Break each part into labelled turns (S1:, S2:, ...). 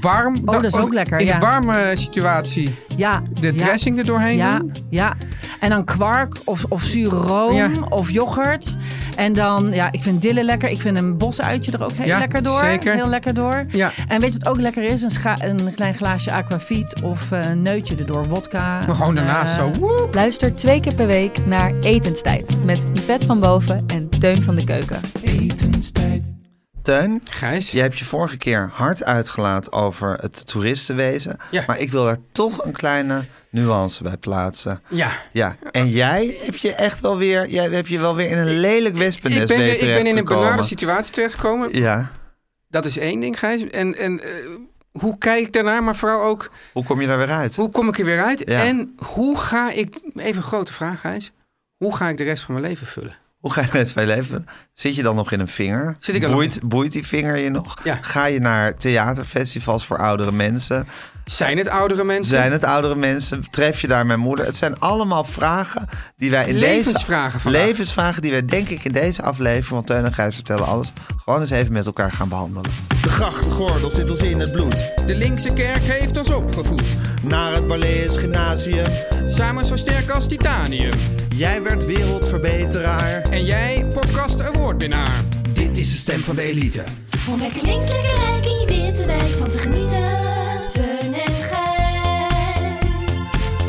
S1: warm.
S2: Oh, dat is ook lekker,
S1: In
S2: ja.
S1: een warme situatie
S2: Ja.
S1: de
S2: ja.
S1: dressing er doorheen
S2: Ja,
S1: doen.
S2: ja. En dan kwark of, of zure room
S1: Ja.
S2: of yoghurt. En dan, ja, ik vind dille lekker. Ik vind een bosuitje er ook heel
S1: Ja,
S2: lekker door.
S1: zeker.
S2: Heel lekker door.
S1: Ja.
S2: En weet je wat ook lekker is? Een, scha- een klein glaasje aquavit of eh, een neutje erdoor. Wodka.
S1: Maar gewoon
S2: En,
S1: daarnaast
S2: eh,
S1: zo. woep.
S3: Luister twee keer per week naar Etenstijd met Yvette van Boven en Teun van de Keuken.
S4: Teun,
S1: Gijs.
S4: je hebt je vorige keer hard uitgelaten over het toeristenwezen.
S1: Ja.
S4: Maar ik wil daar toch een kleine nuance bij plaatsen.
S1: Ja.
S4: Ja, en jij heb je echt wel weer, jij heb je wel weer in een lelijk wespennest
S1: Ik ben,
S4: je
S1: ik ben in een
S4: terechtgekomen.
S1: benarde situatie terechtgekomen.
S4: Ja,
S1: Dat is één ding, Gijs. En, en eh, hoe kijk ik daarnaar? Maar vooral ook,
S4: hoe kom je daar weer uit?
S1: hoe kom ik er weer uit?
S4: Ja.
S1: En hoe ga ik, even een grote vraag, Gijs. Hoe ga ik de rest van mijn leven vullen?
S4: Hoe ga je met twee leven? Zit je dan nog in een vinger?
S1: Zit ik er
S4: boeit, boeit die vinger je nog?
S1: Ja.
S4: Ga je naar theaterfestivals voor oudere mensen?
S1: Zijn het oudere mensen?
S4: Zijn het oudere mensen? Tref je daar mijn moeder? Het zijn allemaal vragen die wij in
S1: Levensvragen
S4: deze...
S1: vandaag.
S4: Levensvragen die wij denk ik in deze aflevering... want Teun en Gijs vertellen alles... gewoon eens even met elkaar gaan behandelen.
S5: De grachtgordel zit ons in het bloed.
S1: De linkse kerk heeft ons opgevoed.
S5: Naar het Balees Gymnasium.
S1: Samen zo sterk als titanium.
S5: Jij werd wereldverbeteraar.
S1: En jij, podcast awardwinnaar.
S5: Dit is de stem van de elite.
S6: Om lekker links, lekker rijk in je witte wijk van te genieten. Teun en Gijs.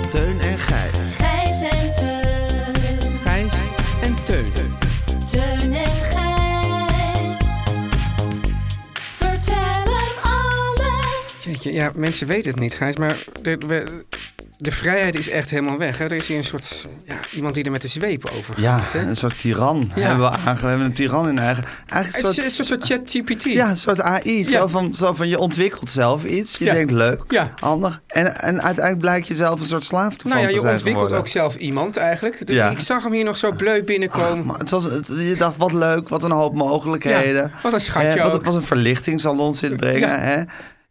S5: Teun en Gijs.
S6: Gijs en Teun.
S1: Gijs en Teun.
S6: Teun en Gijs. Vertel hem alles.
S1: Jeetje, ja, mensen weten het niet, Gijs, maar de, we- de vrijheid is echt helemaal weg. Hè? Er is hier een soort, ja, iemand die er met de zweep over gaat.
S4: Ja,
S1: hè?
S4: een soort tiran
S1: Ja.
S4: hebben we aange... We hebben een tiran in eigen...
S1: Het
S4: Eigenlijk een
S1: is,
S4: soort...
S1: is een soort ChatGPT.
S4: Ja, een soort AI.
S1: Nou Ja.
S4: Zo, van, zo van, je ontwikkelt zelf iets. Je
S1: Ja.
S4: denkt leuk,
S1: Ja.
S4: handig. En, en uiteindelijk blijkt je zelf een soort slaaf te
S1: nou ja,
S4: van te
S1: je
S4: zijn
S1: ontwikkelt
S4: geworden.
S1: ook zelf iemand eigenlijk. De-
S4: Ja.
S1: Ik zag hem hier nog zo bleu binnenkomen.
S4: Maar het was, het- je dacht, wat leuk, wat een hoop mogelijkheden.
S1: Ja, wat een schatje
S4: Eh, wat,
S1: ook.
S4: wat een verlichting zal ons inbrengen.
S1: Ja.
S4: Hè?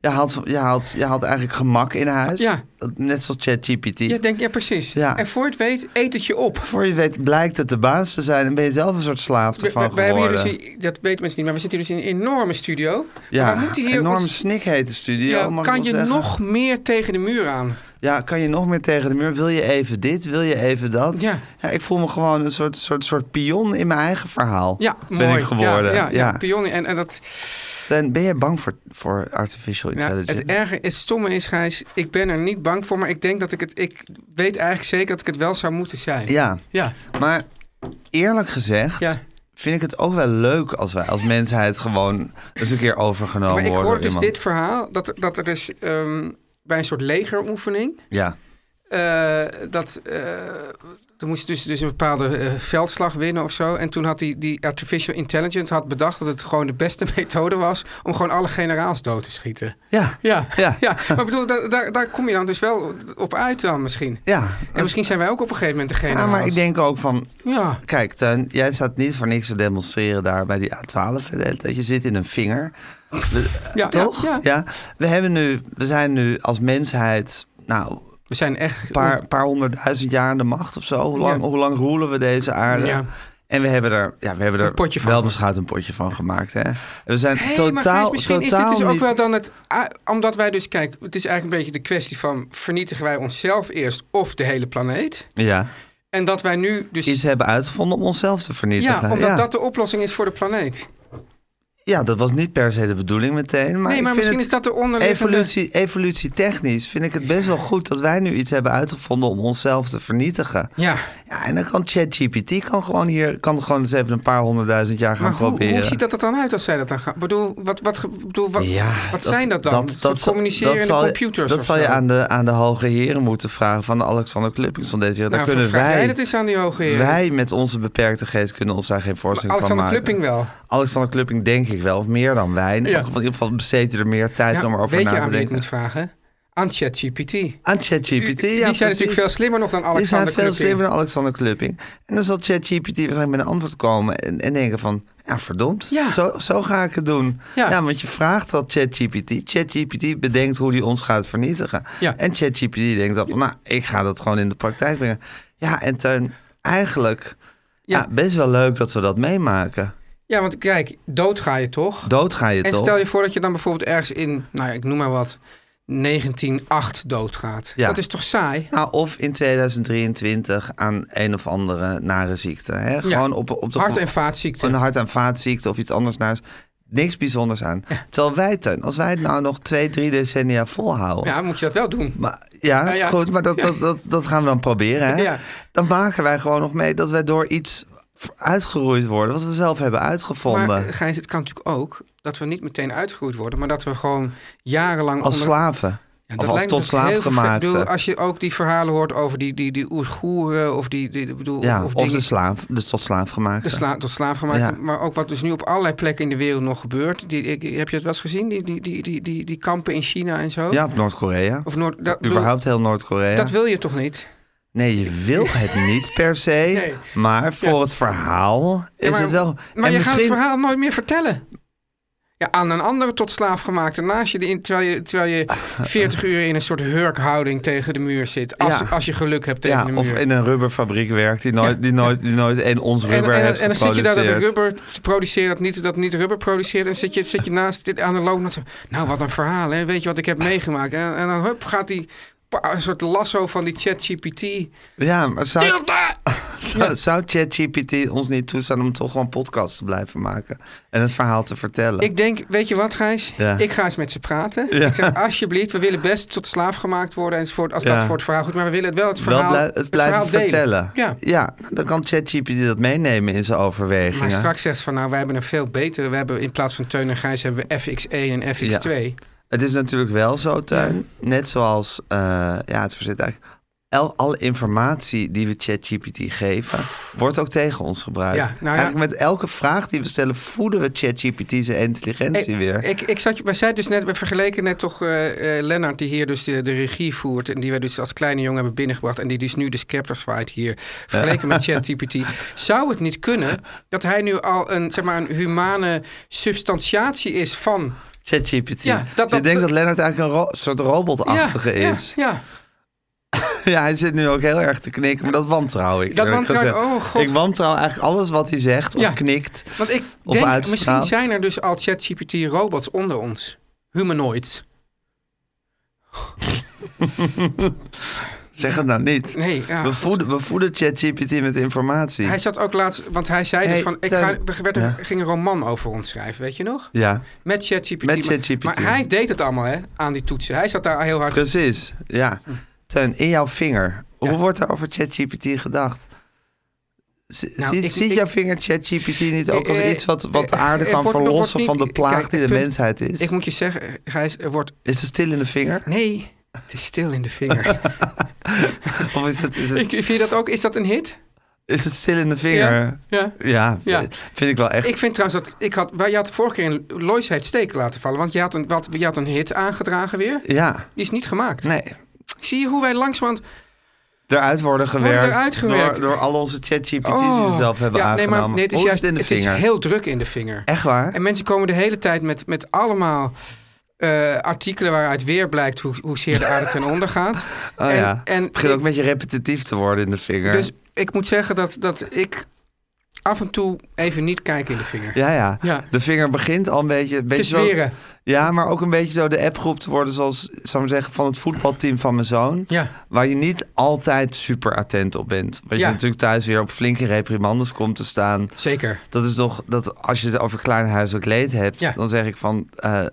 S4: Je, haalt, je, haalt, je haalt eigenlijk gemak in huis.
S1: Ja.
S4: Dat- Net zoals ChatGPT.
S1: ja, denk, ja, precies.
S4: Ja.
S1: En voor het weet, eet het je op.
S4: Voor je weet blijkt het de baas te zijn en ben je zelf een soort slaaf
S1: We,
S4: ervan
S1: we- we hebben hier dus,
S4: geworden.
S1: die- dat weten mensen niet, maar we zitten hier dus in een enorme studio.
S4: ja,
S1: Maar we moeten hier
S4: enorm
S1: ons-
S4: snikhete studio.
S1: ja,
S4: mag ik
S1: kan
S4: wel
S1: je
S4: zeggen.
S1: nog meer tegen de muur aan?
S4: Ja, kan je nog meer tegen de muur? Wil je even dit? Wil je even dat?
S1: Ja.
S4: ik voel me gewoon een soort, soort, soort pion in mijn eigen verhaal.
S1: Ja,
S4: ben
S1: mooi.
S4: ik geworden.
S1: Ja, ja, ja, pion. En, en dat,
S4: Ten, ben jij bang voor, voor artificial
S1: Ja,
S4: intelligence?
S1: het erge, het stomme is, Gijs, ik ben er niet bang voor, maar ik denk dat ik het, ik weet eigenlijk zeker dat ik het wel zou moeten zijn.
S4: Ja,
S1: Ja,
S4: maar eerlijk gezegd
S1: Ja.
S4: vind ik het ook wel leuk als wij als mensheid gewoon eens een keer overgenomen
S1: maar ik
S4: worden.
S1: hoor dus
S4: door iemand.
S1: dit verhaal, dat, er- dat er dus ehm, bij een soort legeroefening,
S4: Ja,
S1: eh, dat, eh toen moest je dus, dus een bepaalde eh, veldslag winnen of zo. En toen had die, die artificial intelligence had bedacht dat het gewoon de beste methode was om gewoon alle generaals dood te schieten.
S4: ja,
S1: Ja, ja.
S4: Ja.
S1: maar ik bedoel, daar, daar, daar kom je dan dus wel op uit dan misschien.
S4: ja.
S1: En misschien zijn wij ook op een gegeven moment de generaals.
S4: Ja, maar ik denk ook van,
S1: Ja,
S4: kijk Teun, jij staat niet voor niks te demonstreren daar bij die A12. de hele tijd. Je zit in een vinger,
S1: ja,
S4: toch?
S1: Ja, ja.
S4: We, hebben nu, we zijn nu als mensheid, nou,
S1: We zijn echt...
S4: een paar, paar honderdduizend jaar aan de macht of zo. Hoe lang,
S1: Ja.
S4: hoe lang roelen we deze aarde?
S1: Ja.
S4: En we hebben er, ja, we hebben er
S1: Een potje van
S4: wel
S1: gemaakt.
S4: beschouwd een potje van gemaakt. Hè? En We zijn
S1: Hey, maar
S4: totaal,
S1: Gijs, misschien
S4: totaal
S1: is dit dus ook
S4: niet-
S1: wel dan het... ah, Omdat wij dus, kijk, het is eigenlijk een beetje de kwestie van... vernietigen wij onszelf eerst of de hele planeet?
S4: ja,
S1: En dat wij nu dus...
S4: iets hebben uitgevonden om onszelf te vernietigen.
S1: ja, omdat dat de oplossing is voor de planeet.
S4: Ja, dat was niet per se de bedoeling meteen. Maar
S1: nee, maar
S4: ik vind
S1: misschien is
S4: het
S1: dat de onderliggende...
S4: evolutie, evolutietechnisch vind ik het best wel goed dat wij nu iets hebben uitgevonden om onszelf te vernietigen.
S1: Ja,
S4: Ja, en dan kan ChatGPT kan gewoon hier kan gewoon eens even een paar honderdduizend jaar gaan
S1: maar hoe,
S4: proberen.
S1: hoe ziet dat er dan uit als zij dat dan gaan? Ik bedoel, wat, wat, ge- bedoel, wat,
S4: Ja,
S1: wat zijn dat dan? Dat,
S4: zal-
S1: communiceren
S4: dat
S1: in
S4: zal-
S1: de computers
S4: Dat
S1: of
S4: zal je
S1: zo?
S4: aan de, aan de hoge heren moeten vragen van Alexander Kluppings van deze wereld.
S1: Nou,
S4: Daar kunnen
S1: vraag
S4: wij,
S1: jij dat is aan die hoge heren.
S4: wij met onze beperkte geest kunnen ons daar geen voorstelling van
S1: Alexander
S4: maken.
S1: Klupping wel.
S4: Alexander Klupping denk ik wel, of meer dan wij. In,
S1: Ja.
S4: elk geval- in ieder geval besteedt hij er meer tijd
S1: Ja,
S4: om erover
S1: weet
S4: na
S1: je
S4: te
S1: aan wie ik
S4: denken.
S1: moet vragen? Aan ChatGPT.
S4: Aan ChatGPT,
S1: Die
S4: ja,
S1: zijn natuurlijk veel
S4: precies.
S1: slimmer nog dan Alexander
S4: Die zijn veel
S1: Klupping.
S4: slimmer dan Alexander Klupping. En dan zal ChatGPT waarschijnlijk met een antwoord komen en, en denken van... Ja, verdomd.
S1: Ja.
S4: Zo, zo ga ik het doen.
S1: Ja.
S4: Ja. want je vraagt dat ChatGPT. ChatGPT bedenkt hoe die ons gaat vernietigen.
S1: Ja.
S4: En ChatGPT denkt dan van... Nou, ik ga dat gewoon in de praktijk brengen. Ja, en Teun, eigenlijk...
S1: Ja.
S4: Ja. best wel leuk dat we dat meemaken.
S1: Ja, want kijk, dood ga je toch?
S4: Dood ga je
S1: en
S4: toch?
S1: stel je voor dat je dan bijvoorbeeld ergens in, nou ja, ik noem maar wat, 1908 doodgaat.
S4: Ja.
S1: Dat is toch saai?
S4: Nou, of in 2023 aan een of andere nare ziekte. Hè? Gewoon op, op de
S1: Hart- en
S4: een
S1: vaatziekten.
S4: hart- en vaatziekte of iets anders naast. Niks bijzonders aan. Terwijl wij, Teun, als wij het nou nog twee, drie decennia volhouden.
S1: Ja, moet je dat wel doen.
S4: Maar, ja,
S1: Nou ja.
S4: goed, maar dat, dat, dat, dat gaan we dan proberen. Hè?
S1: Ja.
S4: Dan maken wij gewoon nog mee dat wij door iets v- uitgeroeid worden. Wat we zelf hebben uitgevonden.
S1: Maar eh, Gijs, het kan natuurlijk ook dat we niet meteen uitgegroeid worden, maar dat we gewoon jarenlang
S4: als
S1: onder-
S4: slaven.
S1: Ja,
S4: of
S1: dat
S4: als
S1: lijkt me
S4: tot
S1: dus heel
S4: slaaf
S1: verve-
S4: gemaakt.
S1: Ik bedoel, als je ook die verhalen hoort over die, die, die Oeigoeren of die, die, die- bedoel,
S4: ja, of,
S1: dingen-
S4: de slaaf. Dus tot slaaf gemaakt.
S1: de sla- tot slaaf gemaakt.
S4: Ja.
S1: Maar ook wat dus nu op allerlei plekken in de wereld nog gebeurt. Die, ik- heb je het wel eens gezien? Die, die, die, die, die, die kampen in China en zo?
S4: Ja, of Noord-Korea.
S1: Of Noord, dat, bedoel,
S4: Überhaupt heel Noord-Korea.
S1: dat wil je toch niet?
S4: Nee, je wil het niet per se.
S1: Nee.
S4: Maar voor het verhaal is
S1: Ja, maar,
S4: het wel.
S1: Maar
S4: en
S1: je gaat
S4: misschien-
S1: het verhaal nooit meer vertellen. Ja, aan een andere tot slaaf gemaakt. En naast je, erin, terwijl je, terwijl je 40 uur in een soort hurkhouding tegen de muur zit. Als,
S4: Ja.
S1: als je geluk hebt tegen
S4: Ja,
S1: de muur.
S4: of in een rubberfabriek werkt die nooit, die nooit, die nooit een ons
S1: En,
S4: rubber
S1: en-
S4: heeft
S1: en dan zit je daar dat
S4: geproduceerd.
S1: rubber produceert, dat niet, dat niet rubber produceert. En zit je, zit je naast dit aan de loop. en zo, Nou, wat een verhaal, hè? Weet je wat ik heb meegemaakt? En, en dan hup, gaat die pa- een soort lasso van die ChatGPT.
S4: Ja, maar zou,
S1: Tilda!
S4: zou, zou ChatGPT ons niet toestaan om toch gewoon podcasts te blijven maken en het verhaal te vertellen?
S1: Ik denk, weet je wat, Gijs?
S4: Ja.
S1: Ik ga eens met ze praten. Ik zeg, alsjeblieft, we willen best tot slaaf gemaakt worden enzovoort. Als dat
S4: Ja.
S1: voor het verhaal goed, maar we willen het wel het
S4: Wel
S1: verhaal,
S4: blij-
S1: het
S4: het blijven
S1: verhaal delen.
S4: vertellen.
S1: Ja.
S4: nou, dan kan ChatGPT dat meenemen in zijn overwegingen.
S1: Maar straks zegt ze van, nou, wij hebben een veel betere. We hebben in plaats van Teun en Gijs hebben we FXE en FX2.
S4: Het is natuurlijk wel zo, Tuin. Net zoals eh, ja, het verzet eigenlijk. El, alle informatie die we ChatGPT geven, wordt ook tegen ons gebruikt.
S1: Ja, nou ja.
S4: Eigenlijk met elke vraag die we stellen, voeden we ChatGPT zijn intelligentie
S1: Ik-
S4: weer.
S1: Ik, ik zat, wij zeiden dus net, we vergeleken net toch eh, eh, Lennart, die hier dus de, de regie voert. En die wij dus als kleine jongen hebben binnengebracht. En die dus nu de scepter zwaait hier. Vergeleken met ChatGPT. Zou het niet kunnen dat hij nu al een, zeg maar, een humane substantiatie is van.
S4: ChatGPT.
S1: Ja, dat- dat-
S4: Je denkt dat Lennart eigenlijk een ro- soort robotachtige
S1: ja,
S4: is.
S1: Ja, ja.
S4: Ja. hij zit nu ook heel erg te knikken, maar dat wantrouw ik.
S1: Dat
S4: eerlijk
S1: wantrouw ik,
S4: gezegd.
S1: oh, God.
S4: Ik wantrouw eigenlijk alles wat hij zegt of
S1: Ja.
S4: knikt.
S1: Want ik
S4: Of
S1: denk,
S4: uitstraalt.
S1: misschien zijn er dus al ChatGPT-robots onder ons. Humanoids.
S4: Zeg het nou niet.
S1: Nee, ja.
S4: We voeden, we voeden ChatGPT met informatie.
S1: Hij zat ook laatst, want hij zei dus
S4: Hey,
S1: van, ik
S4: Teun.
S1: ga, we werd,
S4: Ja.
S1: ging een roman over ons schrijven, weet je nog?
S4: Ja,
S1: Met ChatGPT.
S4: Met
S1: Maar-
S4: ChatGPT.
S1: Maar hij deed het allemaal, hè, aan die toetsen. Hij zat daar heel hard...
S4: precies. Ja. Teun, in jouw vinger. Hoe wordt er over ChatGPT gedacht? Z-
S1: Nou,
S4: ziet
S1: ik-
S4: ziet
S1: ik-
S4: jouw vinger ChatGPT niet ook als
S1: Eh,
S4: iets wat, wat de
S1: eh,
S4: aarde
S1: eh,
S4: kan
S1: wordt- wordt
S4: verlossen
S1: niet-
S4: van de plaag
S1: kijk,
S4: die de
S1: punt.
S4: mensheid is?
S1: Ik moet je zeggen, Gijs, er wordt...
S4: Is het stil in de vinger?
S1: Nee, het is stil in de vinger.
S4: Of is het, is
S1: ik,
S4: het,
S1: vind je dat ook? Is dat een hit?
S4: is het stil in de vinger?
S1: Ja.
S4: Ja,
S1: Ja.
S4: vind ik wel echt.
S1: Ik vind trouwens dat... Ik had, wij- je had de vorige keer een Lois heet steek laten vallen. Want je had, een, wat, je had een hit aangedragen weer.
S4: Ja,
S1: Die is niet gemaakt.
S4: nee.
S1: Zie je hoe wij langzamerhand...
S4: Eruit worden gewerkt,
S1: eruit gewerkt.
S4: Door, door al onze ChatGPT's die
S1: Oh.
S4: we zelf hebben
S1: ja, nee,
S4: aangenomen.
S1: maar nee, het is
S4: Hoe
S1: juist
S4: het in de
S1: het is
S4: vinger?
S1: heel druk in de vinger.
S4: Echt waar?
S1: En mensen komen de hele tijd met, met allemaal eh, artikelen waaruit weer blijkt hoe, hoezeer de aarde ten onder gaat.
S4: Oh
S1: en,
S4: ja.
S1: en
S4: het begint
S1: ik-
S4: ook een beetje repetitief te worden in de vinger.
S1: dus ik moet zeggen dat, dat ik af en toe even niet kijk in de vinger.
S4: Ja, ja,
S1: Ja.
S4: De vinger begint al een beetje... Een beetje
S1: zweren.
S4: Zo, Ja, maar ook een beetje zo de appgroep te worden, zoals zou ik maar zeggen, van het voetbalteam van mijn zoon.
S1: Ja.
S4: Waar je niet altijd super attent op bent. Want
S1: Ja.
S4: je natuurlijk thuis weer op flinke reprimandes komt te staan.
S1: Zeker.
S4: Dat is toch dat als je het over klein huiselijk leed hebt,
S1: Ja.
S4: dan zeg ik van eh,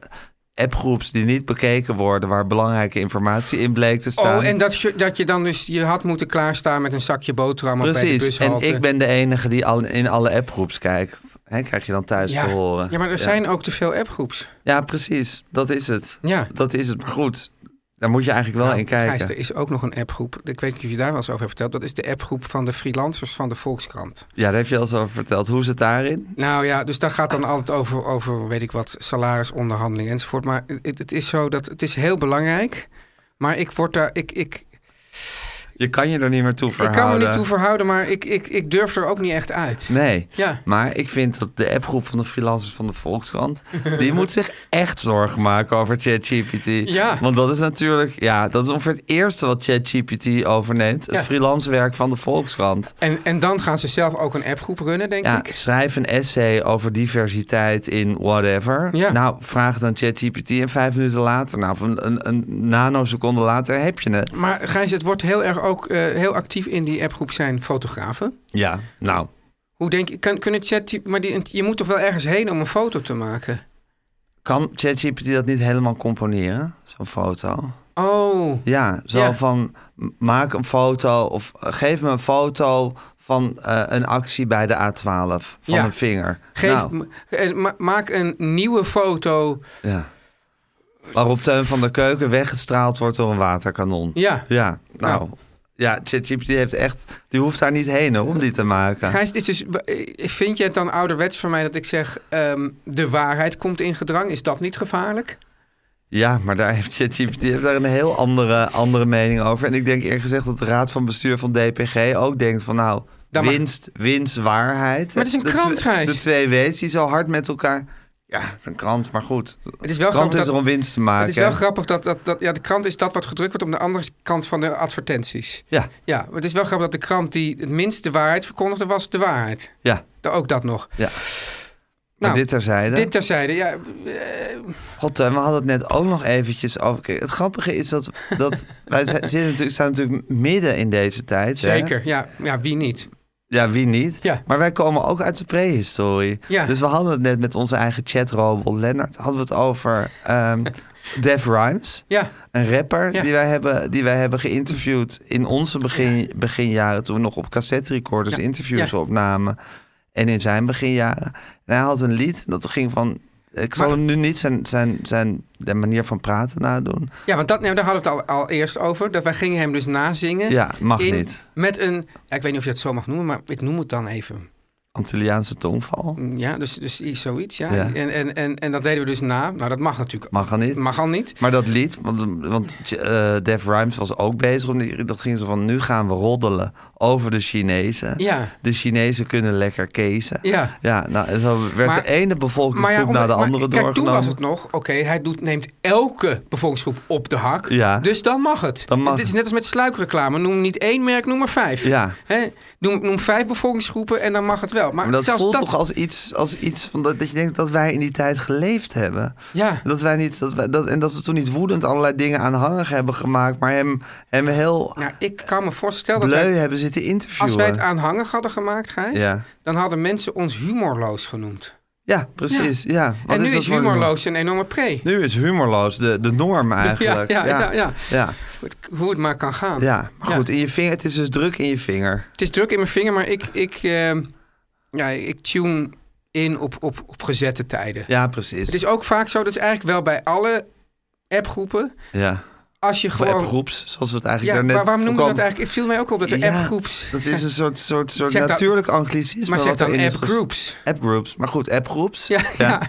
S4: appgroeps die niet bekeken worden, waar belangrijke informatie in bleek te staan.
S1: Oh, en dat je, dat je dan dus... Je had moeten klaarstaan met een zakje boterhammen bij de
S4: Precies. En
S1: bushalte.
S4: ik ben de enige die al in alle appgroeps kijkt. Hè, krijg je dan thuis
S1: ja.
S4: te horen.
S1: Ja, maar er zijn ook te veel appgroeps.
S4: Ja, precies. Dat is het.
S1: Ja.
S4: Dat is het. Maar goed, daar moet je eigenlijk wel in kijken.
S1: Nou, Gijs, er is ook nog een appgroep. Ik weet niet of je daar wel eens over hebt verteld. Dat is de appgroep van de freelancers van de Volkskrant.
S4: Ja, daar heb je al zo over verteld. Hoe zit daarin?
S1: Nou ja, dus daar gaat dan altijd over, over weet ik wat, salarisonderhandelingen enzovoort. Maar het, het is zo dat het is heel belangrijk. Maar ik word daar, ik, ik,
S4: Je kan je er niet meer toe
S1: ik
S4: verhouden.
S1: kan me niet toe verhouden, maar ik, ik, ik durf er ook niet echt uit.
S4: Nee.
S1: Ja.
S4: Maar ik vind dat de appgroep van de freelancers van de Volkskrant... die moet zich echt zorgen maken over ChatGPT.
S1: Ja.
S4: Want dat is natuurlijk... Ja, dat is ongeveer het eerste wat ChatGPT overneemt.
S1: Ja.
S4: Het freelance werk van de Volkskrant.
S1: En, en dan gaan ze zelf ook een appgroep runnen, denk
S4: Ja,
S1: ik.
S4: schrijf een essay over diversiteit in whatever.
S1: Ja.
S4: Nou, vraag het aan ChatGPT en vijf minuten later... nou, of een, een, een nanoseconde later heb je het.
S1: Maar Gijs, het wordt heel erg ook eh, heel actief in die appgroep zijn fotografen.
S4: Ja. Nou,
S1: Hoe denk je, kan, kunnen chat, maar die, je moet toch wel ergens heen om een foto te maken?
S4: kan ChatGPT dat niet helemaal componeren? Zo'n foto?
S1: Oh,
S4: Ja, zo
S1: Ja.
S4: van m- maak een foto of eh, geef me een foto van eh, een actie bij de A12 van
S1: Ja.
S4: een vinger.
S1: geef,
S4: nou,
S1: ma- eh, ma- maak een nieuwe foto.
S4: ja. Waarop Teun van der Keuken weggestraald wordt door een waterkanon.
S1: Ja.
S4: Ja, nou.
S1: Nou.
S4: Ja, ChatGPT heeft echt... Die hoeft daar niet heen hè, om die te maken.
S1: Gijs, dit is dus, eh, vind je het dan ouderwets van mij dat ik zeg... ehm, de waarheid komt in gedrang? Is dat niet gevaarlijk?
S4: Ja, maar daar heeft ChatGPT heeft daar een heel andere, andere mening over. En ik denk eerlijk gezegd dat de raad van bestuur van DPG ook denkt van nou...
S1: Dan maar-
S4: winst, winst, waarheid.
S1: Maar het is een
S4: De
S1: krant,
S4: tw-
S1: Gijs.
S4: De twee W's die zo hard met elkaar... Ja, het is een krant, maar goed.
S1: Het is wel
S4: krant
S1: grappig
S4: is
S1: Oh, dat-
S4: er om winst te maken.
S1: Het is wel grappig dat, dat, dat ja, de krant is dat wat gedrukt wordt... om de andere kant van de advertenties.
S4: Ja,
S1: Ja, maar het is wel grappig dat de krant die het minst de waarheid verkondigde... was de waarheid.
S4: ja,
S1: Da- Ook dat nog.
S4: ja. Maar
S1: Nou,
S4: dit terzijde.
S1: Dit terzijde, ja. eh,
S4: God, Teun, we hadden het net ook nog eventjes over. Kijk, het grappige is dat, dat wij zijn- zitten natuurlijk, staan natuurlijk midden in deze tijd. hè?
S1: Zeker, ja, ja, wie niet?
S4: Ja, wie niet?
S1: Ja.
S4: Maar wij komen ook uit de prehistorie.
S1: Ja.
S4: Dus we hadden het net met onze eigen chatrobot Lennart. Hadden we het over ehm Def Rhymes.
S1: Ja,
S4: Een rapper
S1: Ja.
S4: die, wij hebben, die wij hebben geïnterviewd in onze begin, beginjaren. Toen we nog op cassette recorders
S1: Ja.
S4: interviews
S1: Ja.
S4: opnamen. En in zijn beginjaren. En hij had een lied dat ging van... Ik zal
S1: Maar-
S4: hem nu niet zijn, zijn, zijn de manier van praten nadoen.
S1: ja want dat, nou, daar hadden we het al, al eerst over. Dat wij gingen hem dus nazingen.
S4: Ja, mag
S1: in-
S4: niet.
S1: Met een, ja, ik weet niet of je dat zo mag noemen, maar ik noem het dan even.
S4: Antilliaanse tongval.
S1: Ja, dus, dus i- zoiets, ja.
S4: Ja.
S1: En, en, en, en dat deden we dus na. Nou, dat mag natuurlijk.
S4: Mag al niet.
S1: Mag al niet.
S4: Maar dat lied, want, want eh, Def Rhymes was ook bezig om die, dat ging zo van nu gaan we roddelen over de Chinezen.
S1: Ja.
S4: De Chinezen kunnen lekker kezen.
S1: Ja.
S4: Ja, nou, zo werd
S1: Maar-
S4: de ene
S1: Maar ja,
S4: bevolkingsgroep
S1: om-
S4: naar de
S1: maar
S4: andere
S1: kijk, toen
S4: doorgenomen.
S1: was het nog, oké, hij doet, neemt elke bevolkingsgroep op de hak.
S4: Ja.
S1: Dus dan mag het.
S4: Dan mag
S1: het is
S4: het.
S1: net als met sluikreclame. Noem niet één merk, noem maar vijf.
S4: Ja.
S1: Hè? Noem, noem vijf bevolkingsgroepen en dan mag het wel. Maar,
S4: maar dat
S1: zelfs
S4: voelt
S1: dat...
S4: toch als iets, als iets van dat, dat je denkt dat wij in die tijd geleefd hebben.
S1: Ja.
S4: Dat wij niet, dat wij, dat, en dat we toen niet woedend allerlei dingen aanhangig hebben gemaakt, maar hem, hem heel
S1: Nou, ik kan me voorstellen dat
S4: bleu
S1: wij-
S4: hebben zitten interviewen.
S1: als wij het aanhangig hadden gemaakt, Gijs...
S4: Ja.
S1: dan hadden mensen ons humorloos genoemd.
S4: Ja, precies. Ja. Wat
S1: en nu
S4: dat
S1: is
S4: voor een-
S1: humorloos een enorme pre.
S4: Nu is humorloos de, de norm eigenlijk.
S1: Ja, ja, ja, ja.
S4: ja.
S1: Het- Hoe het maar kan gaan.
S4: Ja, maar
S1: Ja.
S4: goed, in je vinger, het is dus druk in je vinger.
S1: Het is druk in mijn vinger, maar ik, ik, eh, ja, ik tune in op, op, op gezette tijden.
S4: Ja, precies.
S1: Het is ook vaak zo, dat is eigenlijk wel bij alle appgroepen.
S4: ja.
S1: Als je
S4: Of
S1: gewoon...
S4: appgroeps, zoals we het
S1: ja,
S4: eigenlijk
S1: waar-
S4: daarnet...
S1: waarom noem je dat
S4: voorkomen.
S1: eigenlijk? Het viel mij ook op dat er
S4: Ja,
S1: appgroeps...
S4: Dat is een soort, soort, soort
S1: Zeg dan-
S4: natuurlijk anglicisme.
S1: Maar zeg
S4: wat
S1: dan
S4: erin is ges-
S1: appgroeps.
S4: Appgroeps, maar goed, appgroeps.
S1: Ja, ja.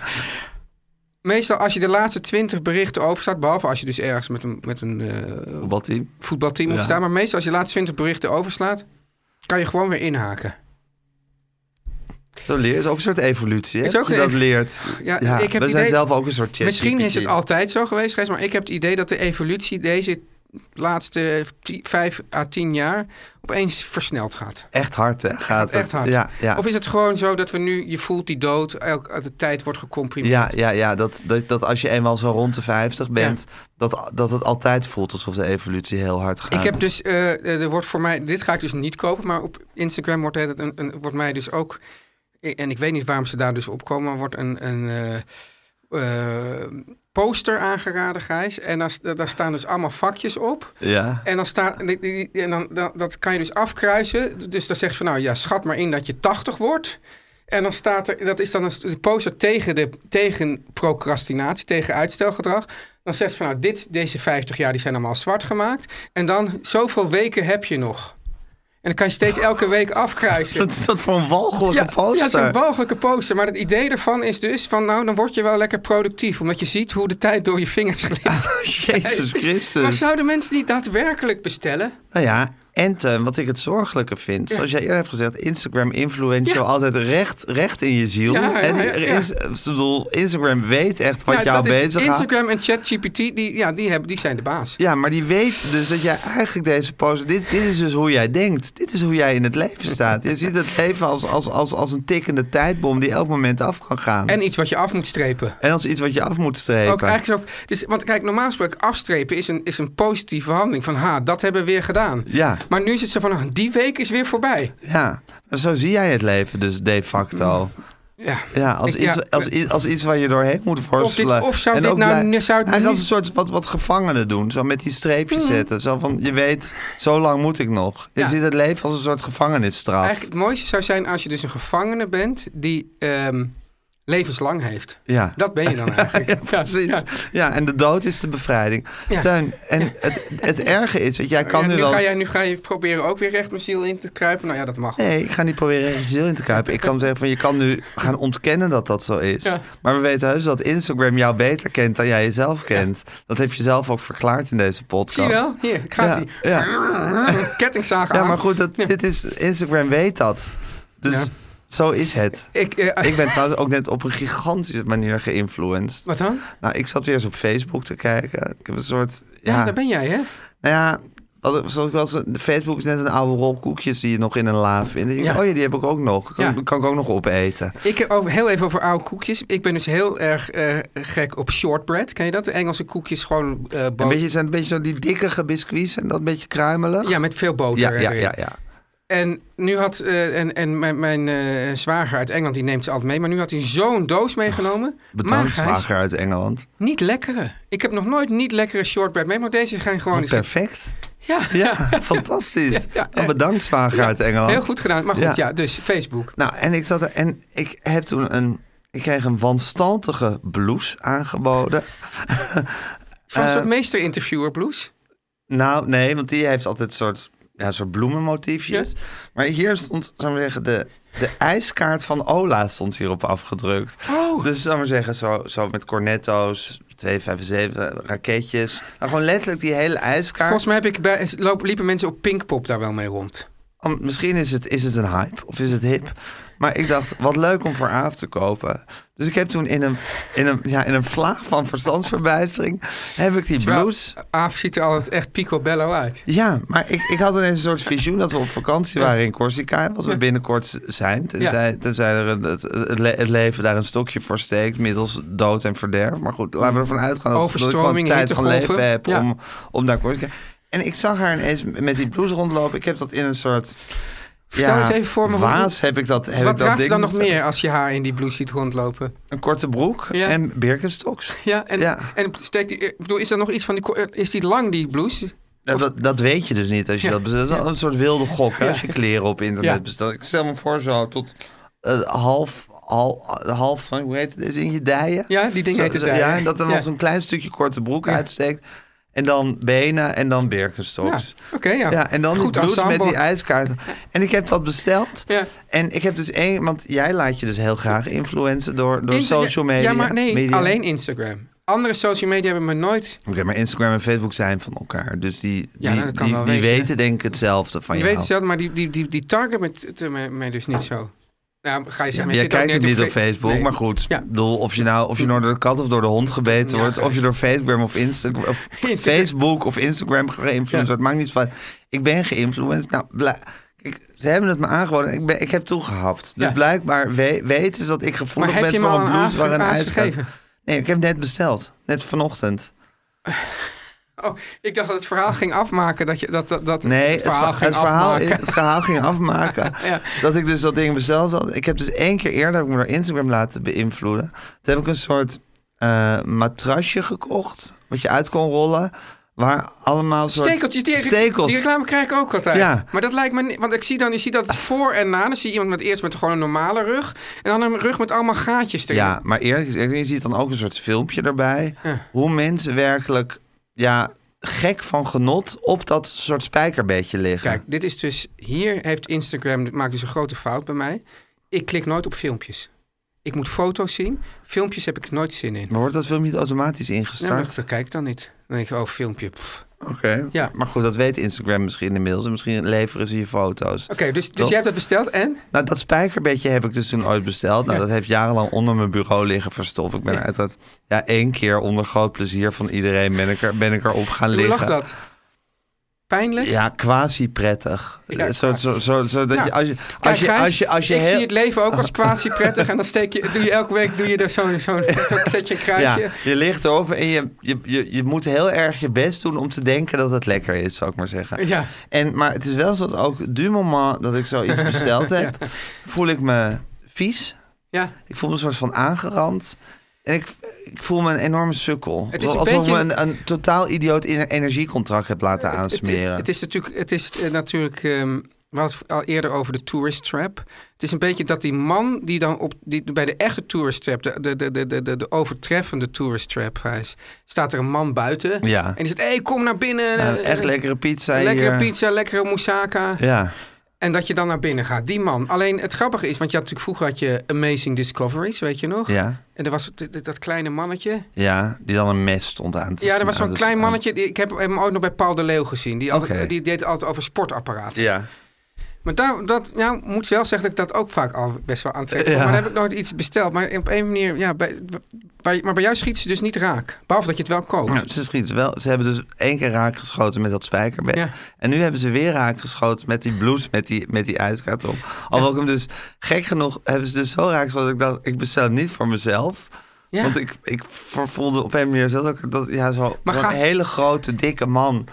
S1: Meestal als je de laatste twintig berichten overstaat... behalve als je dus ergens met een, met een eh,
S4: Voetbalteam.
S1: voetbalteam moet
S4: Ja.
S1: staan... maar meestal als je de laatste twintig berichten overslaat... kan je gewoon weer inhaken.
S4: Zo leer je. is ook een soort evolutie, hè?
S1: Is ook
S4: dat je
S1: een
S4: dat
S1: ev-
S4: leert.
S1: Ja,
S4: Ja,
S1: ik heb
S4: we
S1: het
S4: zijn
S1: idee-
S4: zelf ook een soort chat
S1: Misschien is het altijd zo geweest, Gijs, maar ik heb het idee dat de evolutie deze laatste ti- vijf à tien jaar opeens versneld gaat.
S4: Echt hard hè, gaat het.
S1: Echt hard.
S4: Ja, ja.
S1: Of is het gewoon zo dat we nu, je voelt die dood, elk, de tijd wordt gecomprimeerd.
S4: Ja, ja, ja dat, dat, dat als je eenmaal zo rond de 50 bent, dat, dat het altijd voelt alsof de evolutie heel hard gaat.
S1: Ik heb dus, eh, er wordt voor mij, dit ga ik dus niet kopen, maar op Instagram wordt, het een, een, wordt mij dus ook, en ik weet niet waarom ze daar dus op komen, maar wordt een, een eh, eh, poster aangeraden, Gijs. En daar, daar staan dus allemaal vakjes op.
S4: Ja.
S1: En, dan staat, en die- die- en dan, dan, dat kan je dus afkruisen. Dus dan zegt van nou ja, schat maar in dat je 80 wordt. En dan staat er, dat is dan een s- een poster tegen, de, tegen procrastinatie, tegen uitstelgedrag. Dan zegt ze van nou, dit, deze 50 jaar die zijn allemaal zwart gemaakt. En dan zoveel weken heb je nog. En dan kan je steeds elke week afkruisen.
S4: Wat is dat voor een walgelijke poster?
S1: Ja, het is een walgelijke poster. Maar het idee ervan is dus van nou, dan word je wel lekker productief. Omdat je ziet hoe de tijd door je vingers
S4: Ah,
S1: glipt.
S4: Jezus
S1: Maar
S4: Christus.
S1: zouden mensen die daadwerkelijk bestellen?
S4: Nou ja, en Teun, wat ik het zorgelijke vind, zoals jij eerder hebt gezegd, Instagram influential
S1: Ja.
S4: altijd recht, recht in je ziel.
S1: Ja, ja,
S4: en
S1: ja,
S4: er
S1: ja.
S4: is, ik bedoel, Instagram weet echt wat
S1: Ja,
S4: jou
S1: Nou, dat is
S4: bezig
S1: Instagram en ChatGPT, die, ja, die, hebben, die zijn de baas.
S4: Ja, maar die weet dus dat jij eigenlijk deze poster... Dit, dit is dus hoe jij denkt. Dit is hoe jij in het leven staat. Je ziet het leven als, als, als, als een tikkende tijdbom die elk moment af kan gaan.
S1: En iets wat je af moet strepen.
S4: En als iets wat je af moet strepen.
S1: Ook eigenlijk zo, dus, want kijk, normaal gesproken afstrepen is een, is een positieve handeling. Van ha, dat hebben we weer gedaan.
S4: Ja.
S1: Maar nu is het zo van, ah, die week is weer voorbij.
S4: Ja, maar zo zie jij het leven dus de facto.
S1: Ja.
S4: Ja, als,
S1: Ik-
S4: iets,
S1: ja.
S4: als, i- als iets waar je doorheen moet worstelen.
S1: of zou
S4: En
S1: dit
S4: ook
S1: nou-
S4: blij-
S1: zou het
S4: Eigenlijk
S1: nu- Mhm.
S4: als een soort wat, wat gevangenen doen. Zo met die streepjes zetten. Zo van, je weet, zo lang moet ik nog. Je
S1: Ja.
S4: ziet het leven als een soort gevangenisstraf.
S1: Eigenlijk het mooiste zou zijn als je dus een gevangene bent die ehm, levenslang heeft.
S4: Ja.
S1: Dat ben je dan eigenlijk.
S4: Ja, precies. Ja. en de dood is de bevrijding.
S1: Ja.
S4: Teun, en het, het erge is dat jij kan
S1: Ja,
S4: nu
S1: nu,
S4: wel...
S1: ga jij, nu ga je proberen ook weer recht mijn ziel in te kruipen. Nou ja, dat mag.
S4: Nee, ik ga niet proberen ergens ziel in te kruipen. Ik kan zeggen van, je kan nu gaan ontkennen dat dat zo is.
S1: Ja.
S4: Maar we weten heus dat Instagram jou beter kent dan jij jezelf kent. Dat heb je zelf ook verklaard in deze podcast.
S1: Zie je wel? Hier, gaat
S4: Ja,
S1: die.
S4: ja.
S1: Kettingzaag
S4: Ja,
S1: aan.
S4: maar goed, dat, dit is, Instagram weet dat. Dus
S1: Ja.
S4: zo is het.
S1: Ik, eh,
S4: Ik ben trouwens ook net op een gigantische manier geïnfluenced.
S1: Wat dan?
S4: Nou, ik zat weer eens op Facebook te kijken. Ik heb een soort...
S1: Ja, daar ben jij, hè?
S4: Nou ja, wat, zoals ik wel eens- Facebook is net een oude rol koekjes die je nog in een la vindt. En je
S1: Ja.
S4: denkt, Oh ja, die heb ik ook nog. Kan,
S1: Ja.
S4: kan ik ook nog opeten.
S1: Ik heb over, heel even over oude koekjes. Ik ben dus heel erg eh, gek op shortbread. Ken je dat? De Engelse koekjes gewoon eh boter.
S4: Een beetje, zijn een beetje zo die dikkige biscuits en dat een beetje kruimelig.
S1: Ja, met veel boter
S4: ja, ja,
S1: erin.
S4: ja, ja.
S1: En nu had eh, en, en mijn, mijn eh, zwager uit Engeland, die neemt ze altijd mee. Maar nu had hij zo'n doos meegenomen. Maar,
S4: Bedankt,
S1: Gijs,
S4: zwager uit Engeland.
S1: Niet lekkere. Ik heb nog nooit niet lekkere shortbread mee, maar deze gaan gewoon... eens-
S4: Perfect.
S1: Ja,
S4: Ja, fantastisch.
S1: ja,
S4: En bedankt, zwager uit Engeland.
S1: heel goed gedaan. Maar goed,
S4: Ja.
S1: ja, dus Facebook.
S4: Nou, en ik zat er en ik heb toen een... Ik kreeg een wanstaltige blouse aangeboden.
S1: Van
S4: Eh,
S1: een soort meester-interviewer blues.
S4: Nou, nee, want die heeft altijd een soort, ja, soort bloemenmotiefjes. Maar hier stond, zou ik maar zeggen, de, de ijskaart van Ola stond hierop afgedrukt.
S1: Oh.
S4: Dus zou ik maar zeggen, zo, zo met cornetto's, 257, raketjes. Nou, gewoon letterlijk die hele ijskaart.
S1: Volgens mij heb ik bij, loop, liepen mensen op Pinkpop daar wel mee rond.
S4: Om- Misschien is het, is het een hype of is het hip. Maar ik dacht, wat leuk om voor Aaf te kopen. Dus ik heb toen in een, in een, ja, in een vlaag van verstandsverbijstering... heb ik die
S1: Terwijl-
S4: blouse
S1: Aaf ziet er altijd echt picobello uit.
S4: Ja, maar ik, ik had ineens een soort visioen dat we op vakantie waren in Corsica. Wat we binnenkort zijn. Tenzij, tenzij er een- het, het, le- het leven daar een stokje voor steekt. Middels dood en verderf. Maar goed,
S1: Mm.
S4: laten we ervan uitgaan dat, dat ik gewoon
S1: Overstroming,
S4: tijd van
S1: hittegolven.
S4: leven heb
S1: Ja.
S4: om, om naar Corsica. En ik zag haar ineens met die blouse rondlopen. Ik heb dat in een soort...
S1: Vertel eens even voor me hoe-
S4: Waas heb ik dat. Heb ik
S1: Wat
S4: dat
S1: draagt ze
S4: ding
S1: dan nog
S4: staan.
S1: meer als je haar in die blouse ziet rondlopen?
S4: Een korte broek
S1: Ja.
S4: en Birkenstocks.
S1: Ja, en,
S4: Ja.
S1: en steekt die, ik bedoel, is er nog iets van die, ko- eh, is die lang die blouse?
S4: Nou, dat, dat weet je dus niet als je
S1: Ja.
S4: dat bestelt. Dat is wel een soort wilde gok hè, als je kleren op internet
S1: Ja.
S4: bestelt. Ik stel me voor zo tot eh, half, half, half, eh, hoe heet het, is in je dijen.
S1: Ja, die dingen
S4: Zo-
S1: heten
S4: zo-
S1: dijen.
S4: Ja, en dat er nog
S1: Ja.
S4: zo'n klein stukje korte broek
S1: Ja.
S4: uitsteekt. En dan benen en dan Birkenstocks.
S1: Ja, oké, ja.
S4: En dan
S1: Goed
S4: die blouse
S1: ensemble.
S4: met die ijskaarten. En ik heb dat besteld.
S1: Ja.
S4: En ik heb dus één, want jij laat je dus heel graag influencen door, door
S1: Insta-
S4: social media.
S1: Ja, maar nee,
S4: media. Oh,
S1: alleen Instagram. Andere social media hebben me nooit...
S4: Oké, maar Instagram en Facebook zijn van elkaar. Dus die,
S1: Ja,
S4: die,
S1: dat kan
S4: die,
S1: wel
S4: die
S1: wezen, hè?
S4: weten denk ik hetzelfde van
S1: Je
S4: jou.
S1: weet het zelf, maar die, die, die, die target me, me, me dus niet zo. Ja, ga je zeggen,
S4: Maar
S1: je
S4: jij
S1: zit ook
S4: kijkt het niet op
S1: Fe-
S4: Facebook,
S1: Nee.
S4: maar goed.
S1: Ja.
S4: Ik bedoel, of je nou of je nou door de kat of door de hond gebeten
S1: Ja,
S4: wordt, of
S1: juist.
S4: je door Facebook of, Instagram, of
S1: Instagram.
S4: Facebook of Instagram geïnfluenced
S1: Ja.
S4: wordt, het maakt niet van. Ik ben geïnfluenced. Nou, bla- Kijk, ze hebben het me aangeboden. Ik, ben, ik heb toegehapt. Dus
S1: Ja.
S4: blijkbaar we- weten ze dat ik
S1: Maar
S4: gevoelig
S1: heb
S4: ben
S1: je hem
S4: voor
S1: al
S4: een
S1: een
S4: blouse waar een
S1: aas
S4: ijs gaat.
S1: gegeven?
S4: Nee, ik heb net besteld. Net vanochtend.
S1: Oh, ik dacht dat het verhaal ging afmaken. Dat je, dat, dat, dat
S4: Nee, het,
S1: het verhaal
S4: verha-
S1: ging
S4: het verhaal,
S1: afmaken.
S4: het verhaal ging afmaken.
S1: Ja.
S4: Dat ik dus dat ding besteld had. Ik heb dus één keer eerder heb ik me door Instagram laten beïnvloeden. Toen heb ik een soort eh, matrasje gekocht. Wat je uit kon rollen. Waar allemaal soort
S1: Stekeltjes, die,
S4: stekels.
S1: die reclame krijg ik ook altijd.
S4: Ja.
S1: Maar dat lijkt me niet, want ik zie dan, je ziet dat voor en na, dan zie je iemand met eerst met gewoon een normale rug en dan een rug met allemaal gaatjes erin.
S4: Ja, maar eerlijk gezegd, je ziet dan ook een soort filmpje erbij.
S1: Ja.
S4: Hoe mensen werkelijk ja, gek van genot op dat soort spijkerbedje liggen.
S1: Kijk, dit is dus, hier heeft Instagram, dit maakt dus een grote fout bij mij. Ik klik nooit op filmpjes. Ik moet foto's zien, filmpjes heb ik nooit zin in.
S4: Maar wordt dat filmpje niet automatisch
S1: Ja, maar
S4: ingestart?
S1: dat kijk ik dan niet. Dan denk ik, oh, filmpje. pff. Oké,
S4: Oké.
S1: Ja.
S4: Maar goed, dat weet Instagram misschien inmiddels. En misschien leveren ze je foto's.
S1: dus, dus
S4: Toch?
S1: jij hebt dat besteld en?
S4: Nou, dat spijkerbedje heb ik dus toen ooit besteld. Nou, dat heeft jarenlang onder mijn bureau liggen verstopt. Ik ben er uiteraard ja, één keer onder groot plezier van iedereen ben ik, er, ben ik erop gaan
S1: Hoe
S4: liggen.
S1: lag dat? Pijnlijk?
S4: Ja, quasi prettig.
S1: Ja,
S4: zo, zo, zo, zo dat
S1: Ja.
S4: je, als je,
S1: Kijk,
S4: als je,
S1: Gijs,
S4: als je, als je
S1: ik
S4: heel-
S1: zie het leven ook als quasi prettig. En dan steek je, doe je elke week doe je er zo'n zo, zo zetje een
S4: ja,
S1: kruisje.
S4: je ligt erop en je, je, je, je moet heel erg je best doen om te denken dat het lekker is, zou ik maar zeggen.
S1: Ja.
S4: En, maar het is wel zo dat ook du moment dat ik zoiets besteld heb, voel ik me vies.
S1: Ja.
S4: Ik voel me een soort van aangerand. En ik, ik voel me een enorme sukkel.
S1: Het is een
S4: Alsof ik
S1: beetje-
S4: me een, een totaal idioot ener- energiecontract heb laten
S1: Het,
S4: aansmeren.
S1: het, het is natuurlijk, het is, eh, natuurlijk ehm, we hadden het al eerder over de tourist trap. Het is een beetje dat die man die dan op, die, bij de echte tourist trap, de, de, de, de, de, de overtreffende tourist trap, hij is, staat er een man buiten.
S4: Ja.
S1: En die zegt, hé, hey, kom naar binnen.
S4: Nou,
S1: Eh,
S4: echt
S1: eh,
S4: lekkere pizza
S1: Lekkere
S4: hier.
S1: pizza, lekkere moussaka.
S4: Ja.
S1: En dat je dan naar binnen gaat. Die man. Alleen het grappige is, want je had natuurlijk vroeger had je Amazing Discoveries, weet je nog?
S4: Ja.
S1: En er was d- d- dat kleine mannetje.
S4: ja, die dan een mes stond aan te
S1: Ja, er was
S4: aan
S1: zo'n
S4: te-
S1: klein
S4: aan-
S1: mannetje. die- Ik heb hem ooit nog bij Paul de Leeuw gezien. Die, altijd-
S4: Oké.
S1: die deed altijd over sportapparaten.
S4: Ja.
S1: Maar daar, dat, nou, moet zelf zeggen dat ik dat ook vaak al best wel aantrek. Maar dan heb ik nooit iets besteld. Maar op een manier, ja, bij, bij- maar bij jou schiet ze dus niet raak. Behalve dat je het wel koopt.
S4: Ja, ze schieten wel. Ze hebben dus één keer raak geschoten met dat spijkerbeen.
S1: Ja.
S4: En nu hebben ze weer raak geschoten met die blouse, met die, met die ijskaart op. Alhoewel ik hem dus, gek genoeg, hebben ze dus zo raak geschoten. dat Ik dacht, ik bestel hem niet voor mezelf.
S1: Ja.
S4: Want ik, ik voelde op een manier zelf ook dat ja, zo,
S1: Maar
S4: zo'n
S1: ga-
S4: hele grote, dikke man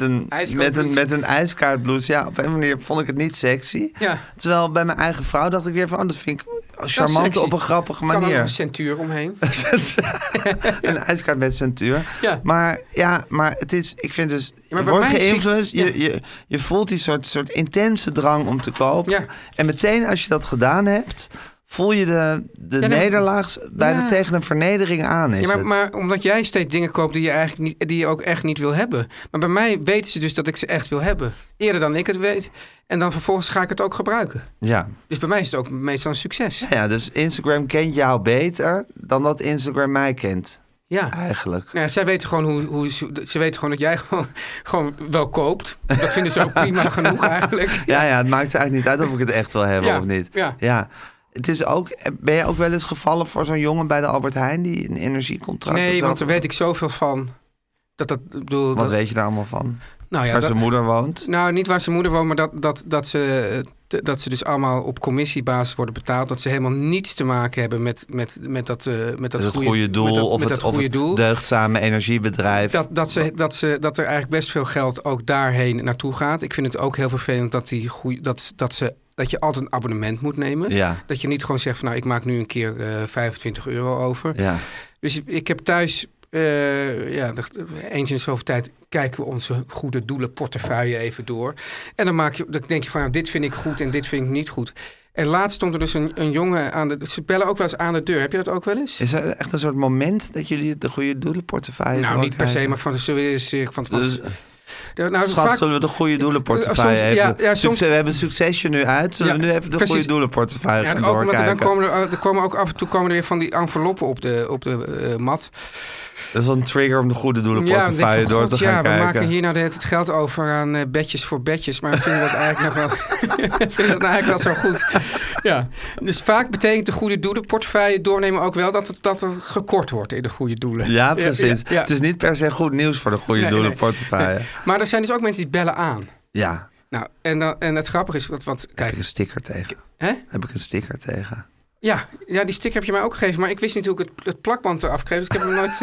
S4: een, met een,
S1: Ijskaartblouse.
S4: met een ijskaartblouse. Ja, op een manier vond ik het niet sexy.
S1: Ja.
S4: Terwijl bij mijn eigen vrouw dacht ik weer van, oh, dat vind ik charmant
S1: sexy.
S4: op een grappige
S1: kan er nog een
S4: manier.
S1: centuur omheen.
S4: een ijskaart met centuur.
S1: Ja.
S4: Maar ja, maar het is, ik vind dus,
S1: maar
S4: je
S1: bij
S4: wordt
S1: mij is-
S4: geïnfluenced,
S1: ja.
S4: je, je, je voelt die soort, soort intense drang om te kopen.
S1: Ja.
S4: En meteen als je dat gedaan hebt, voel je de, de
S1: Ja, nee.
S4: nederlaag bijna
S1: Ja.
S4: tegen een vernedering aan is
S1: Ja, maar,
S4: het.
S1: maar omdat jij steeds dingen koopt die je, eigenlijk niet, die je ook echt niet wil hebben. Maar bij mij weten ze dus dat ik ze echt wil hebben. Eerder dan ik het weet. En dan vervolgens ga ik het ook gebruiken.
S4: ja.
S1: Dus bij mij is het ook meestal een succes.
S4: ja, dus Instagram kent jou beter dan dat Instagram mij kent,
S1: Ja.
S4: eigenlijk.
S1: Nou ja, zij weten gewoon, hoe, hoe, ze weten gewoon dat jij gewoon, gewoon wel koopt. Dat vinden ze ook prima genoeg eigenlijk.
S4: Ja, ja, het maakt eigenlijk niet uit of ik het echt wil hebben
S1: Ja,
S4: of niet.
S1: ja.
S4: Het is ook, ben je ook wel eens gevallen voor zo'n jongen bij de Albert Heijn die een energiecontract of
S1: Nee,
S4: zo-
S1: want daar weet ik zoveel van. Dat dat, ik bedoel,
S4: Wat
S1: dat-
S4: weet je daar allemaal van?
S1: nou ja,
S4: Waar
S1: dat-
S4: zijn moeder woont.
S1: Nou, niet waar zijn moeder woont, maar dat, dat, dat, ze, eh, dat ze dus allemaal op commissiebasis worden betaald. Dat ze helemaal niets te maken hebben met, met, met, dat, eh, met dat
S4: Dat is het goede doel
S1: met dat,
S4: of
S1: met
S4: het,
S1: dat
S4: of
S1: goede
S4: het
S1: doel.
S4: deugdzame energiebedrijf.
S1: Dat, dat, ze, dat, ze, dat er eigenlijk best veel geld ook daarheen naartoe gaat. Ik vind het ook heel vervelend dat, die goeie, dat, dat, ze, dat je altijd een abonnement moet nemen.
S4: Ja.
S1: Dat je niet gewoon zegt van nou ik maak nu een keer eh, 25 euro over.
S4: ja.
S1: Dus ik heb thuis, eh, ja, dat- eens in de zoveel tijd kijken we onze goede doelenportefeuille even door. En dan, maak je, dan denk je van, nou, dit vind ik goed en dit vind ik niet goed. En laatst stond er dus een, een jongen aan de... Ze bellen ook wel eens aan de deur. Heb je dat ook wel eens?
S4: Is er echt een soort moment dat jullie de goede doelenportefeuille
S1: nou, niet per se,
S4: doorkrijgen?
S1: maar van, zullen we eens, eh, van, van-
S4: Dus-
S1: Ja, nou,
S4: Schat,
S1: vaak-
S4: zullen we de goede doelenportefeuille
S1: Eh, soms-
S4: even...
S1: ja, ja, soms-
S4: Succes- we hebben Succession nu uit. Zullen we
S1: Ja,
S4: nu even de
S1: precies.
S4: goede doelenportefeuille
S1: Ja,
S4: gaan
S1: ook omdat er, dan
S4: doorkijken?
S1: komen er, eh, er komen ook af en toe komen er weer van die enveloppen op de, op de eh, mat.
S4: Dat is wel een trigger om de goede
S1: dan denk ik
S4: doelenportefeuille
S1: van,
S4: door
S1: "God,
S4: te gaan
S1: ja, we
S4: kijken.
S1: maken hier nou de hele tijd geld over aan eh, bedjes voor bedjes. Maar we vinden dat eigenlijk nog wel, vinden we dat nou eigenlijk wel zo goed. Ja. Dus vaak betekent de goede doelenportefeuille doornemen ook wel dat, het, dat er gekort wordt in de goede doelen.
S4: Ja, precies.
S1: ja, ja.
S4: Het is niet per se goed nieuws voor de goede
S1: Nee, nee.
S4: doelenportefeuille.
S1: Maar er zijn dus ook mensen die bellen aan.
S4: Ja,
S1: Nou, en, dan, en het grappige is, want, want
S4: heb
S1: kijk,
S4: ik een sticker tegen.
S1: hè?
S4: Heb ik een sticker tegen.
S1: Ja, ja, die sticker heb je mij ook gegeven, maar ik wist niet hoe ik het, het plakband eraf kreeg, dus ik heb hem nooit...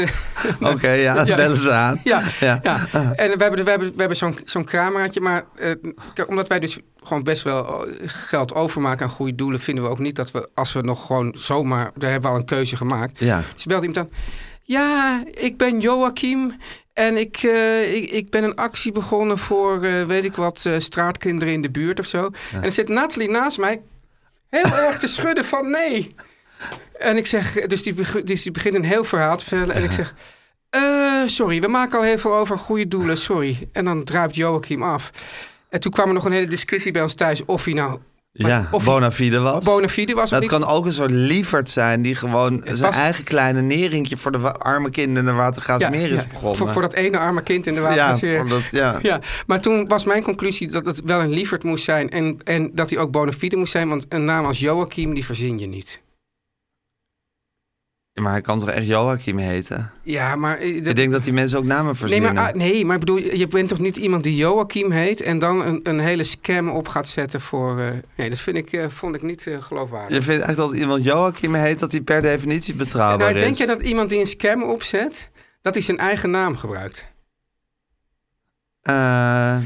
S1: eh,
S4: Oké, ja,
S1: Ja.
S4: bellen ze aan.
S1: Ja, ja.
S4: Ja.
S1: en we hebben, we hebben, we hebben zo'n zo'n cameraatje, maar eh, kijk, omdat wij dus gewoon best wel eh, geld overmaken aan goede doelen, vinden we ook niet dat we, als we nog gewoon zomaar, daar hebben we al een keuze gemaakt.
S4: Ja.
S1: Dus belt iemand aan, ja, ik ben Joachim en ik, eh, ik, ik ben een actie begonnen voor, eh, weet ik wat, eh, straatkinderen in de buurt of zo. En er zit Nathalie naast mij heel erg te schudden van nee. En ik zeg, dus die, beg- dus die begint een heel verhaal te vertellen. En ik zeg, eh, sorry, we maken al heel veel over goede doelen, sorry. En dan druipt Joachim af. En toen kwam er nog een hele discussie bij ons thuis of hij nou
S4: Ja,
S1: of-
S4: bona fide was.
S1: bona fide was of
S4: dat
S1: niet.
S4: kan ook een soort lieverd zijn die gewoon zijn
S1: was-
S4: eigen kleine nerinkje voor de wa- arme kinderen in de Watergraafsmeer is begonnen.
S1: Voor, voor dat ene arme kind in de
S4: ja,
S1: waterzeer.
S4: voor dat, ja.
S1: Ja, maar toen was mijn conclusie dat het wel een lieverd moest zijn en, en dat hij ook bona fide moest zijn, want een naam als Joachim, die verzin je niet.
S4: Maar hij kan toch echt Joachim heten?
S1: Ja, maar... eh, dat-
S4: Ik denk dat die mensen ook namen
S1: nee,
S4: verzinnen.
S1: maar, ah, nee, maar ik bedoel, je bent toch niet iemand die Joachim heet en dan een, een hele scam op gaat zetten voor... eh, nee, dat vind ik, eh, vond ik niet eh, geloofwaardig.
S4: Je vindt echt dat als iemand Joachim heet, dat hij per definitie betrouwbaar
S1: nou, denk
S4: is.
S1: je dat iemand die een scam opzet, dat hij zijn eigen naam gebruikt?
S4: Eh,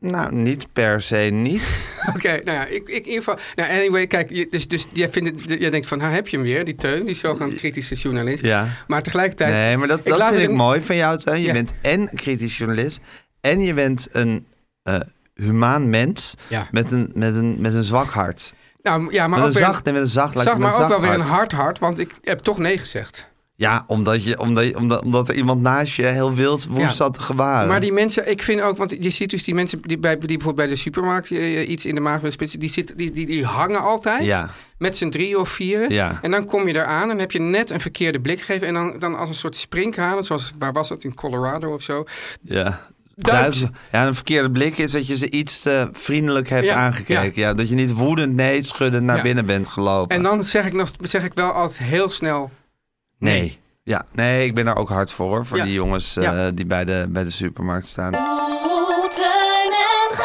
S4: nou, niet per se niet.
S1: Oké, nou ja, ik, ik in ieder geval... Nou, anyway, kijk, je- dus, dus jij, vindt het- jij denkt van, nou heb je hem weer, die Teun, die is zo'n kritische journalist.
S4: Ja.
S1: Maar tegelijkertijd...
S4: Nee, maar dat, dat
S1: laat
S4: vind
S1: het
S4: ik
S1: hem-
S4: mooi van jou, Teun. Je
S1: Ja.
S4: bent en kritisch journalist en je bent een eh, humaan mens
S1: Ja.
S4: met, een, met, een, met een zwak hart.
S1: Nou, ja, maar
S4: Met
S1: ook
S4: een
S1: weer-
S4: zacht, nee, met een zacht, laat ik
S1: Zag
S4: het met
S1: maar ook wel
S4: zacht
S1: weer een hard
S4: hart.
S1: hart, want ik heb toch nee gezegd.
S4: Ja, omdat, je, omdat, je- omdat, omdat er iemand naast je heel wild woest
S1: Ja.
S4: zat te gewaren.
S1: Maar die mensen, ik vind ook, want je ziet dus die mensen die, bij, die bijvoorbeeld bij de supermarkt eh, iets in de maag willen spitsen, die, zitten- die, die, die hangen altijd
S4: Ja.
S1: met z'n drie of vier.
S4: Ja.
S1: En dan kom je eraan en heb je net een verkeerde blik gegeven en dan, dan als een soort springhanen, zoals waar was dat, in Colorado of zo.
S4: Ja.
S1: Duits.
S4: Duits. Ja, een verkeerde blik is dat je ze iets te vriendelijk hebt
S1: Ja,
S4: aangekeken. Ja. dat je niet woedend, nee, schuddend naar
S1: Ja.
S4: binnen bent gelopen.
S1: En dan zeg ik, nog, zeg ik wel altijd heel snel,
S4: nee. Ja, nee, ik ben daar ook hard voor, hoor, voor
S1: Ja.
S4: die jongens eh,
S1: Ja.
S4: die bij de, bij de supermarkt staan.
S6: Oeh, Teun en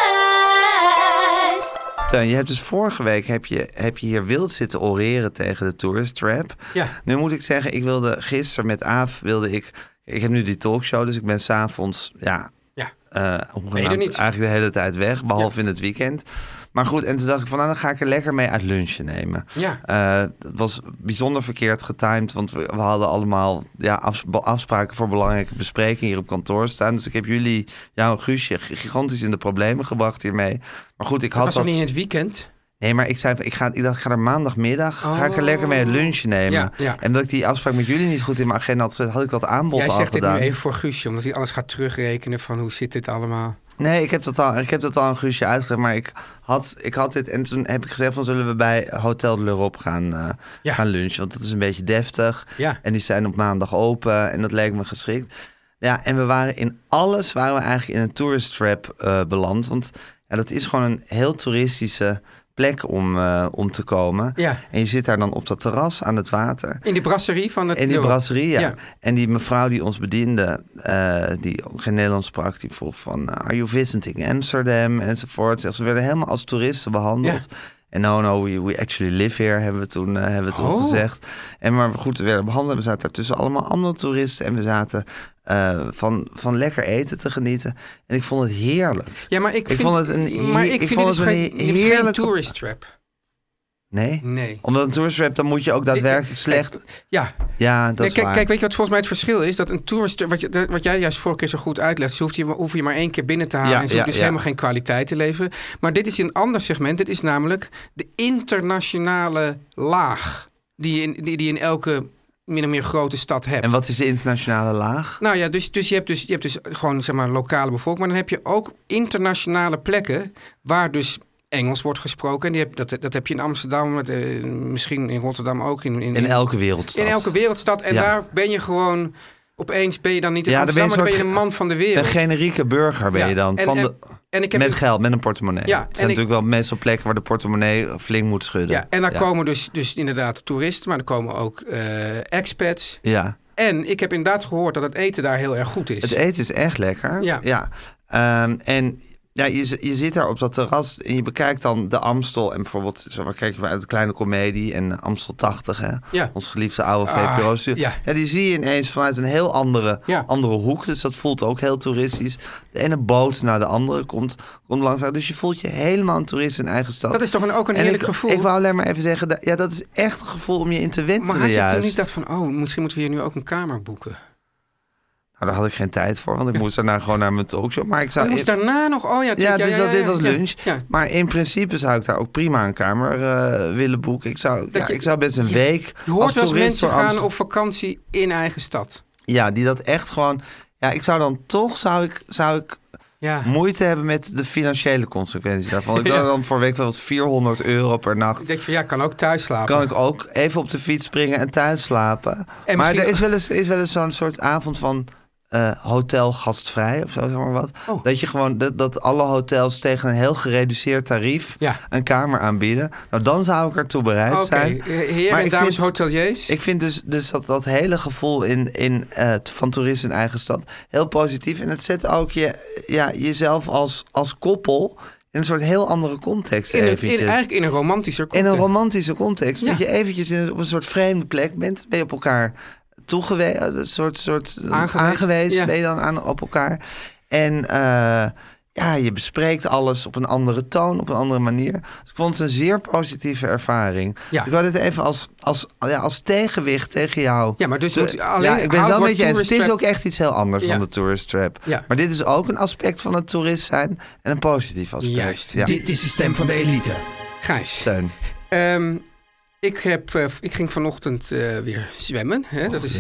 S6: Gijs.
S4: Teun, je hebt dus vorige week heb je, heb je hier wild zitten oreren tegen de tourist trap.
S1: Ja.
S4: Nu moet ik zeggen, ik wilde gisteren met Aaf, wilde ik... Ik heb nu die talkshow, dus ik ben s'avonds, ja,
S1: ja,
S4: eh hoegenaamd
S1: niet.
S4: eigenlijk de hele tijd weg, behalve in het weekend. Maar goed, en toen dacht ik van, nou, dan ga ik er lekker mee uit lunchen nemen.
S1: Ja.
S4: Eh, het was bijzonder verkeerd getimed, want we, we hadden allemaal ja, afs- be- afspraken voor belangrijke besprekingen hier op kantoor staan. Dus ik heb jullie, jou en Guusje, g- gigantisch in de problemen gebracht hiermee. Maar goed, ik had
S1: was
S4: dat...
S1: dat niet in het weekend?
S4: Nee, maar ik zei, ik, ga, ik dacht, ik ga er maandagmiddag ga ik er lekker mee lunchen nemen.
S1: Oh. Ja, ja.
S4: En dat ik die afspraak met jullie niet goed in mijn agenda had, gezet, had ik dat aanbod
S1: Jij
S4: al
S1: zegt dit nu
S4: gedaan.
S1: even voor Guusje, omdat hij alles gaat terugrekenen van hoe zit dit allemaal.
S4: Nee, ik heb dat al, ik heb dat al een guusje uitgelegd. Maar ik had, ik had dit. En toen heb ik gezegd: van zullen we bij Hotel de L'Europe gaan, eh,
S1: Ja.
S4: gaan lunchen? Want dat is een beetje deftig.
S1: Ja.
S4: En die zijn op maandag open. En dat leek me geschikt. Ja, en we waren in alles waren we eigenlijk in een tourist trap eh, beland. Want ja, dat is gewoon een heel toeristische plek om, eh, om te komen.
S1: Ja.
S4: En je zit daar dan op dat terras aan het water.
S1: In die brasserie van het...
S4: In die
S1: Europe.
S4: brasserie, ja.
S1: Ja.
S4: En die mevrouw die ons bediende, eh, die ook geen Nederlands sprak, die vroeg van... eh, Are you visiting Amsterdam? Enzovoort. Zeg, ze werden helemaal als toeristen behandeld. En no, no, we, we actually live here, hebben we toen, eh, hebben we toen
S1: Oh.
S4: gezegd. En maar goed, we werden behandeld. We zaten daar tussen allemaal andere toeristen. En we zaten eh, van, van lekker eten te genieten. En ik vond het heerlijk.
S1: Ja, maar ik,
S4: Ik vond het een heer-
S1: maar ik,
S4: ik
S1: vind
S4: vond
S1: het
S4: het
S1: dus
S4: een
S1: geen, dit is geen
S4: heerlijke-
S1: tourist trap.
S4: Nee?
S1: Nee.
S4: Omdat een tourist rap, dan moet je ook daadwerkelijk slecht...
S1: Ja.
S4: Ja, dat
S1: Nee,
S4: is
S1: kijk,
S4: waar.
S1: kijk, weet je wat volgens mij het verschil is? Dat een tourist trap, wat, je, dat- wat jij juist vorige keer zo goed uitlegt, ze hoeft je, hoef je maar één keer binnen te halen
S4: Ja,
S1: en ze hoeft
S4: ja,
S1: dus
S4: ja.
S1: helemaal geen kwaliteit te leveren. Maar dit is een ander segment. Dit is namelijk de internationale laag die je in, die, die in elke min of meer grote stad hebt.
S4: En wat is de internationale laag?
S1: Nou ja, dus, dus, je hebt dus je hebt dus gewoon zeg maar lokale bevolking, maar dan heb je ook internationale plekken waar dus Engels wordt gesproken. En die heb, dat, dat heb je in Amsterdam, met, eh, misschien in Rotterdam ook. In, in,
S4: In elke wereldstad.
S1: in elke wereldstad. En
S4: Ja.
S1: daar ben je gewoon, opeens ben je dan niet in
S4: Ja, dan ben je
S1: Amsterdam, maar dan ben
S4: een
S1: je een
S4: soort
S1: man van de wereld.
S4: Een generieke burger ben
S1: Ja,
S4: je dan.
S1: en-
S4: van
S1: en-
S4: de,
S1: en ik heb
S4: met
S1: dus-
S4: geld, met een portemonnee.
S1: Ja,
S4: het
S1: en
S4: zijn
S1: ik-
S4: natuurlijk wel meestal plekken waar de portemonnee flink moet schudden.
S1: ja, en daar komen dus, dus inderdaad toeristen, maar er komen ook eh, expats.
S4: Ja.
S1: En ik heb inderdaad gehoord dat het eten daar heel erg goed is.
S4: Het eten is echt lekker.
S1: Ja.
S4: Ehm, en ja, je, z- je zit daar op dat terras en je bekijkt dan de Amstel. En bijvoorbeeld, zo, waar kijken we uit de kleine komedie en Amstel 80, hè?
S1: Ja.
S4: ons geliefde oude
S1: Ah,
S4: vpro
S1: ja.
S4: Die zie je ineens vanuit een heel andere,
S1: Ja.
S4: andere hoek. Dus dat voelt ook heel toeristisch. De ene boot naar de andere komt, komt langzaam. Dus je voelt je helemaal een toerist in eigen stad.
S1: Dat is toch een- ook een
S4: En
S1: heerlijk
S4: ik,
S1: gevoel?
S4: Ik wou alleen maar even zeggen, dat, ja, dat is echt een gevoel om je in te wentelen
S1: maar had je
S4: juist.
S1: toen niet dat van, oh, misschien moeten we hier nu ook een kamer boeken?
S4: Nou, daar had ik geen tijd voor, want ik moest daarna gewoon naar mijn talkshow. Maar ik
S1: Oh,
S4: zou...
S1: je moest daarna nog, oh ja,
S4: Ja,
S1: tuurlijk,
S4: dus dat, dit was
S1: ja,
S4: lunch.
S1: ja.
S4: Maar in principe zou ik daar ook prima een kamer eh, willen boeken. Ik zou, ja,
S1: je-
S4: ik zou best een week
S1: Je hoort
S4: als
S1: wel eens
S4: toerist
S1: mensen
S4: door
S1: gaan
S4: Amsterdam-
S1: op vakantie in eigen stad.
S4: Ja, die dat echt gewoon... Ja, ik zou dan toch zou ik, zou ik
S1: Ja,
S4: moeite hebben met de financiële consequenties daarvan. Ik wil dan voor een week wel wat 400 euro per
S1: ik
S4: nacht.
S1: denk van ja, ik kan ook thuis slapen.
S4: Kan ik ook even op de fiets springen en thuis slapen.
S1: En
S4: maar
S1: misschien-
S4: er is wel eens, is wel eens zo'n soort avond van eh, hotel gastvrij of zo, zeg maar wat.
S1: Oh.
S4: Dat je gewoon dat, dat alle hotels tegen een heel gereduceerd tarief
S1: Ja.
S4: een kamer aanbieden. Nou, dan zou ik ertoe bereid
S1: Oké,
S4: zijn.
S1: eh, heren
S4: Maar
S1: en
S4: ik
S1: dames
S4: vind-
S1: hoteliers.
S4: Ik vind dus, dus dat, dat hele gevoel in, in, eh, van toerist in eigen stad heel positief. En het zet ook je, ja, jezelf als, als koppel in een soort heel andere context.
S1: in een, in,
S4: eventjes.
S1: eigenlijk in een romantischer
S4: In
S1: context.
S4: een romantische context.
S1: Ja.
S4: Dat je eventjes in, op een soort vreemde plek bent. Ben je op elkaar toegewezen. Een soort, soort eh,
S1: Aangewezen,
S4: aangewezen.
S1: ja.
S4: Ben je dan aan, op elkaar. En eh, ja, je bespreekt alles op een andere toon. Op een andere manier. Dus ik vond het een zeer positieve ervaring.
S1: Ja.
S4: Ik wil dit even als, als, ja, als tegenwicht tegen jou.
S1: Ja, maar dus
S4: De-
S1: moet- alleen-
S4: ja, ik ben
S1: haal
S4: het wel
S1: het
S4: met je
S1: woord
S4: eens. Het
S1: tourist
S4: is
S1: trap-
S4: ook echt iets heel anders
S1: Ja.
S4: dan de tourist trap.
S1: Ja.
S4: Maar dit is ook een aspect van het toerist zijn. En een positief aspect.
S1: Juist.
S4: Ja.
S5: Dit is de stem van de elite.
S1: Gijs,
S4: Steun.
S1: ehm, ik, heb, eh, ik ging vanochtend eh, weer zwemmen. Hè? dat is,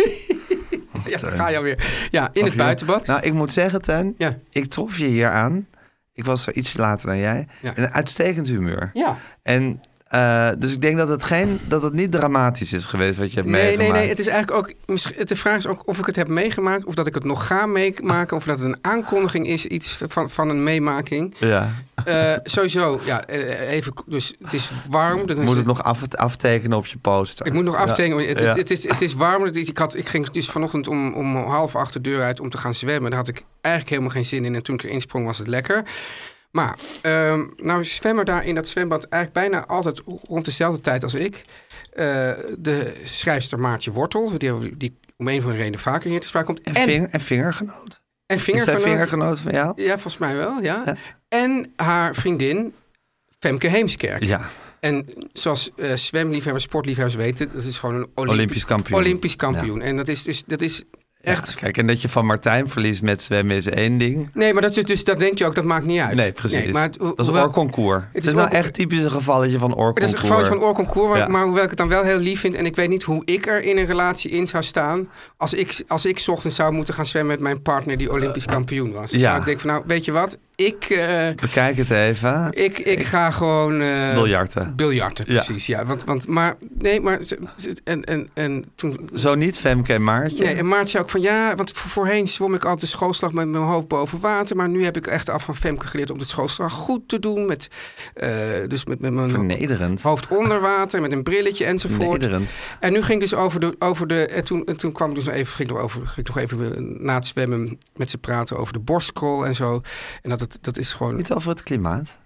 S1: ja, daar ga je alweer. Ja, in het
S4: eh, Mag je-
S1: buitenbad.
S4: Nou, ik moet zeggen, Ten,
S1: Ja.
S4: ik trof je hier aan. Ik was er iets later dan jij.
S1: Ja.
S4: En een uitstekend humeur.
S1: ja.
S4: En, eh, dus ik denk dat het, geen, dat het niet dramatisch is geweest wat je hebt
S1: Nee, nee,
S4: meegemaakt.
S1: nee. Het is eigenlijk ook. misschien- De vraag is ook of ik het heb meegemaakt. Of dat ik het nog ga meemaken. Of dat het een aankondiging is. Iets van, van een meemaking.
S4: Ja.
S1: Eh, sowieso. Ja, eh, even. Dus het is warm. Dus
S4: Moet het nog af, aftekenen op je poster?
S1: Ik moet nog aftekenen. Het, is-
S4: Ja.
S1: het, is, het is warm. Het- Ik, had, ik ging dus vanochtend om, om half acht de deur uit om te gaan zwemmen. Daar had ik eigenlijk helemaal geen zin in. En toen ik erin sprong was het lekker. Maar ehm, nou zwemmen daar in dat zwembad eigenlijk bijna altijd rond dezelfde tijd als ik. Eh, de schrijfster Maartje Wortel, die, die om een of andere reden vaker hier te sprake komt.
S4: En,
S1: En,
S4: ving- en vingergenoot?
S1: en
S4: Is zij
S1: vingergenoot.
S4: vingergenoot van jou?
S1: Ja, volgens mij wel, ja. En haar vriendin Femke Heemskerk.
S4: Ja.
S1: En zoals eh zwemliefhebbers, sportliefhebbers weten, dat is gewoon een Olympisch,
S4: Olympisch kampioen.
S1: Olympisch kampioen. En dat is dus dat is echt.
S4: Ja, Kijk, en dat je van Martijn verliest met zwemmen is één ding.
S1: Nee, maar dat, is dus, dat denk je ook, dat maakt niet uit.
S4: Nee, precies.
S1: maar het,
S4: dat is
S1: hoewel-
S4: oorconcours. Het is,
S1: is
S4: nou
S1: oorcon-
S4: echt typisch een gevalletje van oorconcours.
S1: Het is een geval van oorconcours, waar-
S4: Ja.
S1: maar hoewel ik het dan wel heel lief vind... en ik weet niet hoe ik er in een relatie in zou staan... als ik, als ik 's ochtends zou moeten gaan zwemmen met mijn partner... die Olympisch kampioen was. Dan
S4: ja.
S1: zou ik denken van, nou, weet je wat? Ik, eh,
S4: Bekijk het even.
S1: ik, ik ga gewoon... eh,
S4: Biljarten.
S1: Biljarten,
S4: Ja.
S1: precies. Ja. want, want, maar nee, maar... ze- ze- En, en, en toen
S4: Zo niet Femke en Maartje.
S1: Nee, en Maart zei ook van ja, want voor- voorheen zwom ik altijd de schoolslag met mijn hoofd boven water. Maar nu heb ik echt af van Femke geleerd om de schoolslag goed te doen. Met, eh, dus met, met mijn
S4: Vernederend.
S1: hoofd onder water, met een brilletje enzovoort.
S4: Vernederend.
S1: En nu ging ik dus over de. Over de en, toen, en toen kwam ik dus nog even, ging ik nog over, ging ik nog even eh, na het zwemmen met ze praten over de borstkrol en zo. En dat, het, dat is gewoon.
S4: Niet over het klimaat.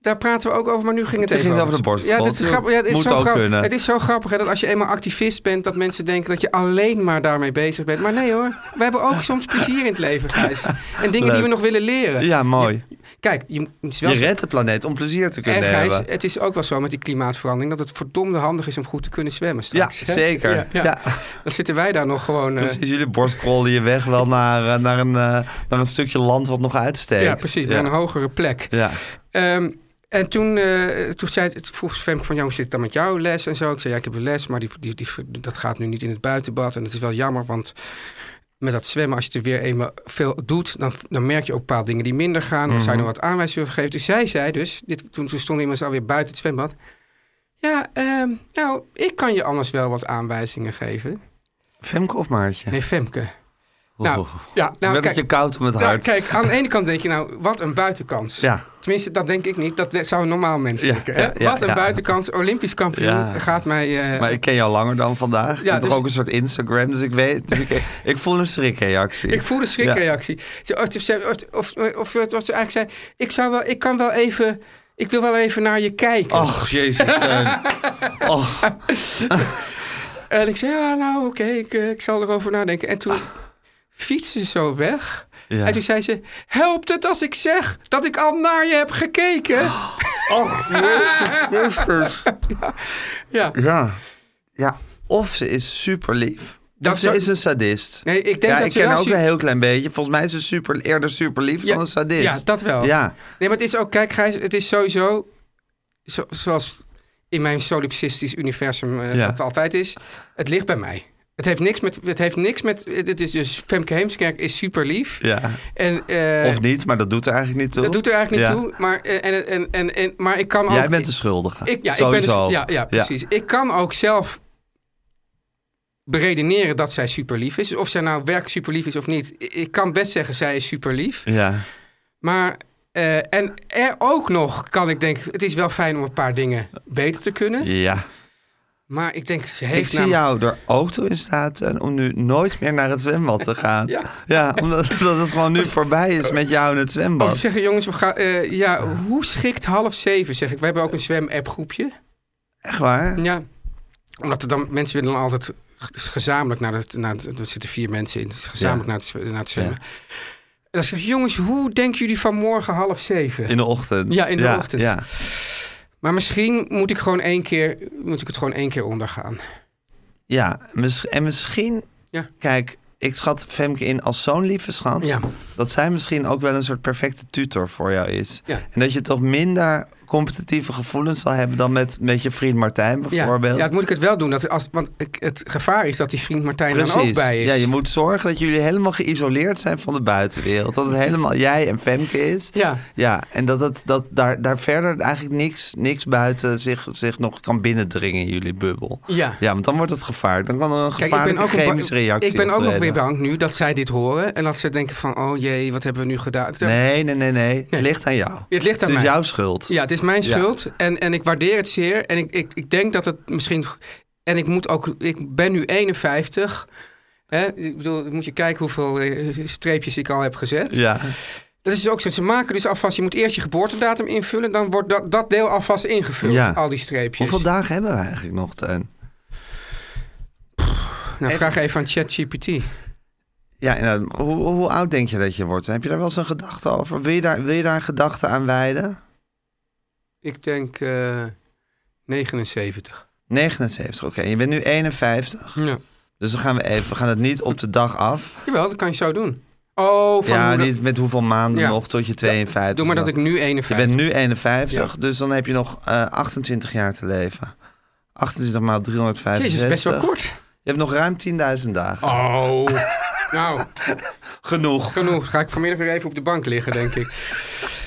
S1: Daar praten we ook over, maar nu ging het
S4: Toen
S1: even
S4: ging het over de borstkrol.
S1: Ja, dit is
S4: Toen-
S1: grappig. Ja, het, is
S4: Moet
S1: zo
S4: ook
S1: grappig.
S4: kunnen.
S1: het is zo grappig hè, dat als je eenmaal activist bent, dat mensen denken dat je alleen maar daarmee bezig bent. Maar nee hoor, we hebben ook soms plezier in het leven, Gijs. En dingen die
S4: Leuk.
S1: we nog willen leren.
S4: Ja, mooi.
S1: Kijk, je, moet- het is wel
S4: Je
S1: zo-
S4: redt de planeet om plezier te
S1: en
S4: kunnen
S1: Gijs,
S4: hebben.
S1: het is ook wel zo met die klimaatverandering dat het verdomde handig is om goed te kunnen zwemmen
S4: Ja,
S1: straks. hè?
S4: zeker.
S1: Ja,
S4: Ja,
S1: ja. Dan zitten wij daar nog gewoon... eh,
S4: Precies, jullie borstkrollen je weg wel naar, eh, naar, een, eh, naar een stukje land wat nog uitsteekt.
S1: ja, precies,
S4: Ja,
S1: naar een hogere plek.
S4: ja.
S1: Ehm, En toen, eh, toen zei het, vroeg Femke van, ja, hoe zit het dan met jouw les en zo? Ik zei, ja, ik heb een les, maar die, die, die, dat gaat nu niet in het buitenbad. En dat is wel jammer, want met dat zwemmen, als je het weer eenmaal veel doet, dan, dan merk je ook bepaalde dingen die minder gaan. Dan
S4: Mhm.
S1: zou je nog wat aanwijzingen geven. Dus zij zei dus, dit, toen, toen stond iemand alweer buiten het zwembad. Ja, ehm, nou, ik kan je anders wel wat aanwijzingen geven.
S4: Femke of Maartje?
S1: Nee, Femke. Nou, ja,
S4: Dan
S1: nou,
S4: Oh. werd het je
S1: kijk,
S4: koud om het
S1: nou,
S4: hart.
S1: kijk, aan de ene kant denk je nou, wat een buitenkans.
S4: Ja.
S1: Tenminste, dat denk ik niet. Dat de- zou een normaal mens
S4: Ja,
S1: denken.
S4: ja,
S1: hè?
S4: ja,
S1: Wat een
S4: ja.
S1: buitenkans. Olympisch kampioen
S4: Ja.
S1: gaat mij... eh,
S4: Maar ik ken jou langer dan vandaag. ik heb
S1: dus-
S4: toch ook een soort Instagram, dus ik weet... Dus ik, ik voel een schrikreactie.
S1: ik voel een schrikreactie. Ze- Of, ze- of, of, of wat ze eigenlijk zei. Ik, zou wel, ik kan wel even... Ik wil wel even naar je kijken.
S4: Och, jezus. Teun. Och, Oh.
S1: En ik zei, ja, nou oké, ik, eh, ik zal erover nadenken. En toen fietste ze zo weg.
S4: Ja.
S1: En toen zei ze, helpt het als ik zeg dat ik al naar je heb gekeken?
S4: Oh. och, jezus Christus.
S1: Ja.
S4: Ja. Ja, of ze is super lief.
S1: Dat
S4: of ze
S1: zou-
S4: is een sadist.
S1: Nee, ik denk
S4: ja,
S1: dat
S4: ik
S1: ze
S4: ken
S1: wel
S4: ook
S1: su-
S4: een heel klein beetje. Volgens mij is ze super, eerder super lief
S1: Ja,
S4: dan een sadist.
S1: ja, dat wel.
S4: Ja,
S1: Nee, maar het is ook, kijk Gijs, het is sowieso, zo- zoals in mijn solipsistisch universum eh,
S4: Ja.
S1: het altijd is, het ligt bij mij. Het heeft niks met, het heeft niks met, het is dus Femke Heemskerk is super lief.
S4: ja.
S1: En, eh,
S4: of niet, maar dat doet er eigenlijk niet toe.
S1: dat doet er eigenlijk niet
S4: Ja.
S1: toe, maar, eh, en, en, en, en, maar ik kan ook...
S4: Jij bent de schuldige.
S1: Ik, ja, ik ben
S4: Sowieso.
S1: dus, ja, ja, precies. Ik kan ook zelf beredeneren dat zij super lief is. Of zij nou werk super lief is of niet. I- Ik kan best zeggen, zij is super lief.
S4: Ja.
S1: Maar, eh, en er ook nog kan ik denken, het is wel fijn om een paar dingen beter te kunnen.
S4: ja.
S1: Maar ik denk, ze
S4: Ik
S1: heeft nou-
S4: zie
S1: namelijk-
S4: jou er ook toe in staat Teun, om nu nooit meer naar het zwembad te gaan.
S1: Ja.
S4: omdat, omdat het gewoon nu voorbij is met jou in het
S1: Oh,
S4: zwembad.
S1: ze zeggen jongens, we gaan, eh, ja, hoe schikt half zeven, zeg ik. We hebben ook een zwem-app groepje.
S4: Echt waar?
S1: Ja, omdat er dan, mensen willen dan altijd g- gezamenlijk naar het, naar het- er zitten vier mensen in, dus gezamenlijk
S4: Ja.
S1: naar, het, zwe- naar het zwemmen. En dan zeg ik, jongens, hoe denken jullie van morgen half zeven?
S4: In de ochtend.
S1: Ja, in de ochtend.
S4: Ja.
S1: Maar misschien moet ik gewoon één keer, moet ik het gewoon één keer ondergaan.
S4: Ja, mis- en misschien...
S1: Ja.
S4: Kijk, ik schat Femke in als zo'n lieve schat...
S1: Ja.
S4: dat zij misschien ook wel een soort perfecte tutor voor jou is.
S1: Ja.
S4: En dat je toch minder competitieve gevoelens zal hebben... dan met, met je vriend Martijn
S1: Ja,
S4: bijvoorbeeld.
S1: ja, dat moet ik het wel doen. Dat als, want ik- het gevaar is dat die vriend Martijn dan ook bij is.
S4: Ja, je moet zorgen dat jullie helemaal geïsoleerd zijn van de buitenwereld. Dat het helemaal jij en Femke is.
S1: Ja.
S4: Ja, en dat, het, dat daar, daar verder eigenlijk niks, niks buiten zich, zich nog kan binnendringen in jullie bubbel.
S1: Ja.
S4: Ja, want dan wordt het gevaarlijk. Dan kan er een
S1: Kijk, ik ben
S4: gevaarlijke
S1: ook, een ba-
S4: chemische reactie
S1: ik ben ook nog
S4: optreden.
S1: weer bang nu dat zij dit horen. En dat ze denken van, oh jee, wat hebben we nu gedaan?
S4: Nee, nee, nee, nee. Het ligt aan jou.
S1: Het ligt aan
S4: Het is
S1: mij.
S4: jouw schuld.
S1: Ja, het is mijn
S4: Ja.
S1: schuld. En, en ik waardeer het zeer. En ik, ik, ik denk dat het misschien. En ik moet ook. Ik ben nu 51. Hè? Ik bedoel, moet je kijken hoeveel eh, streepjes ik al heb gezet.
S4: Ja.
S1: Dat is ook zo. Ze maken dus alvast. Je moet eerst je geboortedatum invullen. Dan wordt dat, dat deel alvast ingevuld.
S4: Ja.
S1: Al die streepjes.
S4: Hoeveel dagen hebben we eigenlijk nog, Teun?
S1: nou, vraag even aan ChatGPT.
S4: Ja, en, eh, hoe, hoe oud denk je dat je wordt? Heb je daar wel eens een gedachte over? Wil je daar, wil je daar een gedachte aan wijden?
S1: Ik denk eh, 79.
S4: 79, oké. Je bent nu 51.
S1: Ja.
S4: Dus dan gaan we even, we gaan het niet op de dag af.
S1: Jawel, dat kan je zo doen. Oh, van
S4: ja,
S1: hoe dat-
S4: niet met hoeveel maanden
S1: Ja.
S4: nog tot je 52
S1: Doe maar dat ik nu
S4: Je
S1: 51
S4: bent nu 51, dus dan heb je nog eh, 28 jaar te leven. 28 maal 365.
S1: Jezus, best wel kort.
S4: Je hebt nog ruim 10.000 dagen.
S1: Oh. nou.
S4: Genoeg.
S1: Genoeg. Ga ik vanmiddag weer even op de bank liggen, denk ik.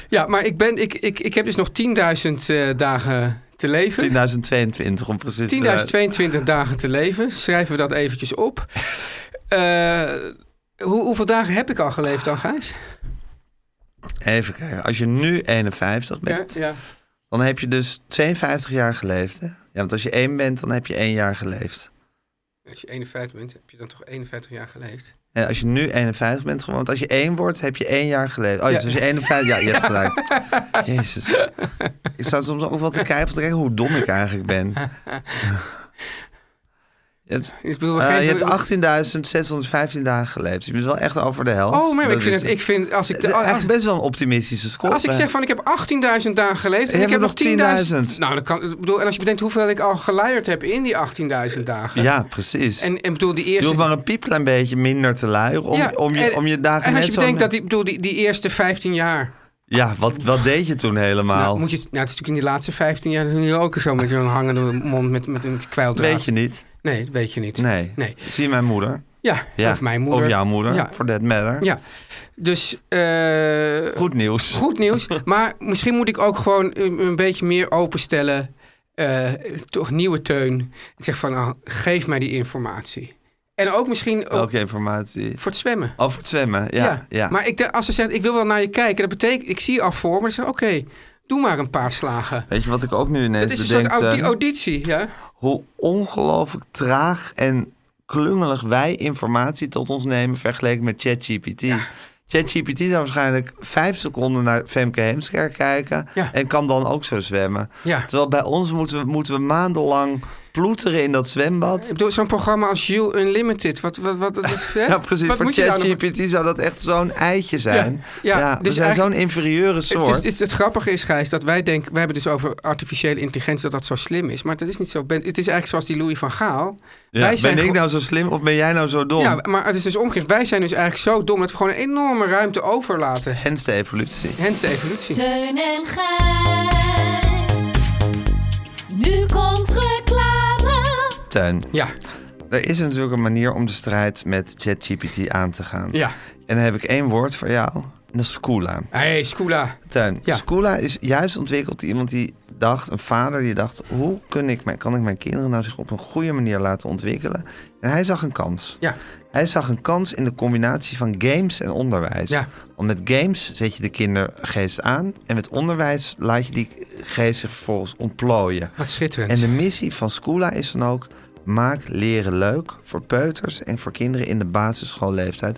S1: Ja, maar ik, ben, ik, ik, ik heb dus nog 10.000 eh, dagen te leven.
S4: 10.020 om precies te zijn.
S1: 10.022 dagen te leven. Schrijven we dat eventjes op. Eh, hoe, hoeveel dagen heb ik al geleefd dan, Gijs?
S4: Even kijken. Als je nu 51 bent,
S1: ja.
S4: dan heb je dus 52 jaar geleefd. Hè? Ja, want als je 1 bent, dan heb je 1 jaar geleefd.
S1: Als je 51 bent, heb je dan toch 51 jaar geleefd?
S4: En als je nu 51 bent gewoon, want als je 1 wordt, heb je 1 jaar geleefd. Oh,
S1: Ja.
S4: dus als je 51... Ja, je hebt gelijk. Jezus. Ik sta soms ook wel te kijken of te kijken hoe dom ik eigenlijk ben. Je hebt,
S1: Ik bedoel,
S4: eh,
S1: geen-
S4: je hebt 18.615 dagen geleefd. Dus je bent wel echt over de helft.
S1: Oh, maar
S4: Dat
S1: ik vind,
S4: is-
S1: het, ik vind als ik...
S4: Het is
S1: Als,
S4: eigenlijk best wel een optimistische score.
S1: als ik zeg van ik heb 18.000 dagen geleefd en
S4: Hebben
S1: ik heb
S4: we
S1: nog 10.000...
S4: nog 10.000?
S1: Nou, dat kan, ik bedoel, en als je bedenkt hoeveel ik al geluierd heb in die 18.000 dagen.
S4: Ja, precies.
S1: En, en bedoel, die
S4: Je
S1: eerste...
S4: hoeft maar een piepklein beetje minder te luieren om,
S1: Ja,
S4: om, je,
S1: en-
S4: om je dagen
S1: En als
S4: net
S1: je
S4: zo...
S1: bedenkt dat die, bedoel, die, die eerste 15 jaar
S4: Ja, wat, wat deed je toen helemaal?
S1: Nou, moet je, nou, het is natuurlijk in die laatste 15 jaar toen hier ook zo met zo'n hangende mond met, met een kwijldraad.
S4: Weet je niet?
S1: Nee, dat weet je niet.
S4: Nee.
S1: Nee.
S4: Zie mijn moeder.
S1: Ja,
S4: Ja.
S1: of mijn moeder.
S4: Of jouw moeder,
S1: Ja.
S4: for that matter.
S1: Ja, dus eh,
S4: Goed nieuws.
S1: goed nieuws. maar misschien moet ik ook gewoon een, een beetje meer openstellen. eh, toch nieuwe teun. Ik zeg van, nou, geef mij die informatie. En ook misschien ook
S4: Welke informatie?
S1: voor het zwemmen.
S4: Over het zwemmen, ja. ja.
S1: Maar ik, denk, als ze zegt, ik wil wel naar je kijken. Dat betekent, ik zie je al voor. Maar dan zeg ik, oké, doe maar een paar slagen.
S4: Weet je wat ik ook nu ineens
S1: Het is een
S4: bedenk?
S1: soort audi-
S4: eh,
S1: auditie, ja?
S4: hoe ongelooflijk traag en klungelig wij informatie tot ons nemen vergeleken met ChatGPT. ChatGPT zou waarschijnlijk vijf seconden naar Femke Heemskerk kijken
S1: Ja.
S4: en kan dan ook zo zwemmen.
S1: Ja.
S4: Terwijl bij ons moeten we, moeten we maandenlang ploeteren in dat zwembad.
S1: Ik bedoel, zo'n programma als Jill Unlimited. Wat, wat, wat, wat, is, hè?
S4: Ja, precies.
S1: Wat
S4: Voor
S1: moet je daar nou nog-
S4: ChatGPT zou dat echt zo'n eitje zijn.
S1: Ja,
S4: we
S1: dus
S4: zijn zo'n
S1: eigenlijk-
S4: inferieure soort.
S1: Het, is, het, het grappige is, Gijs, dat wij denken... We hebben dus over artificiële intelligentie, dat dat zo slim is. Maar dat is niet zo. Ben- Het is eigenlijk zoals die Louis van Gaal.
S4: Ja,
S1: wij zijn
S4: ben ik
S1: gewoon-
S4: nou zo slim of ben jij nou zo dom?
S1: Ja, maar het is dus omgekeerd. Wij zijn dus eigenlijk zo dom dat we gewoon een enorme ruimte overlaten.
S4: Hens de evolutie.
S1: Hens de evolutie.
S6: Teun en Gijs. Nu komt reclame.
S4: Tuin.
S1: Ja,
S4: Er is natuurlijk een manier om de strijd met ChatGPT aan te gaan.
S1: ja.
S4: En dan heb ik één woord voor jou. En dat is Skoola.
S1: hey, Skoola.
S4: Tuin.
S1: Ja.
S4: Skoola is juist ontwikkeld door iemand die dacht, een vader die dacht... hoe kun ik mijn, kan ik mijn kinderen nou zich op een goede manier laten ontwikkelen? En hij zag een kans.
S1: Ja,
S4: Hij zag een kans in de combinatie van games en onderwijs.
S1: Ja.
S4: Want met games zet je de kindergeest aan... en met onderwijs laat je die geest zich vervolgens ontplooien.
S1: wat schitterend.
S4: En de missie van Skoola is dan ook... maak leren leuk voor peuters en voor kinderen in de basisschoolleeftijd.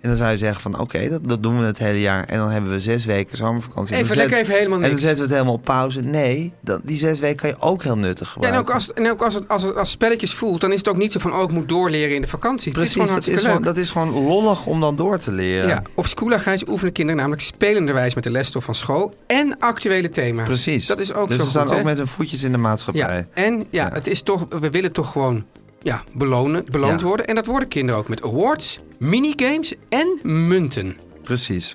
S4: En dan zou je zeggen van oké, dat, dat doen we het hele jaar. En dan hebben we zes weken zomervakantie. En
S1: Even
S4: dan zet-
S1: lekker even helemaal
S4: En dan
S1: niks.
S4: zetten we het helemaal op pauze. Nee, dat, die zes weken kan je ook heel nuttig
S1: ja, en
S4: gebruiken.
S1: ook, als, en ook als, het, als het als spelletjes voelt, dan is het ook niet zo van... oh, ik moet doorleren in de vakantie.
S4: Precies,
S1: het is gewoon
S4: dat, is
S1: hartstikke
S4: gewoon,
S1: leuk.
S4: dat is gewoon lollig om dan door te leren.
S1: Ja, op Skoola Gijs oefenen kinderen namelijk spelenderwijs met de lesstof van school en actuele thema's.
S4: Precies.
S1: Dat is ook
S4: dus
S1: zo
S4: we staan
S1: goed,
S4: ook
S1: hè?
S4: met hun voetjes in de maatschappij.
S1: Ja, en ja,
S4: Ja.
S1: het is toch, we willen toch gewoon ja, belonen, beloond
S4: Ja.
S1: worden. En dat worden kinderen ook met awards, minigames en munten.
S4: Precies.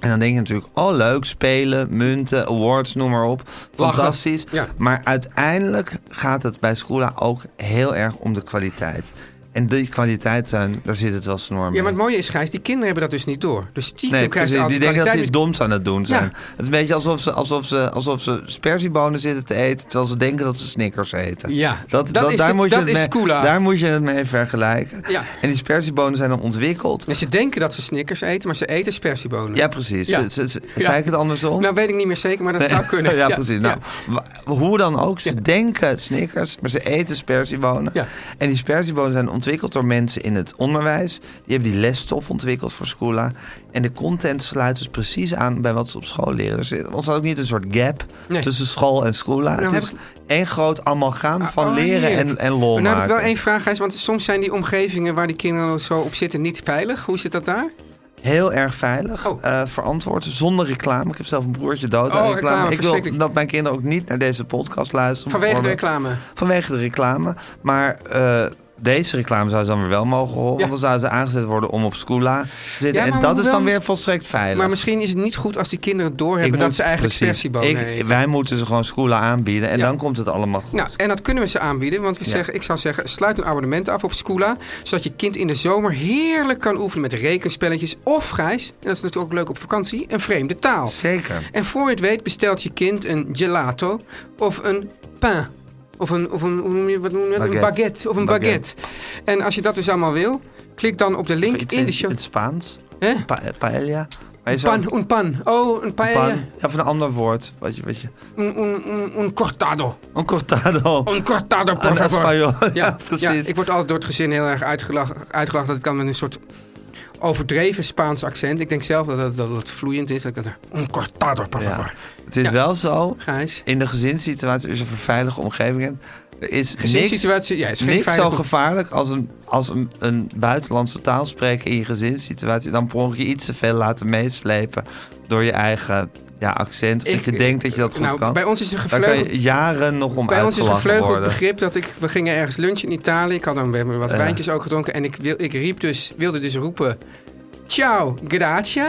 S4: En dan denk je natuurlijk, oh leuk, spelen, munten, awards, noem maar op. Fantastisch.
S1: Ja.
S4: Maar uiteindelijk gaat het bij Schoola ook heel erg om de kwaliteit. En die kwaliteit, zijn, daar zit het wel snor mee.
S1: Ja, maar het mooie is, Gijs, die kinderen hebben dat dus niet door. Dus stiekem
S4: Nee,
S1: krijgen
S4: precies.
S1: ze
S4: Die
S1: altijd
S4: denken dat ze iets
S1: kwaliteit
S4: doms aan het doen zijn.
S1: Ja.
S4: Het is een beetje alsof ze, alsof, ze, alsof ze sperziebonen zitten te eten... terwijl ze denken dat ze Snickers eten.
S1: Ja, dat is
S4: daar
S1: het-
S4: moet je
S1: dat
S4: het
S1: is
S4: mee-
S1: Skoola.
S4: Daar moet je het mee vergelijken.
S1: Ja.
S4: En die sperziebonen zijn dan ontwikkeld.
S1: met- ze denken dat ze Snickers eten, maar ze eten spersiebonen.
S4: Ja, precies.
S1: Ja.
S4: Ze- ze- ze-
S1: Ja.
S4: Zei ik het andersom?
S1: Nou, weet ik niet meer zeker, maar dat
S4: Nee.
S1: zou kunnen.
S4: ja, precies. Nou,
S1: ja.
S4: wa- Hoe dan ook, ze denken Snickers, maar ze eten sperziebonen.
S1: Ja.
S4: En die sperziebonen zijn ontwikkeld door mensen in het onderwijs. Die hebben die lesstof ontwikkeld voor Schoola. En de content sluit dus precies aan bij wat ze op school leren. Dus er ontstaat ook niet een soort gap
S1: Nee.
S4: tussen school en Schoola.
S1: Nou,
S4: Het is
S1: heb
S4: één groot amalgaam van
S1: Oh,
S4: leren
S1: heerlijk.
S4: en, en lol
S1: Maar nou heb ik wel
S4: maken.
S1: één vraag, Gijs, want soms zijn die omgevingen waar die kinderen zo op zitten niet veilig. Hoe zit dat daar?
S4: Heel erg veilig,
S1: Oh.
S4: eh, verantwoord, zonder reclame. Ik heb zelf een broertje dood
S1: Oh,
S4: aan
S1: reclame,
S4: Ik wil
S1: verschrikkelijk.
S4: dat mijn kinderen ook niet naar deze podcast luisteren.
S1: Vanwege de
S4: bijvoorbeeld.
S1: reclame.
S4: Vanwege de reclame. Maar eh, deze reclame zou ze dan weer wel mogen horen.
S1: Ja.
S4: Want dan zouden ze aangezet worden om op Skoola te zitten.
S1: Ja,
S4: en
S1: maar
S4: dat is
S1: hoewel
S4: dan weer
S1: mis-
S4: volstrekt veilig.
S1: Maar misschien is het niet goed als die kinderen doorhebben
S4: Ik
S1: dat
S4: moet-
S1: ze eigenlijk
S4: precies.
S1: spersiebonen
S4: Ik-
S1: eten.
S4: Wij moeten ze gewoon Skoola aanbieden. En
S1: Ja.
S4: dan komt het allemaal goed.
S1: Nou, en dat kunnen we ze aanbieden, want we
S4: Ja.
S1: zeggen, ik zou zeggen, sluit een abonnement af op Skoola, zodat je kind in de zomer heerlijk kan oefenen met rekenspelletjes of grijs, en dat is natuurlijk ook leuk op vakantie, een vreemde taal.
S4: Zeker.
S1: En voor je het weet bestelt je kind een gelato of een pain. Of een, of een, hoe noem je, wat noem je dat?
S4: Baguette.
S1: Een baguette. Of een baguette. En als je dat dus allemaal wil, klik dan op de link
S4: Iets
S1: in de
S4: het-
S1: show.
S4: Het Spaans.
S1: Hè?
S4: Pa- eh, paella. Maar je zou-
S1: Pan, un pan. Oh, een paella.
S4: pan. Ja, Of een ander woord. Wat je, wat je,
S1: Un, un, un, un cortado.
S4: een cortado.
S1: Un cortado, por
S4: Een
S1: Oh, favor.
S4: Espanol. Ja,
S1: Ja, ja,
S4: precies.
S1: ik word altijd door het gezin heel erg uitgelachen, uitgelachen dat ik dan met een soort overdreven Spaans accent. Ik denk zelf dat het, dat het vloeiend is. Dat ik dat, un cortado, por
S4: Ja.
S1: favor.
S4: Het is
S1: Ja.
S4: wel zo.
S1: Gijs.
S4: In de gezinssituatie, als je een veilige omgeving hebt... Er is niks
S1: Gezinssituatie, ja, is geen
S4: niks
S1: veilige-
S4: zo gevaarlijk als een, als een, een buitenlandse taal spreken in je gezinssituatie. Dan per ongeluk je iets te veel laten meeslepen door je eigen ja, accent. Of
S1: Ik-
S4: dat je denkt dat je dat goed
S1: nou,
S4: kan.
S1: Bij ons is een
S4: Daar kan
S1: gevleugeld...
S4: je jaren nog om
S1: Bij ons is een
S4: uitgelachen
S1: vleugel
S4: worden.
S1: begrip dat ik... We gingen ergens lunchen in Italië. Ik had dan we hebben wat wijntjes ook gedronken. En ik, wil, ik riep dus, wilde dus roepen... ciao, grazie.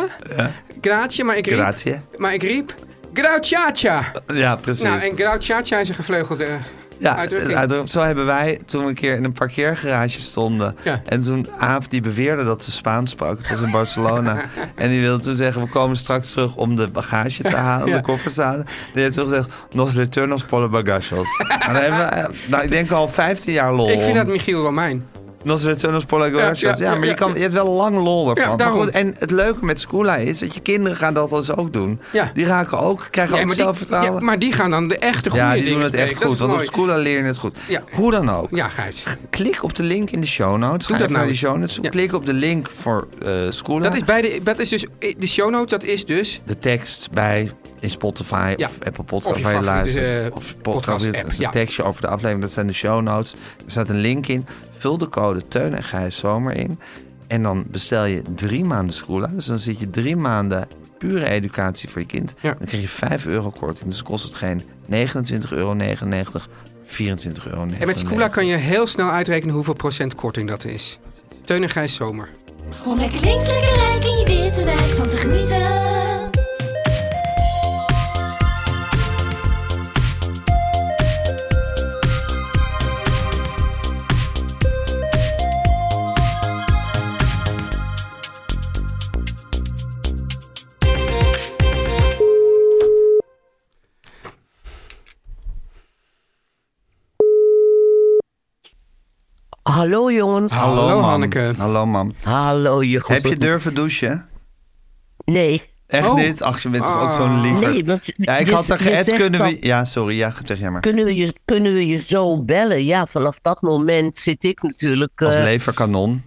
S1: Grazie, maar ik riep...
S4: Grazie.
S1: Maar ik riep... Grauciacia.
S4: Ja, precies.
S1: Nou, en grauciacia is een gevleugelde eh,
S4: Ja,
S1: uitdrukking.
S4: uitdruk- Zo hebben wij toen we een keer in een parkeergarage stonden.
S1: Ja.
S4: En toen Aaf die beweerde dat ze Spaans sprak. Het was in Barcelona. en die wilde toen zeggen, we komen straks terug om de bagage te halen.
S1: Ja.
S4: De koffers te halen. Die heeft toen gezegd, nos returnos por los bagages. maar dan hebben we, eh, nou, ik denk al 15 jaar lol.
S1: ik vind
S4: om-
S1: dat Michiel Romein.
S4: Nos returnos por los bagages.
S1: Ja,
S4: Ja,
S1: ja, ja,
S4: maar je,
S1: ja.
S4: kan, je hebt wel een lang lol daarvan.
S1: Ja,
S4: Maar
S1: daarom.
S4: goed, en het leuke met Scoola is dat je kinderen gaan dat dus ook doen.
S1: Ja.
S4: Die raken ook, krijgen
S1: Ja,
S4: ook
S1: maar die,
S4: zelfvertrouwen.
S1: ja, maar die gaan dan de echte goede
S4: Ja, die
S1: dingen
S4: doen het echt
S1: spreken.
S4: goed.
S1: Dat
S4: Want
S1: is
S4: op
S1: mooi.
S4: Scoola leer je het goed.
S1: Ja.
S4: Hoe dan ook.
S1: Ja, Gijs.
S4: Klik op de link in de show notes. Ga
S1: dat
S4: even
S1: nou
S4: naar die
S1: eens.
S4: show notes. toe.
S1: Ja.
S4: Klik op de link voor eh Scoola.
S1: Dat is, bij de, dat is dus... De show notes, dat is dus...
S4: de tekst bij in Spotify
S1: Ja.
S4: of Apple
S1: Of
S4: Podcast
S1: je
S4: waar je
S1: favoriete,
S4: luistert.
S1: eh,
S4: of
S1: podcast-app,
S4: Dat is
S1: ja.
S4: een tekstje over de aflevering. Dat zijn de show notes. Er staat een link in. Vul de code Teun en Gijs Zomer in. En dan bestel je drie maanden Scoola. Dus dan zit je drie maanden pure educatie voor je kind.
S1: Ja.
S4: Dan krijg je 5 euro korting. Dus kost het geen 29,99 euro, 24,99 euro.
S1: En met Scoola kan je heel snel uitrekenen hoeveel procent korting dat is. Teun en Gijs Zomer.
S6: Om lekker links, lekker rijk in je witte wijk van te genieten.
S7: Hallo jongens.
S4: Hallo, Nou.
S1: Hallo,
S4: mam.
S1: Hanneke.
S4: Hallo mam.
S7: Hallo Jochem.
S4: Heb je durven douchen?
S7: Nee.
S4: Echt
S1: Oh.
S4: niet? Ach, je bent toch ook
S1: Ah.
S4: zo'n lieverd.
S7: Nee, want
S4: Ja, ik
S7: je-
S4: had er
S7: je
S4: geëd,
S7: zegt
S4: kunnen
S7: dat- Eh.
S4: we... Ja, sorry, ja, zeg jij maar.
S7: Kunnen we, je, kunnen we je zo bellen? Ja, vanaf dat moment zit ik natuurlijk...
S4: Als
S7: eh,
S4: leverkanon.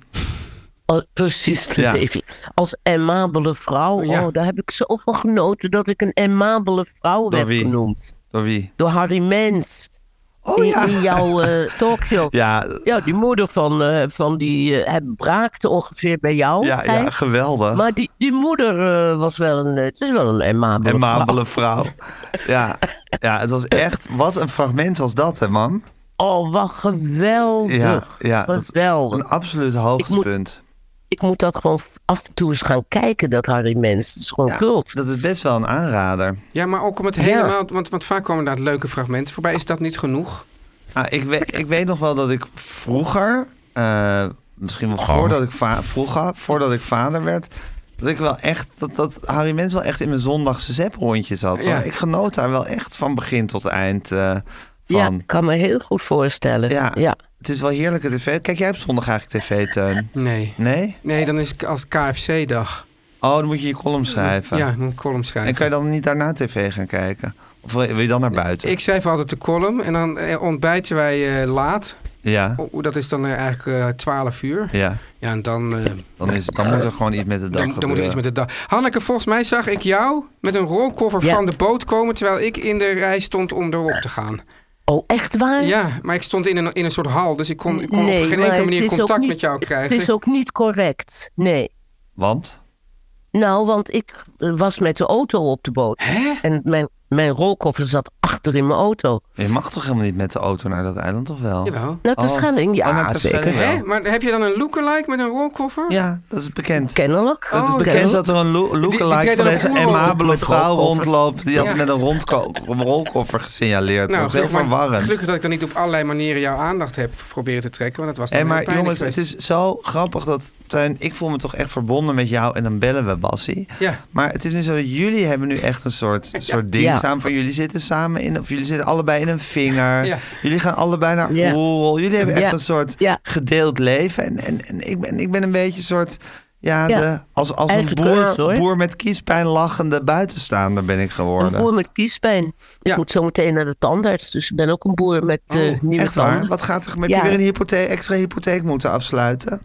S7: al- precies te
S4: Ja.
S7: leven. Als emabele vrouw.
S1: Oh,
S7: Oh,
S1: ja.
S7: daar heb ik zo van genoten dat ik een emabele vrouw
S4: Door
S7: werd
S4: wie?
S7: genoemd.
S4: Door wie?
S7: Door Harry Mens.
S4: Oh
S7: in,
S4: ja.
S7: in jouw eh, talkshow.
S4: Ja,
S7: Ja, die moeder van, eh, van die... eh, het braakte ongeveer bij jou.
S4: ja, ja
S7: Gijs.
S4: geweldig.
S7: maar die, die moeder eh, was wel een... eh, Het is wel een emabele
S4: en
S7: vrouw.
S4: mabele vrouw. Ja. ja, het was echt... Wat een fragment als dat, hè, mam?
S7: Oh, wat geweldig.
S4: Ja, ja dat-
S7: geweldig.
S4: een absoluut hoogtepunt.
S7: Ik moet dat gewoon af en toe eens gaan kijken, dat Harry Mens. Het is gewoon
S4: Ja,
S7: cult.
S4: dat is best wel een aanrader.
S1: Ja, maar ook om het helemaal... Want, want vaak komen daar leuke fragmenten voorbij. Is dat niet genoeg?
S4: Ah, ik, weet, ik weet nog wel dat ik vroeger, eh, misschien wel voordat ik, va- vroeger, voordat ik vader werd, dat ik wel echt, dat, dat Harry Mens wel echt in mijn zondagse zeprondje zat. hoor.
S1: Ja.
S4: Ik genoot daar wel echt van begin tot eind eh,
S7: ja,
S4: van.
S7: ik kan me heel goed voorstellen.
S4: Ja.
S7: Ja.
S4: Het is wel heerlijke tv. Kijk jij op zondag eigenlijk tv, Teun?
S1: Nee.
S4: Nee?
S1: Nee, dan is het als KFC-dag.
S4: Oh, dan moet je je column schrijven.
S1: Ja, ik moet een column schrijven.
S4: En kan je dan niet daarna tv gaan kijken? Of wil wil je dan naar buiten?
S1: Ik schrijf altijd de column en dan eh, ontbijten wij eh, laat.
S4: Ja,
S1: O, dat is dan eh, eigenlijk eh, 12 uur.
S4: ja.
S1: Ja, en dan, eh,
S4: Dan, is, dan moet er gewoon iets met de dag
S1: dan, dan moet er
S4: gebeuren.
S1: iets met de dag. Hanneke, volgens mij zag ik jou met een rolkoffer
S7: Ja.
S1: van de boot komen... terwijl ik in de rij stond om erop te gaan.
S7: Oh, echt waar?
S1: Ja, maar ik stond in een, in een soort hal, dus ik kon, ik kon op geen
S7: maar
S1: enkele
S7: het
S1: manier
S7: is ook
S1: contact
S7: niet-
S1: met jou krijgen.
S7: Het is ook niet correct. Nee.
S4: Want?
S7: Nou, want ik eh, was met de auto op de boot. En mijn, mijn rolkoffer zat achter in mijn auto.
S4: Je mag toch helemaal niet met de auto naar dat eiland, of wel?
S1: Jawel.
S7: Naar de
S4: Oh.
S7: Schelling?
S4: Oh,
S7: Ja,
S4: naar Terschelling
S7: zeker.
S4: wel.
S1: Hè? Maar heb je dan een lookalike met een rolkoffer?
S4: Ja, dat is bekend.
S7: Kennelijk. Oh,
S4: Het is bekend dat er een
S1: Die-
S4: lo-
S1: die
S4: lookalike
S1: treedt
S4: van
S1: dan
S4: deze
S1: ook oerol op
S4: emabele
S7: met
S4: vrouw
S7: rolkoffers.
S4: rondloopt. Die
S1: Ja.
S4: had met een rondko- rolkoffer gesignaleerd.
S1: Nou,
S4: dat is heel
S1: gelukkig maar-
S4: verwarrend.
S1: Gelukkig dat ik dan niet op allerlei manieren jouw aandacht heb proberen te trekken, want dat was dan
S4: Hé,
S1: heel
S4: Eh, maar
S1: pijnlijk
S4: jongens, het
S1: geweest.
S4: is zo grappig dat... Teun, ik voel me toch echt verbonden met jou en dan bellen we Bassie.
S1: Ja.
S4: Maar het is nu zo, dat jullie hebben nu echt een soort, soort ding
S7: Ja.
S4: samen. Van jullie zitten samen in, of jullie zitten allebei in een vinger.
S1: Ja.
S4: Jullie gaan allebei naar
S7: Ja.
S4: Oerol. Jullie hebben echt
S7: Ja.
S4: een soort
S7: Ja.
S4: gedeeld leven. En, en, en ik, ben, ik ben een beetje een soort, ja,
S7: Ja.
S4: De, als, als een
S7: Eigen
S4: boer,
S7: keus, hoor.
S4: boer met kiespijn lachende buitenstaander ben ik
S7: Een boer
S4: geworden.
S7: met kiespijn. Ik
S1: Ja.
S7: moet zo meteen naar de tandarts, dus ik ben ook een boer met eh, nieuwe
S4: Oh, Echt waar?
S7: tanden.
S4: Wat gaat er? Heb je
S7: Ja.
S4: weer een hypotheek, extra hypotheek moeten afsluiten?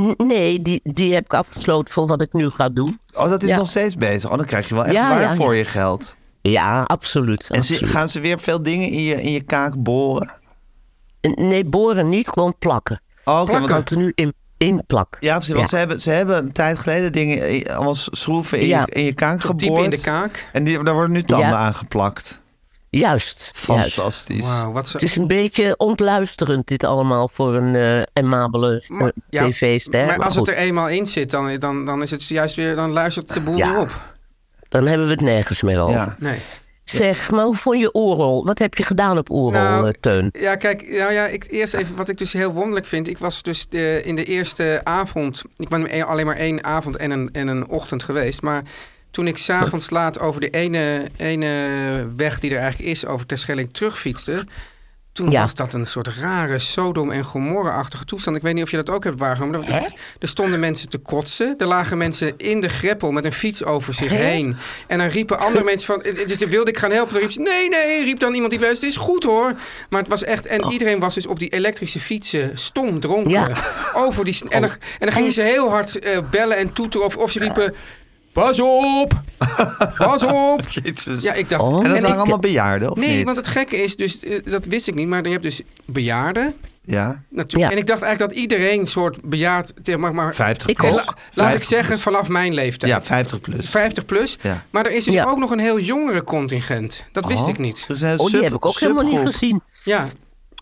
S7: N- Nee, die, die heb ik afgesloten voor wat ik nu ga doen.
S4: Oh, dat is
S7: Ja.
S4: nog steeds bezig. Oh, dan krijg je wel echt
S7: Ja,
S4: waar
S7: ja.
S4: voor je geld.
S7: Ja, absoluut.
S4: En ze-
S7: absoluut.
S4: gaan ze weer veel dingen in je, in je kaak boren?
S7: Nee, boren niet, gewoon plakken.
S4: Oh, oké, want
S7: Continu in, inplakken.
S4: Ja, precies. Want ze, hebben, ze hebben een tijd geleden dingen, eh, allemaal schroeven in,
S7: Ja.
S4: je, in je kaak
S1: Diep
S4: geboord.
S1: in de kaak.
S4: En die, daar worden nu tanden
S7: Ja.
S4: aangeplakt.
S7: Juist.
S4: Fantastisch.
S7: Wauw, wat Het is een beetje ontluisterend dit allemaal voor een eh amabele eh,
S1: Maar- ja,
S7: tv-ster.
S1: Maar als het
S7: goed,
S1: er eenmaal in zit, dan, dan, dan is het juist weer, dan luistert de boel
S7: Ja.
S1: weer op.
S7: Dan hebben we het nergens meer over.
S1: Nee.
S7: Zeg, maar hoe vond je Oral? Wat heb je gedaan op Oral,
S1: Nou,
S7: eh, Teun?
S1: Ja, kijk, nou ja, ik, eerst even wat ik dus heel wonderlijk vind. Ik was dus eh, in de eerste avond, ik ben e- alleen maar één avond en een, en een ochtend geweest. Maar toen ik s'avonds laat over de ene, ene weg die er eigenlijk is, over Terschelling terugfietste. Toen
S7: Ja.
S1: was dat een soort rare Sodom en Gomorra-achtige toestand. Ik weet niet of je dat ook hebt waargenomen. Er- Er stonden mensen te kotsen. Er lagen mensen in de greppel met een fiets over zich
S7: Hè?
S1: heen. En dan riepen andere mensen van... eh, Dus wilde ik gaan helpen. Dan riep ze, nee, nee, riep dan iemand die was. Het is goed hoor. Maar het was echt...
S4: Oh.
S1: En iedereen was dus op die elektrische fietsen stom dronken.
S7: Ja.
S1: Over die, sn- en,
S4: Oh.
S1: dan, en dan gingen ze heel hard eh, bellen en toeteren. Of, of ze riepen... Pas op! Pas op!
S4: Jezus.
S1: Ja, ik dacht...
S7: Oh.
S4: en dat
S1: en
S4: waren
S1: ik-
S4: allemaal bejaarden, of
S1: Nee,
S4: niet?
S1: want het gekke is dus... eh, dat wist ik niet, maar je hebt dus bejaarden.
S4: Ja,
S1: Natuurlijk.
S7: Ja.
S1: En ik dacht eigenlijk dat iedereen een soort bejaard... tegen- Maar, maar,
S4: 50
S7: Ik
S4: plus.
S7: ook.
S1: La- laat ik
S4: 50
S1: zeggen,
S4: plus.
S1: vanaf mijn leeftijd.
S4: Ja, 50 plus.
S1: 50 Dus plus.
S4: Ja.
S1: Maar er is dus
S7: Ja.
S1: ook nog een heel jongere contingent. Dat wist
S4: Oh.
S1: ik niet.
S4: Dus een
S7: Oh, die
S4: sub-
S7: heb ik ook helemaal niet
S4: subgroep.
S7: gezien.
S1: Ja,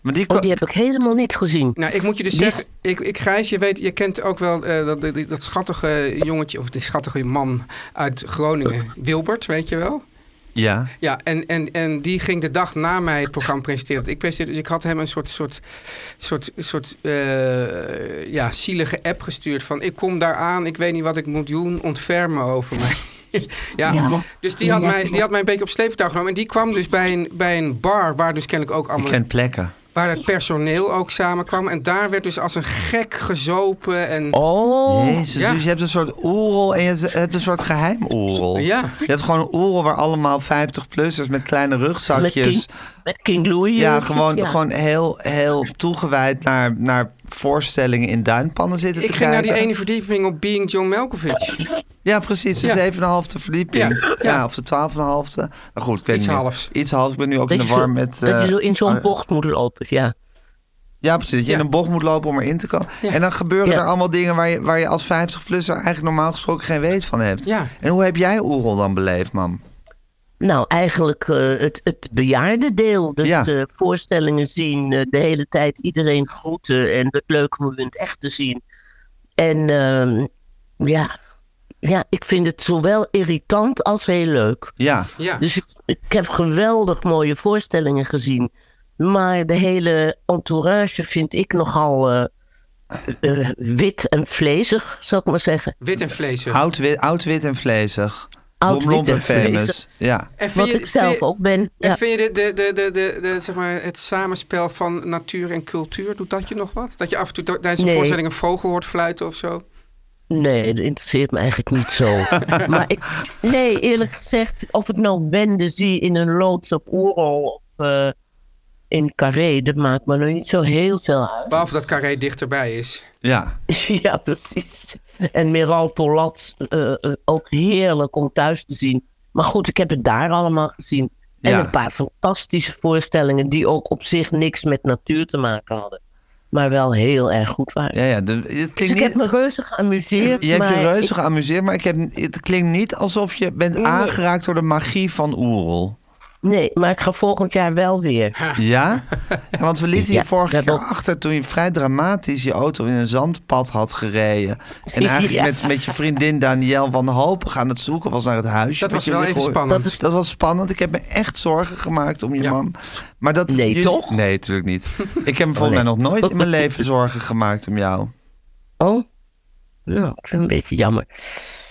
S4: Maar die
S7: Oh,
S4: ko-
S7: die heb ik helemaal niet gezien.
S1: nou ik moet je dus
S7: Die-
S1: zeggen, ik, ik Gijs, je weet, je kent ook wel eh, dat, die- dat schattige jongetje, of die schattige man uit Groningen, Wilbert, weet je wel?
S4: Ja.
S1: Ja, en, en, en die ging de dag na mij het programma presenteren. Ik presenteerde, dus ik had hem een soort, soort, soort, soort eh, ja, zielige app gestuurd van... ik kom daar aan, ik weet niet wat ik moet doen, ontferm me over mij. ja,
S7: Ja.
S1: dus die had,
S7: Ja.
S1: mij, die had mij een beetje op sleeptouw genomen. En die kwam dus bij een, bij een bar waar dus kennelijk ook
S4: Ik
S1: allemaal...
S4: ken plekken.
S1: waar het personeel ook samenkwam. En daar werd dus als een gek gezopen en...
S7: Oh,
S4: Jezus,
S1: ja.
S4: dus je hebt een soort oerol en je z- hebt een soort geheim oerol.
S1: Ja.
S4: Je hebt gewoon een oerol waar allemaal 50-plussers met kleine
S7: met
S4: rugzakjes...
S7: King, met King Louis.
S4: Ja,
S7: eh,
S4: gewoon,
S7: ja.
S4: gewoon heel, heel toegewijd naar, naar voorstellingen in duinpannen zitten
S1: ik
S4: te
S1: ging naar die
S4: kijken.
S1: ene verdieping op Being John Malkovich.
S4: Ja, precies.
S1: Ja.
S4: De 7,5e verdieping.
S1: Ja,
S4: Ja,
S1: ja.
S4: of de 12,5e. Nou goed, ik weet
S1: Iets
S4: niet meer.
S1: halfs.
S4: Iets halfs. Ik ben nu ook
S7: Dat
S4: in
S7: je,
S4: de war
S7: zo,
S4: met...
S7: dat je
S4: eh,
S7: zo in zo'n
S4: ah,
S7: bocht moet lopen, ja.
S4: Ja, precies. Dat je
S1: Ja.
S4: in een bocht moet lopen om erin te komen. En dan gebeuren
S7: Ja.
S4: er allemaal dingen waar je, waar je als 50-plusser eigenlijk normaal gesproken geen weet van hebt.
S1: Ja.
S4: En hoe heb jij Oerol dan beleefd, mam?
S7: Nou, eigenlijk eh, het, het bejaarde deel. Dus
S4: Ja.
S7: eh, voorstellingen zien, eh, de hele tijd iedereen groeten en het leuk om u in het echt te zien. En ehm, ja. ja, ik vind het zowel irritant als heel leuk.
S4: Ja.
S1: Ja.
S7: Dus ik, ik heb geweldig mooie voorstellingen gezien. Maar de hele entourage vind ik nogal eh, eh, wit en vlezig, zou ik maar zeggen.
S1: Wit en vleesig.
S4: Oud, wit, oud, wit en vlezig.
S7: Oud,
S4: Domlomp
S7: wit en
S4: famous.
S7: vlezig.
S4: Ja.
S1: En vind
S7: Wat
S1: je-
S7: ik
S1: vind
S7: zelf
S1: je-
S7: ook ben.
S1: En
S7: Ja.
S1: vind je de, de, de, de, de, zeg maar het samenspel van natuur en cultuur, doet dat je nog wat? Dat je af en toe do- tijdens een
S7: Nee.
S1: voorstelling een vogel hoort fluiten of zo?
S7: Nee, dat interesseert me eigenlijk niet zo. maar ik, nee, eerlijk gezegd, of het nou wende zie in een loods of oerol of eh, in carré, dat maakt me nou niet zo heel veel uit.
S1: Behalve dat Carré dichterbij is.
S4: Ja.
S7: ja, precies. En Meral Polat, eh, eh, ook heerlijk om thuis te zien. Maar goed, ik heb het daar allemaal gezien. En
S4: Ja.
S7: een paar fantastische voorstellingen die ook op zich niks met natuur te maken hadden. Maar wel heel erg goed waren.
S4: Ja, ja. De, het klinkt
S7: Dus ik
S4: niet-
S7: heb me reuze geamuseerd.
S4: Je hebt
S7: maar
S4: je reuze
S7: ik-
S4: geamuseerd, maar ik heb, het klinkt niet alsof je bent aangeraakt door de magie van Oerol.
S7: Nee, maar ik ga volgend jaar wel weer.
S4: Ja? Ja, Want we lieten je
S7: Ja,
S4: vorige
S7: dat
S4: keer
S7: ook.
S4: achter toen je vrij dramatisch je auto in een zandpad had gereden. En eigenlijk
S7: Ja.
S4: met, met je vriendin Danielle wanhopig aan het zoeken was naar het huisje.
S1: Dat
S4: wat
S1: was
S4: je
S1: wel
S4: weer
S1: even
S4: gehoord-
S1: spannend.
S4: Dat, dat was spannend. Ik heb me echt zorgen gemaakt om je
S1: Ja.
S4: mam. Maar dat,
S7: Nee, toch? Oh,
S4: Nee, natuurlijk niet. Ik heb me volgens mij
S7: nee.
S4: nog nooit in mijn leven zorgen gemaakt om jou.
S7: Oh? Nou, ik vind het een beetje jammer.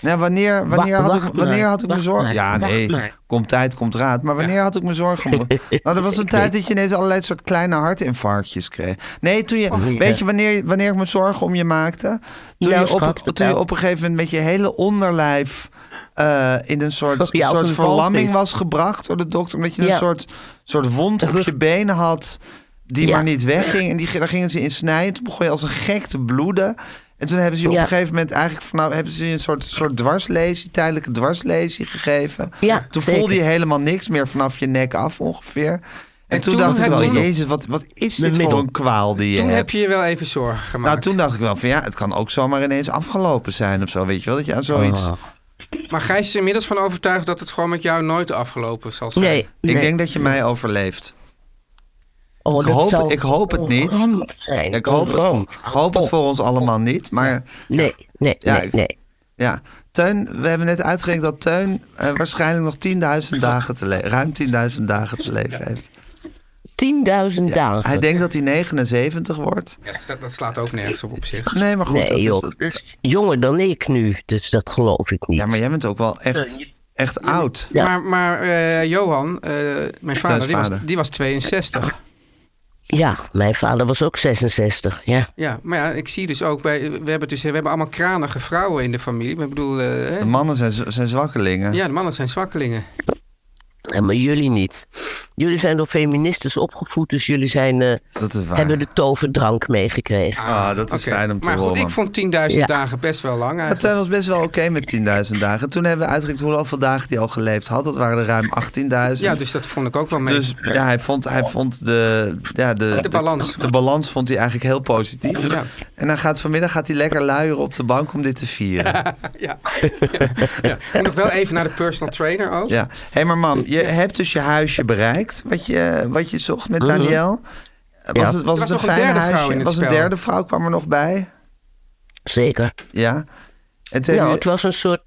S4: Nou, wanneer,
S7: Wa-
S4: wanneer, had, ik,
S7: wacht
S4: wanneer
S7: maar,
S4: had ik me
S7: wacht
S4: zorgen...
S7: maar,
S4: Ja,
S7: wacht
S4: nee,
S7: maar.
S4: komt tijd, komt raad. Maar wanneer had ik me zorgen gemaakt? Nou, er was een
S7: Ik
S4: tijd
S7: weet-
S4: dat je ineens allerlei soort kleine hartinfarctjes kreeg. Nee, toen je...
S7: ja.
S4: Weet je wanneer, wanneer ik me zorgen om je maakte? Toen,
S7: Nou,
S4: je, op,
S7: schat,
S4: toen je
S7: vertel.
S4: op een gegeven moment met je hele onderlijf... eh, in een soort,
S7: Oh, ja, als
S4: soort
S7: een
S4: verlamming
S7: walvis.
S4: was gebracht door de dokter. Omdat je een
S7: Ja.
S4: soort, soort wond op
S7: Rug-
S4: je benen had... die
S7: Ja.
S4: maar niet wegging. En die, daar gingen ze in snijden. Toen begon je als een gek te bloeden. En toen hebben ze je op
S7: Ja.
S4: een gegeven moment eigenlijk van nou hebben ze je een soort, soort dwarslesie, tijdelijke dwarslesie gegeven.
S7: Ja,
S4: toen
S7: zeker.
S4: voelde je helemaal niks meer vanaf je nek af ongeveer. En, toen,
S1: toen
S4: dacht ik
S1: heb-
S4: wel,
S1: toen-
S4: Jezus, wat, wat is
S7: Mijn
S4: dit voor
S7: middel.
S4: een kwaal die je
S1: Toen
S4: hebt?
S1: heb je je wel even zorgen gemaakt.
S4: Nou, toen dacht ik wel van ja, het kan ook zomaar ineens afgelopen zijn of zo. Weet je wel, dat je aan zoiets.
S7: Ah.
S1: Maar Gijs is inmiddels van overtuigd dat het gewoon met jou nooit afgelopen zal zijn.
S4: Nee, Ik denk dat je mij overleeft.
S7: Oh,
S4: ik,
S7: dat
S4: hoop,
S7: zou
S4: ik hoop het
S7: een
S4: niet.
S7: ramp zijn,
S4: Ik hoop
S7: een
S4: het, voor-
S7: ramp.
S4: hoop
S7: Oh.
S4: het voor ons allemaal niet. Maar,
S7: nee, nee, nee, nee.
S4: Ja, Teun, we hebben net uitgerekend dat Teun eh, waarschijnlijk nog 10.000 dagen te le- ruim 10.000 dagen te leven heeft.
S7: 10.000 dagen.
S4: Hij denkt dat hij 79 wordt.
S1: Ja, dat- dat slaat ook nergens op op zich.
S4: Nee, maar goed.
S7: Nee,
S4: dat is-
S7: joh.
S4: dat-
S7: Jonger dan ik nu, dus dat geloof ik niet. Ja, maar
S4: jij bent ook wel echt, echt oud.
S7: Ja.
S1: Maar, maar eh, Johan, eh, mijn vader, die was,
S7: vader.
S1: die was 62.
S7: Ja, mijn vader was ook 66, ja.
S1: Ja, maar ja, ik zie dus ook bij. We hebben, dus, we hebben allemaal kranige vrouwen in de familie. Maar ik bedoel. eh, hè?
S4: De mannen zijn, z- zijn zwakkelingen.
S1: Ja, de mannen zijn zwakkelingen.
S7: Ja, maar jullie niet. Jullie zijn door feministes opgevoed, dus jullie zijn, eh,
S4: Dat is waar.
S7: hebben de toverdrank meegekregen.
S4: Ah, dat is
S1: Oké,
S4: fijn om te
S1: maar
S4: horen.
S1: goed, ik vond 10.000
S7: Ja.
S1: dagen best wel lang. eh.
S4: Maar
S1: Eigenlijk.
S4: Teun was best wel oké met 10.000 dagen. Toen hebben we uitgerekend hoeveel dagen hij al geleefd had. Dat waren er ruim 18.000.
S1: Ja, dus dat vond ik ook wel mee.
S4: Dus ja, hij vond, hij vond de, ja, de,
S1: De balans.
S4: De, balans vond hij eigenlijk heel positief.
S1: Ja.
S4: En dan gaat vanmiddag gaat hij lekker luieren op de bank om dit te vieren. Ja.
S1: ja. ja. Moet nog wel even naar de personal trainer ook.
S4: Hé, maar mam, je hebt dus je huisje bereikt. Wat je, wat je zocht met
S7: Mhm.
S4: Daniel. Was
S7: Ja.
S4: het, was
S1: Er
S4: het
S1: was
S4: een
S1: nog een
S4: fijn
S1: derde vrouw
S4: huisje?
S1: in het
S4: was een
S1: spel.
S4: derde vrouw kwam er nog bij?
S7: Zeker.
S4: Ja. En toen
S7: Ja,
S4: hebben
S7: het was een soort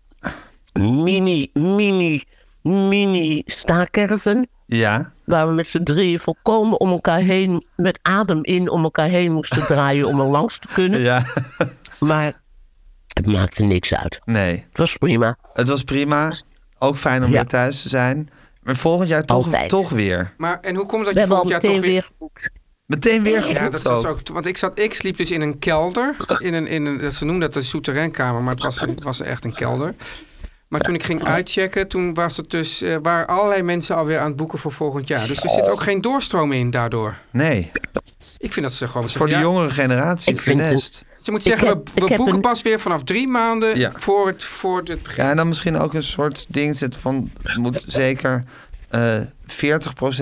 S7: mini, mini, mini staakerven.
S4: jullie- ja.
S7: Waar we met z'n drieën volkomen om elkaar heen, met adem in, om elkaar heen moesten draaien om er langs te kunnen.
S4: Ja.
S7: Maar het maakte niks uit.
S4: Nee.
S7: Het was prima.
S4: Het was prima. Ook fijn om
S7: Ja.
S4: weer thuis te zijn. Maar volgend jaar toch,
S7: Altijd.
S4: toch weer.
S1: Maar, en hoe komt het dat
S7: We
S1: je
S7: hebben al
S1: volgend jaar
S7: meteen
S1: toch
S7: weer
S1: weer...
S7: geboekt.
S4: Meteen weer geboekt
S1: Ja, dat was ook. Want ik, zat, ik sliep dus in een kelder. In een, in een, ze noemden dat een souterrainkamer, maar het was, een- was echt een kelder. Maar toen ik ging uitchecken, toen was het dus, eh, waren allerlei mensen alweer aan het boeken voor volgend jaar. Dus er zit ook geen doorstroom in daardoor.
S4: Nee,
S1: Ik vind dat ze gewoon...
S4: dat is voor de jongere generatie
S7: Ik vind het-
S4: funest.
S1: Ze moet
S7: Ik
S1: zeggen,
S7: heb-
S1: we,
S7: ik
S1: we
S7: heb
S1: boeken
S7: een-
S1: pas weer vanaf drie maanden
S4: Ja.
S1: voor het... Voor het begin.
S4: Ja, en dan misschien ook een soort ding zetten van... moet zeker eh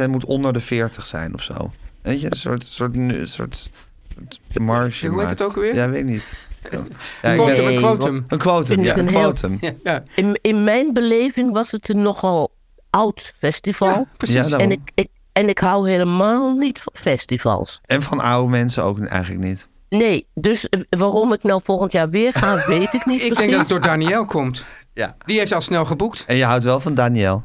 S4: 40% moet onder de 40 zijn of zo. Weet je, een soort, soort, nu- soort, soort marge
S1: Hoe heet
S4: maakt.
S1: het ook alweer?
S4: Ja, weet ik niet. Ja, ik
S1: Quotum,
S4: ben-
S1: een quotum.
S4: Een quotum,
S7: Vind
S4: ja.
S7: ik
S4: Een
S7: een heel-
S4: quotum.
S1: Ja, ja.
S7: In, in mijn beleving was het een nogal oud festival.
S4: Ja, daarom.
S7: en, ik, ik, en ik hou helemaal niet van festivals.
S4: En van oude mensen ook eigenlijk niet.
S7: Nee, dus eh, waarom ik nou volgend jaar weer ga, weet ik niet
S1: Ik
S7: precies.
S1: denk dat het door Daniel komt.
S4: Ja.
S1: Die heeft al snel geboekt.
S4: En je houdt wel van Daniel.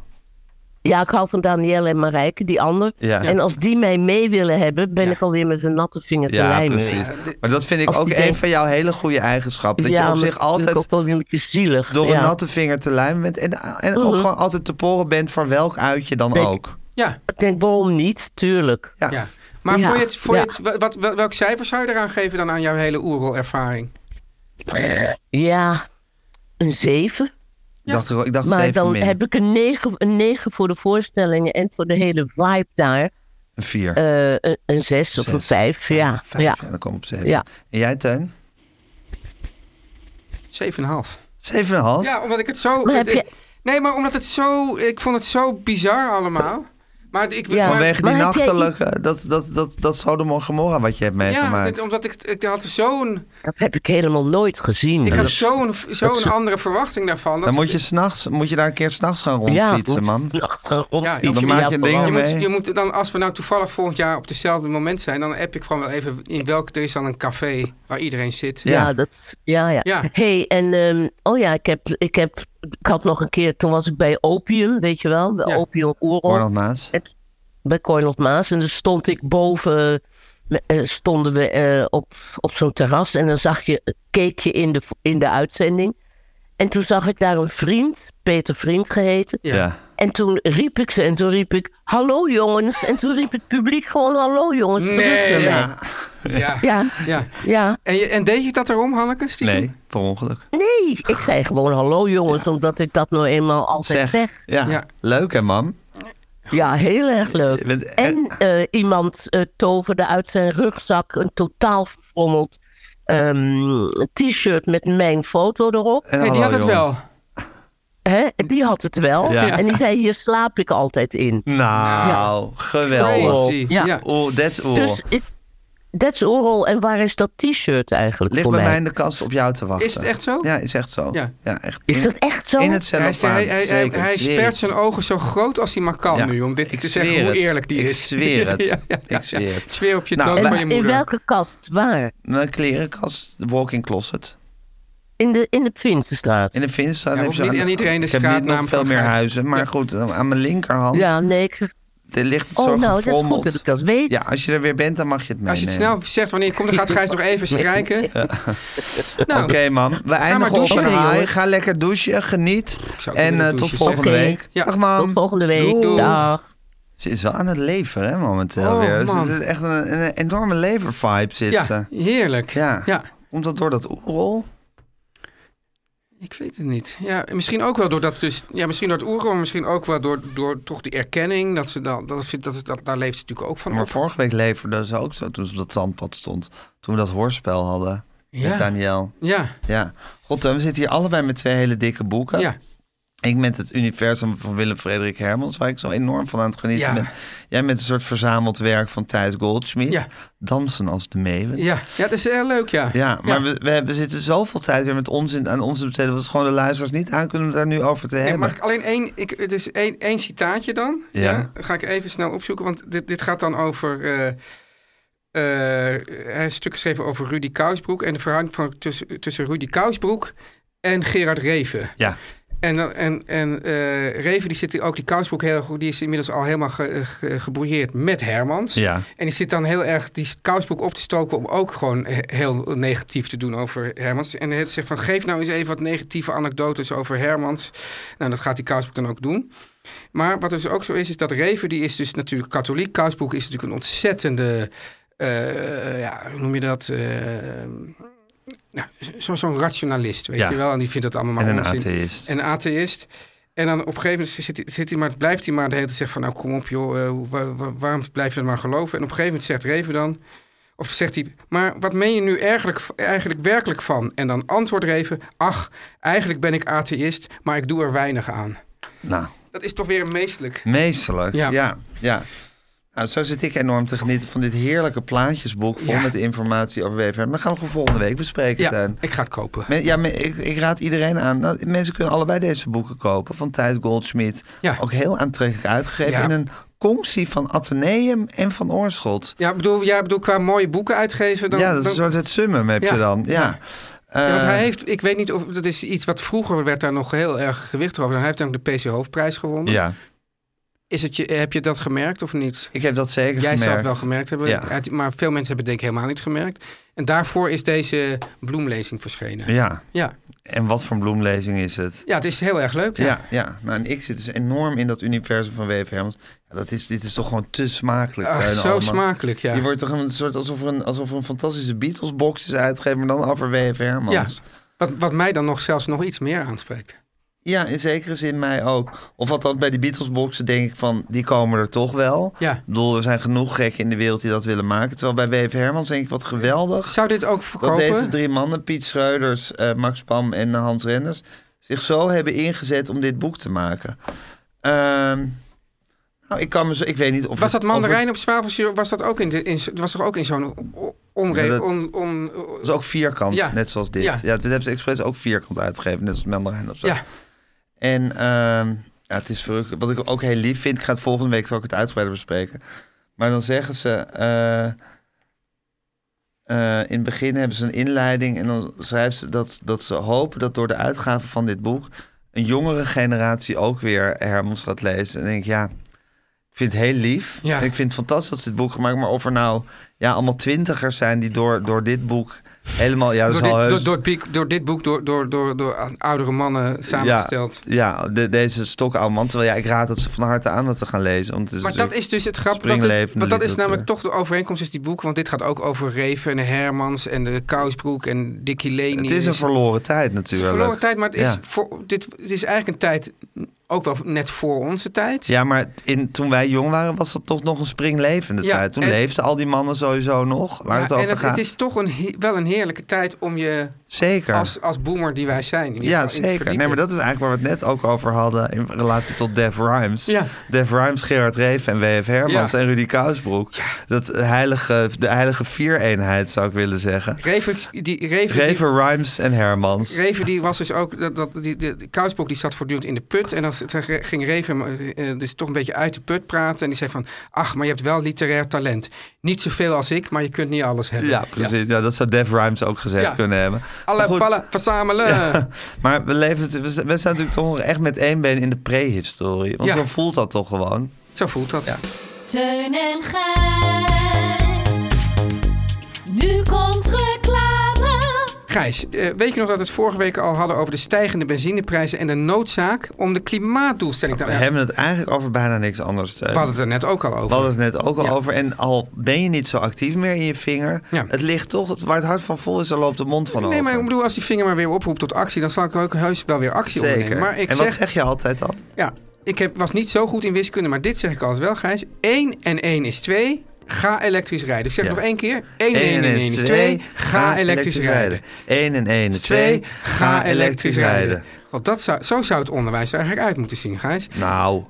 S7: Ja, ik hou van Danielle en Marijke, die ander.
S4: Ja.
S7: En als die mij mee willen hebben, ben ik alweer met een natte vinger te
S4: Ja,
S7: lijmen.
S4: precies. Maar dat vind ik
S7: Als
S4: ook
S7: die
S4: een
S7: denkt-
S4: van jouw hele goede eigenschappen. Dat
S7: ja,
S4: je op
S7: maar
S4: zich
S7: dat vind ik
S4: altijd
S7: ook wel weer een beetje zielig.
S4: door
S7: ja.
S4: een natte vinger te lijmen bent. En, en ook
S7: Mhm.
S4: gewoon altijd te poren bent voor welk uitje dan
S7: Ben-
S4: ook.
S1: Ja,
S7: Ik denk, waarom niet? Tuurlijk.
S4: Ja.
S1: ja. Maar
S7: Ja,
S1: Voor je het, voor je
S7: ja.
S1: het, wat, wat- welk cijfer zou je eraan geven dan aan jouw hele oerol-ervaring?
S7: Ja, een zeven.
S4: Ik dacht, ik dacht
S7: Maar
S4: zeven
S7: dan
S4: min.
S7: heb ik een 9 een negen voor de voorstellingen en voor de hele vibe daar.
S4: Een vier.
S7: Eh, een, een 6 of
S4: Zes.
S7: een 5. Ja,
S4: Vijf,
S7: ja.
S4: ja. dan kom ik op zeven.
S7: Ja.
S4: En jij, Teun?
S1: 7,5.
S4: Zeven en een half?
S1: Ja, omdat ik het zo.
S7: Maar heb
S1: het-
S7: je-
S1: Nee, maar omdat het zo. Ik vond het zo bizar allemaal. Maar ik.
S7: Ja.
S1: maar-
S4: Vanwege
S7: Maar
S4: die
S7: heb jij-
S4: nachtelijke, dat, dat, dat, dat Sodom en Gomorra wat je hebt
S1: ja,
S4: meegemaakt.
S1: dit- omdat ik, ik had zo'n.
S7: Dat heb ik helemaal nooit gezien.
S1: Ik
S7: Dat-
S1: had zo'n zo'n andere verwachting daarvan. dat-
S4: dan moet je, s'nachts, moet je daar een keer s'nachts gaan rondfietsen, man.
S7: Ja, rond,
S1: Ja, dan
S4: maak je dingen
S1: je,
S4: mee.
S1: moet, je moet dan, als we nou toevallig volgend jaar op hetzelfde moment zijn, dan app ik gewoon wel even in welk. Er is dan een café waar iedereen zit.
S7: Ja, dat, ja, ja.
S1: Ja.
S7: hey, en ehm, oh ja, ik, heb, ik, heb, ik had nog een keer, toen was ik bij Opium, weet je wel, bij
S1: Ja.
S7: Opium Oerol,
S4: Ronald Maas.
S7: Het- bij Cornel Maas. En dan stond ik boven, eh, stonden we eh, op, op zo'n terras en dan zag je, keek je in de, in de uitzending. En toen zag ik daar een vriend, Peter Vriend geheten.
S4: Ja.
S7: En toen riep ik ze en toen riep ik, hallo jongens. En toen riep het publiek gewoon, hallo jongens. terug
S1: Nee,
S7: naar mij.
S1: ja. Ja.
S7: Ja,
S1: ja.
S7: ja.
S1: En, je- en deed je dat erom, Hanneke? Stiekem?
S4: Nee, per ongeluk.
S7: Nee, ik zei gewoon hallo jongens, omdat ik dat nou eenmaal altijd
S4: Zeg.
S7: zeg.
S4: Ja.
S1: Ja.
S4: leuk hè, mam?
S7: Ja, heel erg
S4: Je
S7: leuk.
S4: bent-
S7: En eh, iemand eh, toverde uit zijn rugzak een totaal verfrommeld ehm, t-shirt met mijn foto erop.
S4: En
S1: Hey, die
S4: hallo,
S1: had het
S4: jongens.
S1: wel.
S7: Hè? Die had het wel.
S4: Ja.
S7: En die zei, hier slaap ik altijd in.
S4: Nou, geweldig.
S1: Crazy. Ja.
S7: Ja.
S4: Oh. Oeh, that's oeh.
S7: Dus ik, That's oral. En waar is dat t-shirt eigenlijk
S4: Ligt
S7: voor
S4: bij
S7: mij?
S4: mij in de kast op jou te wachten.
S1: Is het echt zo?
S4: Ja, is echt zo. Ja, echt.
S7: Is
S4: In-
S7: dat echt zo?
S4: In het
S1: Hij,
S4: cellofaan.
S1: hij, hij, hij,
S4: Zeker,
S1: hij
S4: zeker.
S1: spert zijn ogen zo groot als hij maar kan
S4: Ja.
S1: nu. Om dit
S4: Ik
S1: te
S4: zweer
S1: zeggen hoe
S4: het.
S1: eerlijk die
S4: Ik
S1: is.
S4: zweer het.
S1: Ja, ja,
S4: Ik
S1: ja,
S4: zweer
S1: ja.
S4: het.
S1: Zweer op je
S4: Nou,
S1: dood
S4: en
S1: van je
S7: In
S1: moeder.
S7: welke kast? Waar?
S4: Mijn klerenkast, de walk-in closet.
S7: In de, in de Prinsenstraat.
S4: In de Vinstraat
S1: Ja,
S4: heb
S1: hoeft
S4: je
S1: niet
S4: zo'n-
S1: aan iedereen de
S4: Ik heb niet
S1: straatnaam
S4: nog veel
S1: van
S4: meer
S1: Gijs.
S4: huizen, maar
S1: Ja.
S4: goed, aan mijn linkerhand
S7: Ja, nee. Ik...
S4: dit ligt het
S7: Oh,
S4: zo
S7: nou, dat is
S4: gefrommeld.
S7: goed dat ik dat weet.
S4: Ja, als je er weer bent, dan mag je het meenemen.
S1: Als je het snel zegt wanneer je komt, dan gaat Gijs nog even strijken. Nou,
S4: Oké, man. We eindigen op
S1: douchen.
S4: een
S1: Sorry,
S4: high.
S1: jongens.
S4: Ga lekker douchen, geniet.
S1: zou ook
S4: En
S1: willen
S4: eh, tot
S1: douchen,
S4: volgende
S7: zeg.
S4: week.
S1: Ja.
S4: Dag, man.
S7: Tot volgende week.
S4: Doeg.
S7: Dag.
S4: Ze is wel aan het leven, hè, momenteel
S1: Oh,
S4: weer.
S1: man.
S4: Ze is echt een, een enorme levervibe zit
S1: ja,
S4: ze.
S1: heerlijk.
S4: eh. Ja.
S1: Ja,
S4: Komt dat door dat oerol?
S1: ik weet het niet. Ja, misschien ook wel door dat dus, ja, misschien door het oeren, maar misschien ook wel door, door toch die erkenning dat ze dan, dat, dat, dat, dat daar leeft ze natuurlijk ook van
S4: Maar
S1: op.
S4: vorige week leverde ze ook zo toen ze op dat zandpad stond. Toen we dat hoorspel hadden met
S1: Ja.
S4: Daniel.
S1: Ja,
S4: Ja. God, eh, we zitten hier allebei met twee hele dikke boeken.
S1: ja.
S4: Ik met het universum van Willem Frederik Hermans, waar ik zo enorm van aan het genieten
S1: Ja.
S4: ben. Jij met een soort verzameld werk van Thijs Goldschmidt.
S1: Ja.
S4: Dansen als de meeuwen.
S1: Ja, ja, dat is heel leuk, ja.
S4: Ja, maar We, we hebben- zitten zoveel tijd weer met ons in, aan ons te besteden. Dat we gewoon de luisteraars niet aan kunnen om het daar nu over te
S1: Ja,
S4: hebben.
S1: mag ik alleen één, ik, het is één, één citaatje dan?
S4: Ja.
S1: Ga ik even snel opzoeken, want dit, dit gaat dan over... eh, eh, hij heeft een stuk geschreven over Rudy Kousbroek... en de verhouding van, tussen, tussen Rudy Kousbroek en Gerard Reven.
S4: Ja.
S1: En, dan- en, en eh, Reven, die zit ook, die Kousbroek heel goed... die is inmiddels al helemaal ge, ge- gebrouilleerd met Hermans.
S4: Ja.
S1: En die zit dan heel erg die Kousbroek op te stoken... om ook gewoon he- heel negatief te doen over Hermans. En het zegt van, geef nou eens even wat negatieve anekdotes over Hermans. Nou, dat gaat die Kousbroek dan ook doen. Maar wat dus ook zo is, is dat Reven, die is dus natuurlijk katholiek. Kousbroek is natuurlijk een ontzettende... eh, ja, hoe noem je dat? Eh, nou, zo- Zo'n rationalist, weet
S4: Ja.
S1: je wel. En die vindt dat allemaal maar
S4: En een
S1: onzin.
S4: atheïst.
S1: En een atheïst. En dan op een gegeven moment zit hij, zit hij maar, blijft hij maar de hele tijd zeggen van... nou, kom op joh, eh, hoe- wa- wa- waarom blijf je dat maar geloven? En op een gegeven moment zegt Reven dan... Of zegt hij, maar wat meen je nu eigenlijk, eigenlijk werkelijk van? En dan antwoordt Reven, ach, eigenlijk ben ik atheïst, maar ik doe er weinig aan.
S4: Nou,
S1: Dat is toch weer een meestelijk.
S4: meesterlijk. Ja.
S1: Ja.
S4: ja, Nou, zo zit ik enorm te genieten van dit heerlijke plaatjesboek... vol
S1: Ja.
S4: met informatie over WFM. Maar gaan we gewoon volgende week bespreken,
S1: Ja,
S4: Teun.
S1: ik ga het kopen.
S4: Men- Ja, men- ik, ik raad iedereen aan. Nou, mensen kunnen allebei deze boeken kopen van Tijd Goldschmidt.
S1: Ja.
S4: Ook heel aantrekkelijk uitgegeven
S1: Ja.
S4: in een conctie van Atheneum en van Oorschot.
S1: Ja, ik bedoel, ja, ik bedoel qua mooie boeken uitgeven... Dan,
S4: ja, dat is
S1: dan-
S4: een soort het summum heb
S1: Ja.
S4: je dan. Ja.
S1: Ja, want hij
S4: Eh,
S1: heeft, ik weet niet of, dat is iets wat vroeger werd daar nog heel erg gewicht over. Hij heeft namelijk de PC Hoofdprijs gewonnen.
S4: ja.
S1: Is het je, heb je dat gemerkt of niet?
S4: Ik heb dat zeker
S1: Jij
S4: gemerkt.
S1: zou het wel gemerkt hebben,
S4: Ja.
S1: uit- maar veel mensen hebben het denk ik helemaal niet gemerkt. En daarvoor is deze bloemlezing verschenen. Ja,
S4: Ja,
S1: ja.
S4: en wat voor een bloemlezing is het?
S1: het is heel erg leuk.
S4: Ja,
S1: Ja.
S4: ja. Nou, en ik zit dus enorm in dat universum van W.F. Hermans. Ja, dat is, dit is toch gewoon te smakelijk.
S1: Ach,
S4: Teun
S1: zo
S4: Allman.
S1: smakelijk, ja.
S4: Je wordt toch een soort alsof er een, alsof er een fantastische Beatles-box is uitgegeven, maar dan over W.F. Hermans.
S1: Ja. Wat, wat mij dan nog zelfs nog iets meer aanspreekt.
S4: Ja, in zekere zin mij ook. Of althans, bij die Beatles-boxen denk ik van, die komen er toch wel.
S1: Ja.
S4: Ik bedoel, er zijn genoeg gekken in de wereld die dat willen maken. Terwijl bij W.F. Hermans denk ik, wat geweldig...
S1: Zou dit ook
S4: dat
S1: verkopen?
S4: deze drie mannen, Piet Schreuders, eh, Max Pam en Hans Renders... zich zo hebben ingezet om dit boek te maken. Ehm, nou, ik kan me zo... Ik weet niet of...
S1: Was
S4: het-
S1: dat
S4: of het-
S1: mandarijn op zwavelzuur? Was dat ook in, de, in, was er ook in zo'n o- onre...
S4: Ja, dat-
S1: on, on,
S4: Dat is ook vierkant,
S1: Ja.
S4: net zoals dit. Ja.
S1: Ja.
S4: dit hebben ze expres ook vierkant uitgegeven, net als Mandarijn of zo.
S1: ja,
S4: En ehm, ja, het is verrukkelijk. Wat ik ook heel lief vind, ik ga het volgende week zal ik het uitgebreider bespreken. Maar dan zeggen ze. eh, eh, in het begin hebben ze een inleiding en dan schrijft ze dat, dat ze hopen dat door de uitgave van dit boek een jongere generatie ook weer Hermans gaat lezen. En dan denk ik, ja, ik vind het heel lief.
S1: Ja.
S4: En ik vind het fantastisch dat ze dit boek gemaakt, maar of er nou ja, allemaal twintigers zijn die door, door dit boek helemaal, ja, dat
S1: door,
S4: is al
S1: dit,
S4: heus-
S1: door, door, het piek- door dit boek door, door, door, door oudere mannen samengesteld.
S4: Ja, ja de- deze stokoude man. Terwijl ja, ik raad dat ze van harte aan wat te gaan lezen. Want het is
S1: Maar dat is dus het grap. Dat is,
S4: springlevende
S1: want dat is
S4: literatuur.
S1: namelijk toch de overeenkomst is die boeken. Want dit gaat ook over Reven en Hermans en de Kousbroek en Dickie Leni. Dus
S4: Het is een verloren tijd
S1: Het is een
S4: natuurlijk.
S1: verloren tijd, maar het is,
S4: Ja.
S1: voor, dit, het is eigenlijk een tijd Ook wel net voor onze tijd.
S4: Ja, maar in, toen wij jong waren was dat toch nog een springlevende
S1: Ja,
S4: tijd. Toen
S1: en-
S4: leefden al die mannen sowieso nog. Waar
S1: Ja,
S4: het over
S1: en het,
S4: gaat.
S1: het is toch een, he- wel een heerlijke tijd om je
S4: Zeker.
S1: als, als boomer die wij zijn. in ieder
S4: Ja,
S1: geval in te
S4: zeker. Nee,
S1: verdiepen.
S4: maar dat is eigenlijk waar we het net ook over hadden in relatie tot Def Rhymes.
S1: Ja.
S4: Def Rhymes, Gerard Reef en W.F. Hermans
S1: Ja.
S4: en Rudy Kousbroek. Dat heilige, de heilige vier-eenheid zou ik willen zeggen.
S1: Rever, die, Rever, die-
S4: Reven, Rhymes en Hermans.
S1: Reven die was dus ook, dat, dat, die, die, die Kousbroek die zat voortdurend in de put. En dan z- ging Reven hem, eh, eh, dus toch een beetje uit de put praten. En die zei van, ach, maar je hebt wel literair talent. Niet zoveel als ik, maar je kunt niet alles hebben.
S4: Ja, precies. Ja, dat zou Def Rhymes ook gezegd
S1: Ja.
S4: kunnen hebben. Maar
S1: Alle
S4: goed,
S1: ballen verzamelen.
S4: Maar we, leven, het- we sta- we staan natuurlijk toch nog echt met één been in de prehistorie. Want
S1: Ja.
S4: zo voelt dat toch gewoon.
S1: Zo voelt dat.
S6: Teun en Gijs. Nu komt reclame.
S1: Gijs, eh, weet je nog dat we het vorige week al hadden over de stijgende benzineprijzen en de noodzaak om de klimaatdoelstelling te...
S4: We hebben het eigenlijk over bijna niks anders. Teun.
S1: we hadden het er net ook al over.
S4: We hadden het net ook al
S1: Ja.
S4: over. En al ben je niet zo actief meer in je vinger.
S1: Ja.
S4: Het ligt toch, waar het hart van vol is, daar loopt de mond van
S1: Nee,
S4: over.
S1: maar ik bedoel, als die vinger maar weer oproept tot actie, dan zal ik ook heus wel weer actie
S4: Zeker.
S1: ondernemen. Maar ik
S4: en
S1: zeg,
S4: wat zeg je altijd dan?
S1: ja, ik heb, was niet zo goed in wiskunde, maar dit zeg ik altijd wel, Gijs. 1 en 1 is 2. Ga elektrisch rijden. Dus zeg
S4: Ja.
S1: nog één keer. 1 en 1 en 1 is 2. Ga elektrisch rijden.
S4: 1 en 1 is
S1: 2.
S4: 2.
S1: Ga elektrisch rijden. Want dat zou, zo zou het onderwijs er eigenlijk uit moeten zien, Gijs.
S4: Nou.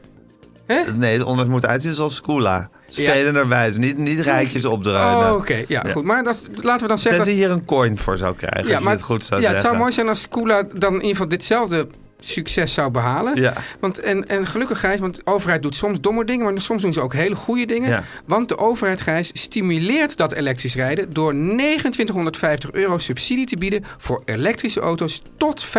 S1: Hè?
S4: Nee, het onderwijs moet uitzien zoals Scoola. Spelenderwijs. dus Niet, niet rijtjes opdruinen.
S1: Oh, oké. Ja, goed. Maar dat, laten we dan zeggen...
S4: Tenzij
S1: dat-
S4: je hier een coin voor zou krijgen. als je het goed zou
S1: ja, het
S4: zeggen.
S1: zou mooi zijn als Skoola dan in ieder geval ditzelfde succes zou behalen.
S4: Ja.
S1: Want, en, en gelukkig, Gijs, want de overheid doet soms domme dingen, maar soms doen ze ook hele goede dingen.
S4: Ja.
S1: Want de overheid, Gijs, stimuleert dat elektrisch rijden door 2950 euro subsidie te bieden voor elektrische auto's tot 45.000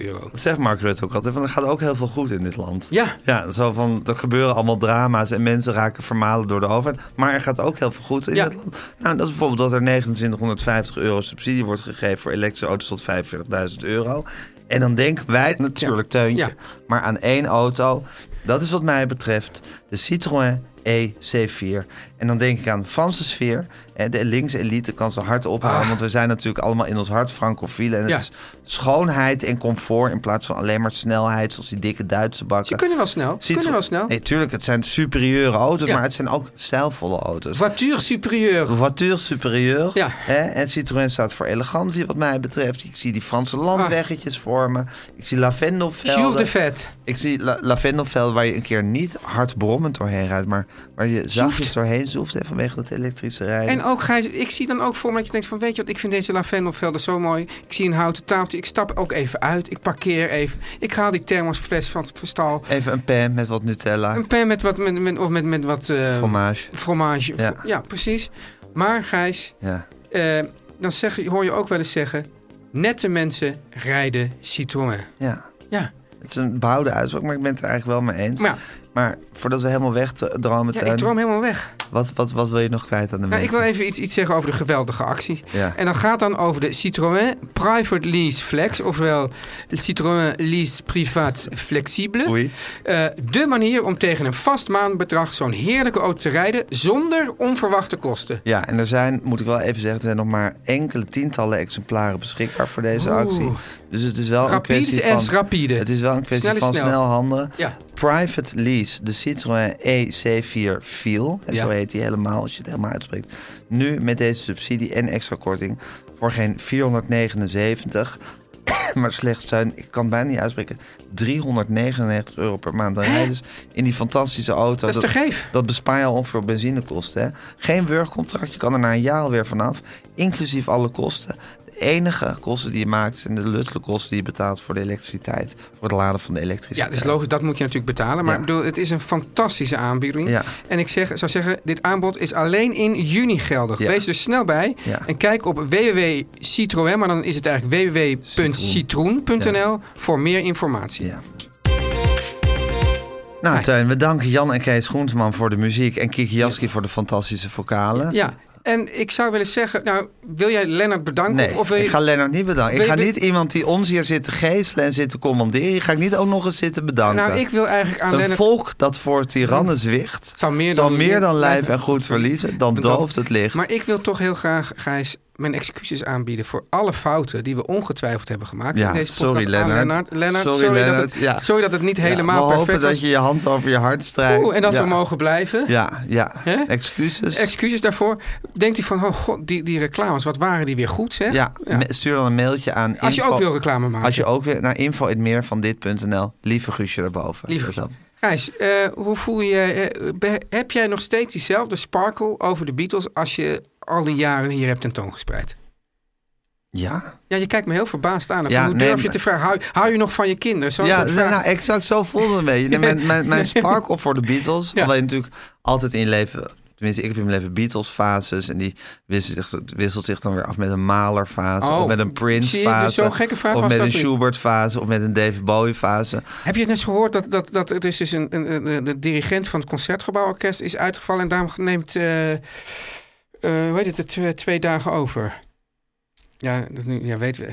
S1: euro.
S4: Dat zegt Mark Rutte ook altijd. Van, er gaat ook heel veel goed in dit land.
S1: Ja.
S4: Ja, zo van, er gebeuren allemaal drama's en mensen raken vermalen door de overheid. Maar er gaat ook heel veel goed in
S1: Ja.
S4: dit land. Nou, dat is bijvoorbeeld dat er 2950 euro subsidie wordt gegeven voor elektrische auto's tot 45.000 euro. En dan denken wij natuurlijk, Teuntje,
S1: Ja.
S4: maar aan één auto. Dat is wat mij betreft de Citroën EC4. En dan denk ik aan Franse sfeer. En de linkse elite kan ze hard ophouden.
S1: Ah.
S4: Want we zijn natuurlijk allemaal in ons hart francofielen. En
S1: Ja.
S4: het is schoonheid en comfort in plaats van alleen maar snelheid. Zoals die dikke Duitse bakken.
S1: Ze kunnen wel snel. Ze kunnen wel snel.
S4: Nee, tuurlijk. Het zijn superieure auto's,
S1: Ja.
S4: maar het zijn ook stijlvolle auto's.
S1: Voiture supérieure.
S4: Voiture supérieure.
S1: Ja.
S4: Hè? En Citroën staat voor elegantie wat mij betreft. Ik zie die Franse landweggetjes vormen. Ik zie lavendelvelden.
S1: Ah. Jules de Vet.
S4: Ik zie la lavendelvelden waar je een keer niet hard brommend doorheen rijdt, maar waar je zachtjes doorheen zoeft hè, vanwege dat elektrische rijden.
S1: En ook, Gijs, ik zie dan ook voor me dat je denkt van... weet je wat, ik vind deze lavendelvelden zo mooi. Ik zie een houten tafeltje. Ik stap ook even uit. Ik parkeer even. Ik haal die thermosfles van het stal.
S4: Even een pen met wat Nutella.
S1: Een pen met wat... Met, met- of met, met wat eh,
S4: Fromage.
S1: fromage.
S4: Ja.
S1: Fro- Ja, precies. Maar, Gijs,
S4: Ja.
S1: eh, dan zeg, hoor je ook wel eens zeggen... nette mensen rijden Citroën.
S4: ja.
S1: Ja,
S4: Het is een bouwde uitspraak, maar ik ben het er eigenlijk wel mee eens.
S1: maar ja,
S4: Maar voordat we helemaal wegdromen,
S1: ja,
S4: Teun,
S1: ik droom helemaal weg.
S4: wat, wat, wat wil je nog kwijt aan de
S1: Nou,
S4: mensen?
S1: ik wil even iets, iets zeggen over de geweldige actie.
S4: Ja.
S1: En dat gaat dan over de Citroën Private Lease Flex, ofwel Citroën Lease Privaat Flexibele.
S4: Oei.
S1: Eh, de manier om tegen een vast maandbedrag zo'n heerlijke auto te rijden zonder onverwachte kosten.
S4: Ja, en er zijn, moet ik wel even zeggen, er zijn nog maar enkele tientallen exemplaren beschikbaar voor deze
S1: Oeh.
S4: actie. Dus het is wel
S1: Rapide
S4: een kwestie
S1: is
S4: van...
S1: echt rapide.
S4: Het is wel een kwestie
S1: Snel is
S4: van
S1: snel.
S4: snel. handelen.
S1: Ja.
S4: Private Lease, de Citroën EC4 Feel, en
S1: Ja.
S4: zo heet die helemaal als je het helemaal uitspreekt. Nu met deze subsidie en extra korting voor geen 479, maar slechts zijn, ik kan het bijna niet uitspreken, 399 euro per maand. Dan rijden ze in die fantastische auto.
S1: Dat is te geef.
S4: Dat bespaar je al ongeveer op benzinekosten. Hè? Geen wurgcontract, je kan er na een jaar alweer vanaf. Inclusief alle kosten. De enige kosten die je maakt zijn de luttele kosten die je betaalt voor de elektriciteit. Voor het laden van de
S1: Ja,
S4: elektriciteit.
S1: dat is logisch, dat moet je natuurlijk betalen. Maar
S4: Ja.
S1: ik bedoel, het is een fantastische aanbieding.
S4: Ja.
S1: En ik zeg, zou zeggen, dit aanbod is alleen in juni geldig.
S4: Ja.
S1: Wees er dus snel bij
S4: Ja.
S1: en kijk op www.citroën, maar dan is het eigenlijk www.citroen.nl voor meer informatie.
S4: Ja. Nou, Teun, we danken Jan en Kees Groensman voor de muziek. En Kiki Jaski voor de fantastische vocalen.
S1: Ja, en ik zou willen zeggen, nou, wil jij Lennart bedanken?
S4: Nee,
S1: of, of wil je...
S4: ik ga Lennart niet bedanken. Ik
S1: Wil
S4: ga
S1: je-
S4: niet iemand die ons hier zit te geestelen en zit te commanderen. Die ga ik niet ook nog eens zitten bedanken.
S1: Nou, ik wil eigenlijk aan
S4: een
S1: Lennart...
S4: volk dat voor tirannen zwicht,
S1: Zal meer
S4: zal
S1: dan-
S4: meer dan lijf en goed verliezen, dan
S1: Dan dat-
S4: dooft het licht.
S1: Maar ik wil toch heel graag, Gijs, mijn excuses aanbieden voor alle fouten die we ongetwijfeld hebben gemaakt.
S4: Ja,
S1: in deze
S4: sorry,
S1: podcast aan
S4: Lennart.
S1: Lennart. Lennart,
S4: eh, Sorry,
S1: sorry,
S4: Lennart,
S1: Dat het,
S4: ja.
S1: sorry dat het niet helemaal
S4: we
S1: perfect
S4: hopen
S1: was.
S4: dat je je hand over je hart strijkt.
S1: Oeh, en dat
S4: ja.
S1: we mogen blijven.
S4: Ja, ja. Excuses.
S1: Excuses daarvoor. Denkt hij van, oh god, die, die reclames, wat waren die weer goed, zeg?
S4: ja, me- stuur dan een mailtje aan
S1: Als je
S4: info-
S1: ook wil reclame maken.
S4: Als je ook wil, naar info in meer van dit.nl. Lieve Guusje erboven.
S1: Lieve
S4: Dat-
S1: Gijs, eh, hoe voel je je? eh, be- heb jij nog steeds diezelfde sparkle over de Beatles als je al die jaren hier hebt tentoongespreid?
S4: Ja.
S1: Ja, je kijkt me heel verbaasd aan. Van,
S4: Ja,
S1: hoe
S4: nee,
S1: durf je
S4: maar-
S1: te vragen? Hou, hou je nog van je kinderen? Zo
S4: ja, nou, exact zo voelde het een beetje. Mijn, mijn, mijn sparkle voor de Beatles, hoewel je natuurlijk altijd in je leven... Tenminste, ik heb in mijn leven Beatles-fases en die wisselt zich, wisselt zich dan weer af met een Mahler-fase
S1: Oh,
S4: of met een
S1: zie je, dus
S4: Prince-fase.
S1: zo'n gekke vraag
S4: of
S1: was
S4: met
S1: dat
S4: een
S1: niet.
S4: Schubert-fase of met een David Bowie-fase.
S1: Heb je het net gehoord dat, dat, dat het is dus een, een, een- een- de dirigent van het Concertgebouworkest is uitgevallen en daarom neemt, eh, eh, hoe heet het, de twee, twee dagen over? Ja, dat nu, ja weet we.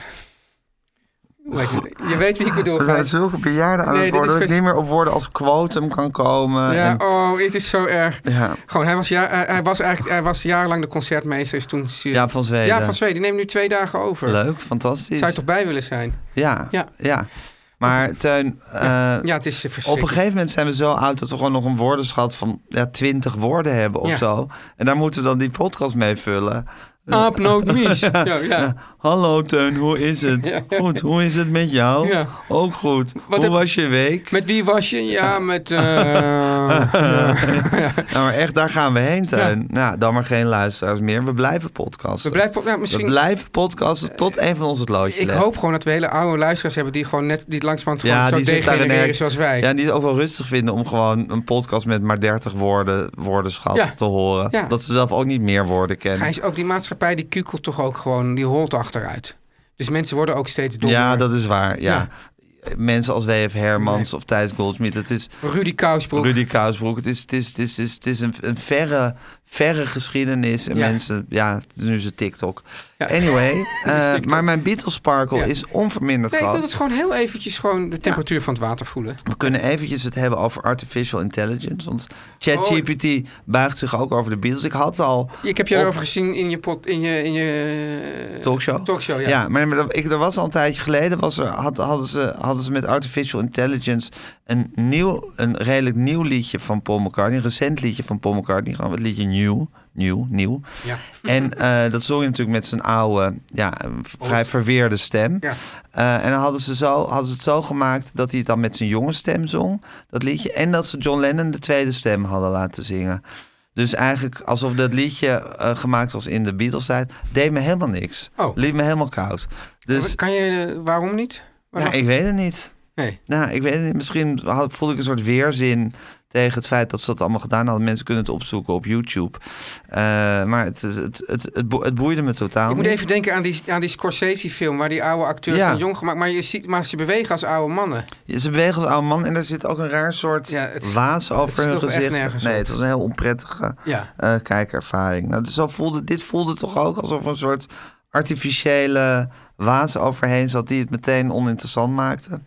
S1: Hoe heet het? Je weet wie ik bedoel.
S4: We zijn
S1: Gijs.
S4: zulke bejaarden aan
S1: Nee,
S4: het
S1: dit
S4: worden
S1: is
S4: dat ik
S1: vers-
S4: niet meer op woorden als quotum kan komen.
S1: Ja,
S4: en,
S1: oh, het is zo erg.
S4: ja.
S1: Gewoon, hij was, ja, hij, hij was eigenlijk hij was jarenlang de concertmeester. Is toen,
S4: Ja, van Zweden.
S1: Ja, van Zweden. Die neemt nu twee dagen over.
S4: Leuk, fantastisch.
S1: Zou je toch bij willen zijn?
S4: Ja, ja.
S1: Ja.
S4: Maar Teun, eh,
S1: Ja, het is eh,
S4: op een
S1: verschrikkelijk.
S4: gegeven moment zijn we zo oud dat we gewoon nog een woordenschat van ja, 20 woorden hebben of
S1: Ja.
S4: zo. En daar moeten we dan die podcast mee vullen.
S1: Aap nood mies. Ja, ja.
S4: Hallo Teun, hoe is het? Goed, hoe is het met jou?
S1: Ja.
S4: Ook goed. hoe
S1: heb-
S4: was je week?
S1: Met wie was je? Ja, met... eh,
S4: Nou, maar echt, daar gaan we heen, Teun. Nou, dan maar geen luisteraars meer. We blijven podcasten.
S1: We blijven, nou,
S4: We
S1: misschien, Eh,
S4: blijven podcasten tot een van ons het loodje
S1: ik
S4: legt.
S1: hoop gewoon dat we hele oude luisteraars hebben die gewoon net die langzamerhand gewoon
S4: Ja,
S1: zo
S4: die zit daar in
S1: degenereren
S4: erg-
S1: zoals wij.
S4: Ja,
S1: Ja,
S4: en die het ook wel rustig vinden om gewoon een podcast met maar 30 woorden, woordenschat
S1: Ja.
S4: te horen.
S1: Ja.
S4: Dat ze zelf ook niet meer woorden kennen.
S1: Gijs, ook die maatschappij die kukelt toch ook gewoon, die holt achteruit. Dus mensen worden ook steeds dommer.
S4: ja, dat is waar. Ja.
S1: Ja.
S4: Mensen als W.F. Hermans of Thijs Goldschmidt. Het is
S1: Rudy Kousbroek.
S4: Rudy Kousbroek. Het is, het is, het is, het is, het is een, een verre, verre geschiedenis. En
S1: Ja.
S4: mensen, ja, het is nu is het TikTok.
S1: Ja.
S4: Anyway, eh,
S1: TikTok.
S4: maar mijn Beatles Sparkle
S1: Ja.
S4: is onverminderd
S1: Nee, ik
S4: groot.
S1: wil het gewoon heel eventjes gewoon de temperatuur van het water voelen.
S4: We kunnen eventjes het hebben over artificial intelligence. Want
S1: Oh.
S4: ChatGPT buigt zich ook over de Beatles. Ik had al
S1: Ik heb je
S4: Op-
S1: erover gezien in je, pot, in je, in je eh,
S4: Talkshow?
S1: talkshow. Ja.
S4: Ja, maar, maar dat- ik, er was al een tijdje geleden, was er, had, hadden, ze, hadden ze met Artificial Intelligence een, nieuw, een redelijk nieuw liedje van Paul McCartney, een recent liedje van Paul McCartney, gewoon het liedje New, New, Nieuw.
S1: Ja.
S4: En eh, dat zong je natuurlijk met zijn oude, ja, vrij verweerde stem.
S1: Ja.
S4: Eh, en dan hadden ze, zo, hadden ze het zo gemaakt dat hij het dan met zijn jonge stem zong, dat liedje. En dat ze John Lennon de tweede stem hadden laten zingen. Dus eigenlijk alsof dat liedje eh, gemaakt was in de Beatles-tijd, deed me helemaal niks.
S1: Oh.
S4: Liet me helemaal koud. Dus
S1: Kan je, eh, waarom niet?
S4: ja,
S1: Waarom?
S4: ik weet het niet.
S1: Nee.
S4: Nou, ik weet het niet. Misschien had, voelde ik een soort weerzin tegen het feit dat ze dat allemaal gedaan hadden. Mensen kunnen het opzoeken op YouTube. Eh, maar het, is- het, het, het, bo- het boeide me totaal
S1: Ik moet
S4: niet.
S1: even denken aan die, aan die Scorsese-film waar die oude acteurs
S4: Ja.
S1: dan jong gemaakt, maar je ziet, maar ze bewegen als oude mannen.
S4: Ze bewegen als oude man en er zit ook een raar soort
S1: Ja, het-
S4: waas
S1: het
S4: over
S1: sloeg
S4: hun
S1: echt
S4: gezicht.
S1: nergens
S4: nee,
S1: op.
S4: het was een heel onprettige
S1: Ja.
S4: eh, kijkervaring. Nou, dus zo voelde, dit voelde toch ook alsof er een soort artificiële waas overheen zat die het meteen oninteressant maakte.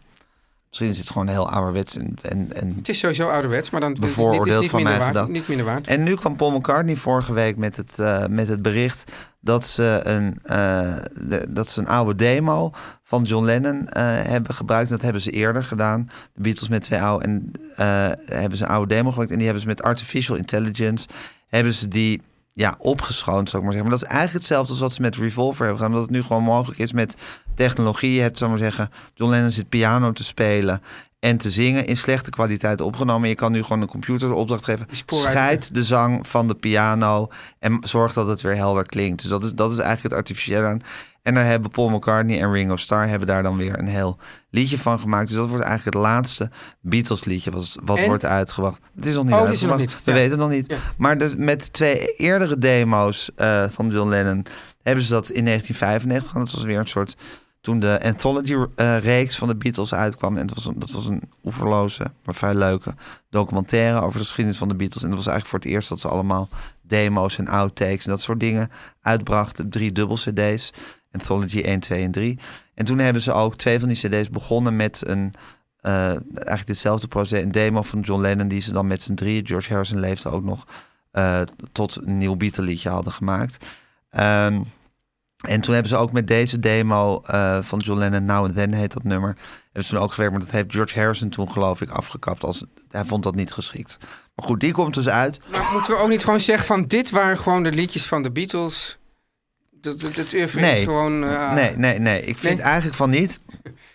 S4: Misschien is het gewoon heel ouderwets en, en, en
S1: Het is sowieso ouderwets, maar dan dit is, dit is
S4: bevooroordeeld
S1: niet,
S4: van
S1: minder
S4: mij
S1: waard,
S4: gedacht.
S1: niet minder waard.
S4: En nu kwam Paul McCartney vorige week met het, eh, met het bericht dat ze, een, eh, de- dat ze een oude demo van John Lennon eh, hebben gebruikt. Dat hebben ze eerder gedaan. De Beatles met twee oude en eh, hebben ze een oude demo gebruikt. En die hebben ze met artificial intelligence hebben ze die ja, opgeschoond, zou ik maar zeggen. Maar dat is eigenlijk hetzelfde als wat ze met Revolver hebben gedaan. Omdat het nu gewoon mogelijk is met technologie. Je hebt, zou ik maar zeggen, John Lennon zit piano te spelen en te zingen in slechte kwaliteit opgenomen. Je kan nu gewoon een computer de opdracht geven.
S1: sporen uit-
S4: Scheid de zang van de piano en zorg dat het weer helder klinkt. Dus dat is, dat is eigenlijk het artificiële aan. En daar hebben Paul McCartney en Ringo Starr hebben daar dan weer een heel liedje van gemaakt. Dus dat wordt eigenlijk het laatste Beatles liedje wat, wat
S1: En?
S4: wordt uitgebracht. Het is nog niet
S1: Oh, het is er nog
S4: uitgebracht.
S1: niet.
S4: We
S1: Ja.
S4: weten het nog niet.
S1: Ja.
S4: Maar dus met twee eerdere demo's eh, van John Lennon hebben ze dat in 1995 gedaan. Dat was weer een soort toen de anthology-reeks van de Beatles uitkwam. En dat was een, dat was een oeverloze, maar vrij leuke documentaire over de geschiedenis van de Beatles. En dat was eigenlijk voor het eerst dat ze allemaal demo's en outtakes en dat soort dingen uitbrachten. Drie dubbel CD's, Anthology 1, 2 en 3. En toen hebben ze ook twee van die CD's begonnen met een. eh, eigenlijk ditzelfde proces, een demo van John Lennon, die ze dan met z'n drieën, George Harrison leefde ook nog, eh, tot een nieuw Beatle liedje hadden gemaakt. Ehm, En toen hebben ze ook met deze demo eh, van John Lennon, Now and Then heet dat nummer, hebben ze toen ook gewerkt. Maar dat heeft George Harrison toen geloof ik afgekapt. Als, hij vond dat niet geschikt. Maar goed, die komt dus uit.
S1: Maar moeten we ook niet gewoon zeggen van dit waren gewoon de liedjes van de Beatles? Dat, dat, dat oeuvre is gewoon... eh,
S4: nee, nee, nee. Ik vind
S1: Nee?
S4: eigenlijk van niet.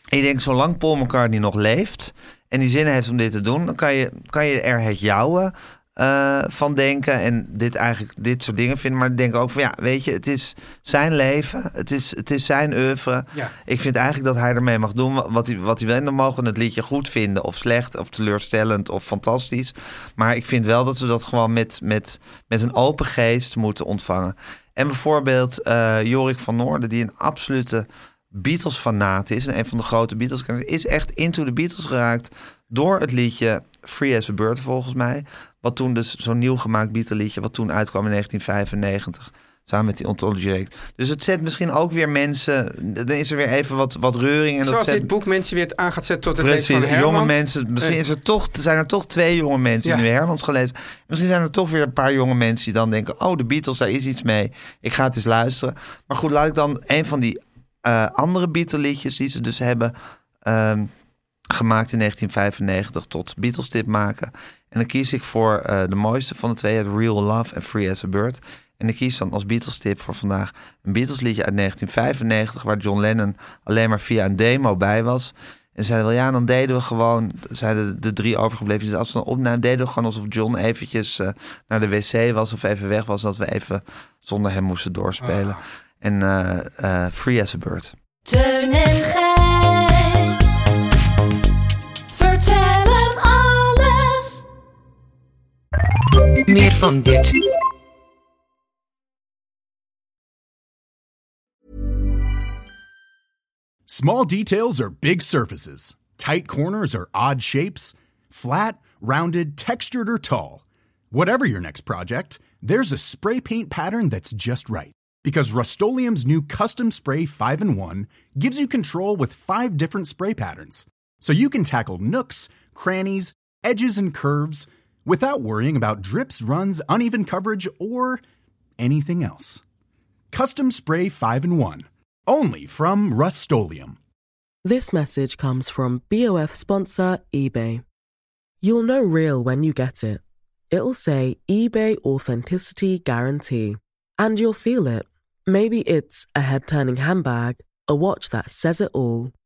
S4: Ik denk, zolang Paul McCartney nog leeft en die zin heeft om dit te doen, dan kan je, kan je er het jouwe eh, van denken en dit eigenlijk dit soort dingen vinden. Maar ik denk ook van ja, weet je, het is zijn leven, het is, het is zijn oeuvre.
S1: Ja.
S4: Ik vind eigenlijk dat hij ermee mag doen wat hij, wat hij wil. En dan mogen we het liedje goed vinden of slecht of teleurstellend of fantastisch. Maar ik vind wel dat we dat gewoon met, met, met een open geest moeten ontvangen. En bijvoorbeeld eh, Jorik van Noorden, die een absolute Beatles-fanaat is... en een van de grote beatles is echt into the Beatles geraakt... door het liedje Free as a Bird, volgens mij. Wat toen dus zo'n nieuw gemaakt Beatle-liedje... wat toen uitkwam in 1995... Samen met die Ontology Act. Dus het zet misschien ook weer mensen... Dan is er weer even wat, wat reuring. En dat
S1: Zoals
S4: zet,
S1: dit boek mensen weer aan gaat zetten tot het
S4: Precies,
S1: lezen van Herman.
S4: jonge mensen. Misschien
S1: Eh,
S4: is er toch, zijn er toch twee jonge mensen die
S1: Ja.
S4: nu Hermans gelezen. Misschien zijn er toch weer een paar jonge mensen die dan denken... oh, de Beatles, daar is iets mee. Ik ga het eens luisteren. Maar goed, laat ik dan een van die eh, andere Beatle-liedjes... die ze dus hebben ehm, gemaakt in 1995 tot Beatles-tip maken. En dan kies ik voor eh, de mooiste van de twee... uit Real Love en Free as a Bird. En ik kies dan als Beatles-tip voor vandaag... een Beatles-liedje uit 1995... waar John Lennon alleen maar via een demo bij was... En zeiden wel, ja, dan deden we gewoon, zeiden de- de drie overgebleven die de afstand opnamen, deden we gewoon alsof John eventjes eh, naar de wc was of even weg was, dat we even zonder hem moesten doorspelen. En eh, eh, Free as a Bird.
S6: Teun en Gijs. Vertel hem alles.
S8: Meer van dit.
S9: Small details are big surfaces. Tight corners are odd shapes. Flat, rounded, textured, or tall. Whatever your next project, there's a spray paint pattern that's just right. Because Rust new Custom Spray 5 in 1 gives you control with five different spray patterns. So you can tackle nooks, crannies, edges, and curves without worrying about drips, runs, uneven coverage, or anything else. Custom Spray 5 in 1. Only from Rust
S10: This message comes from BOF sponsor eBay. You'll know real when you get it. It'll say eBay Authenticity Guarantee. And you'll feel it. Maybe it's a head turning handbag, a watch that says it all,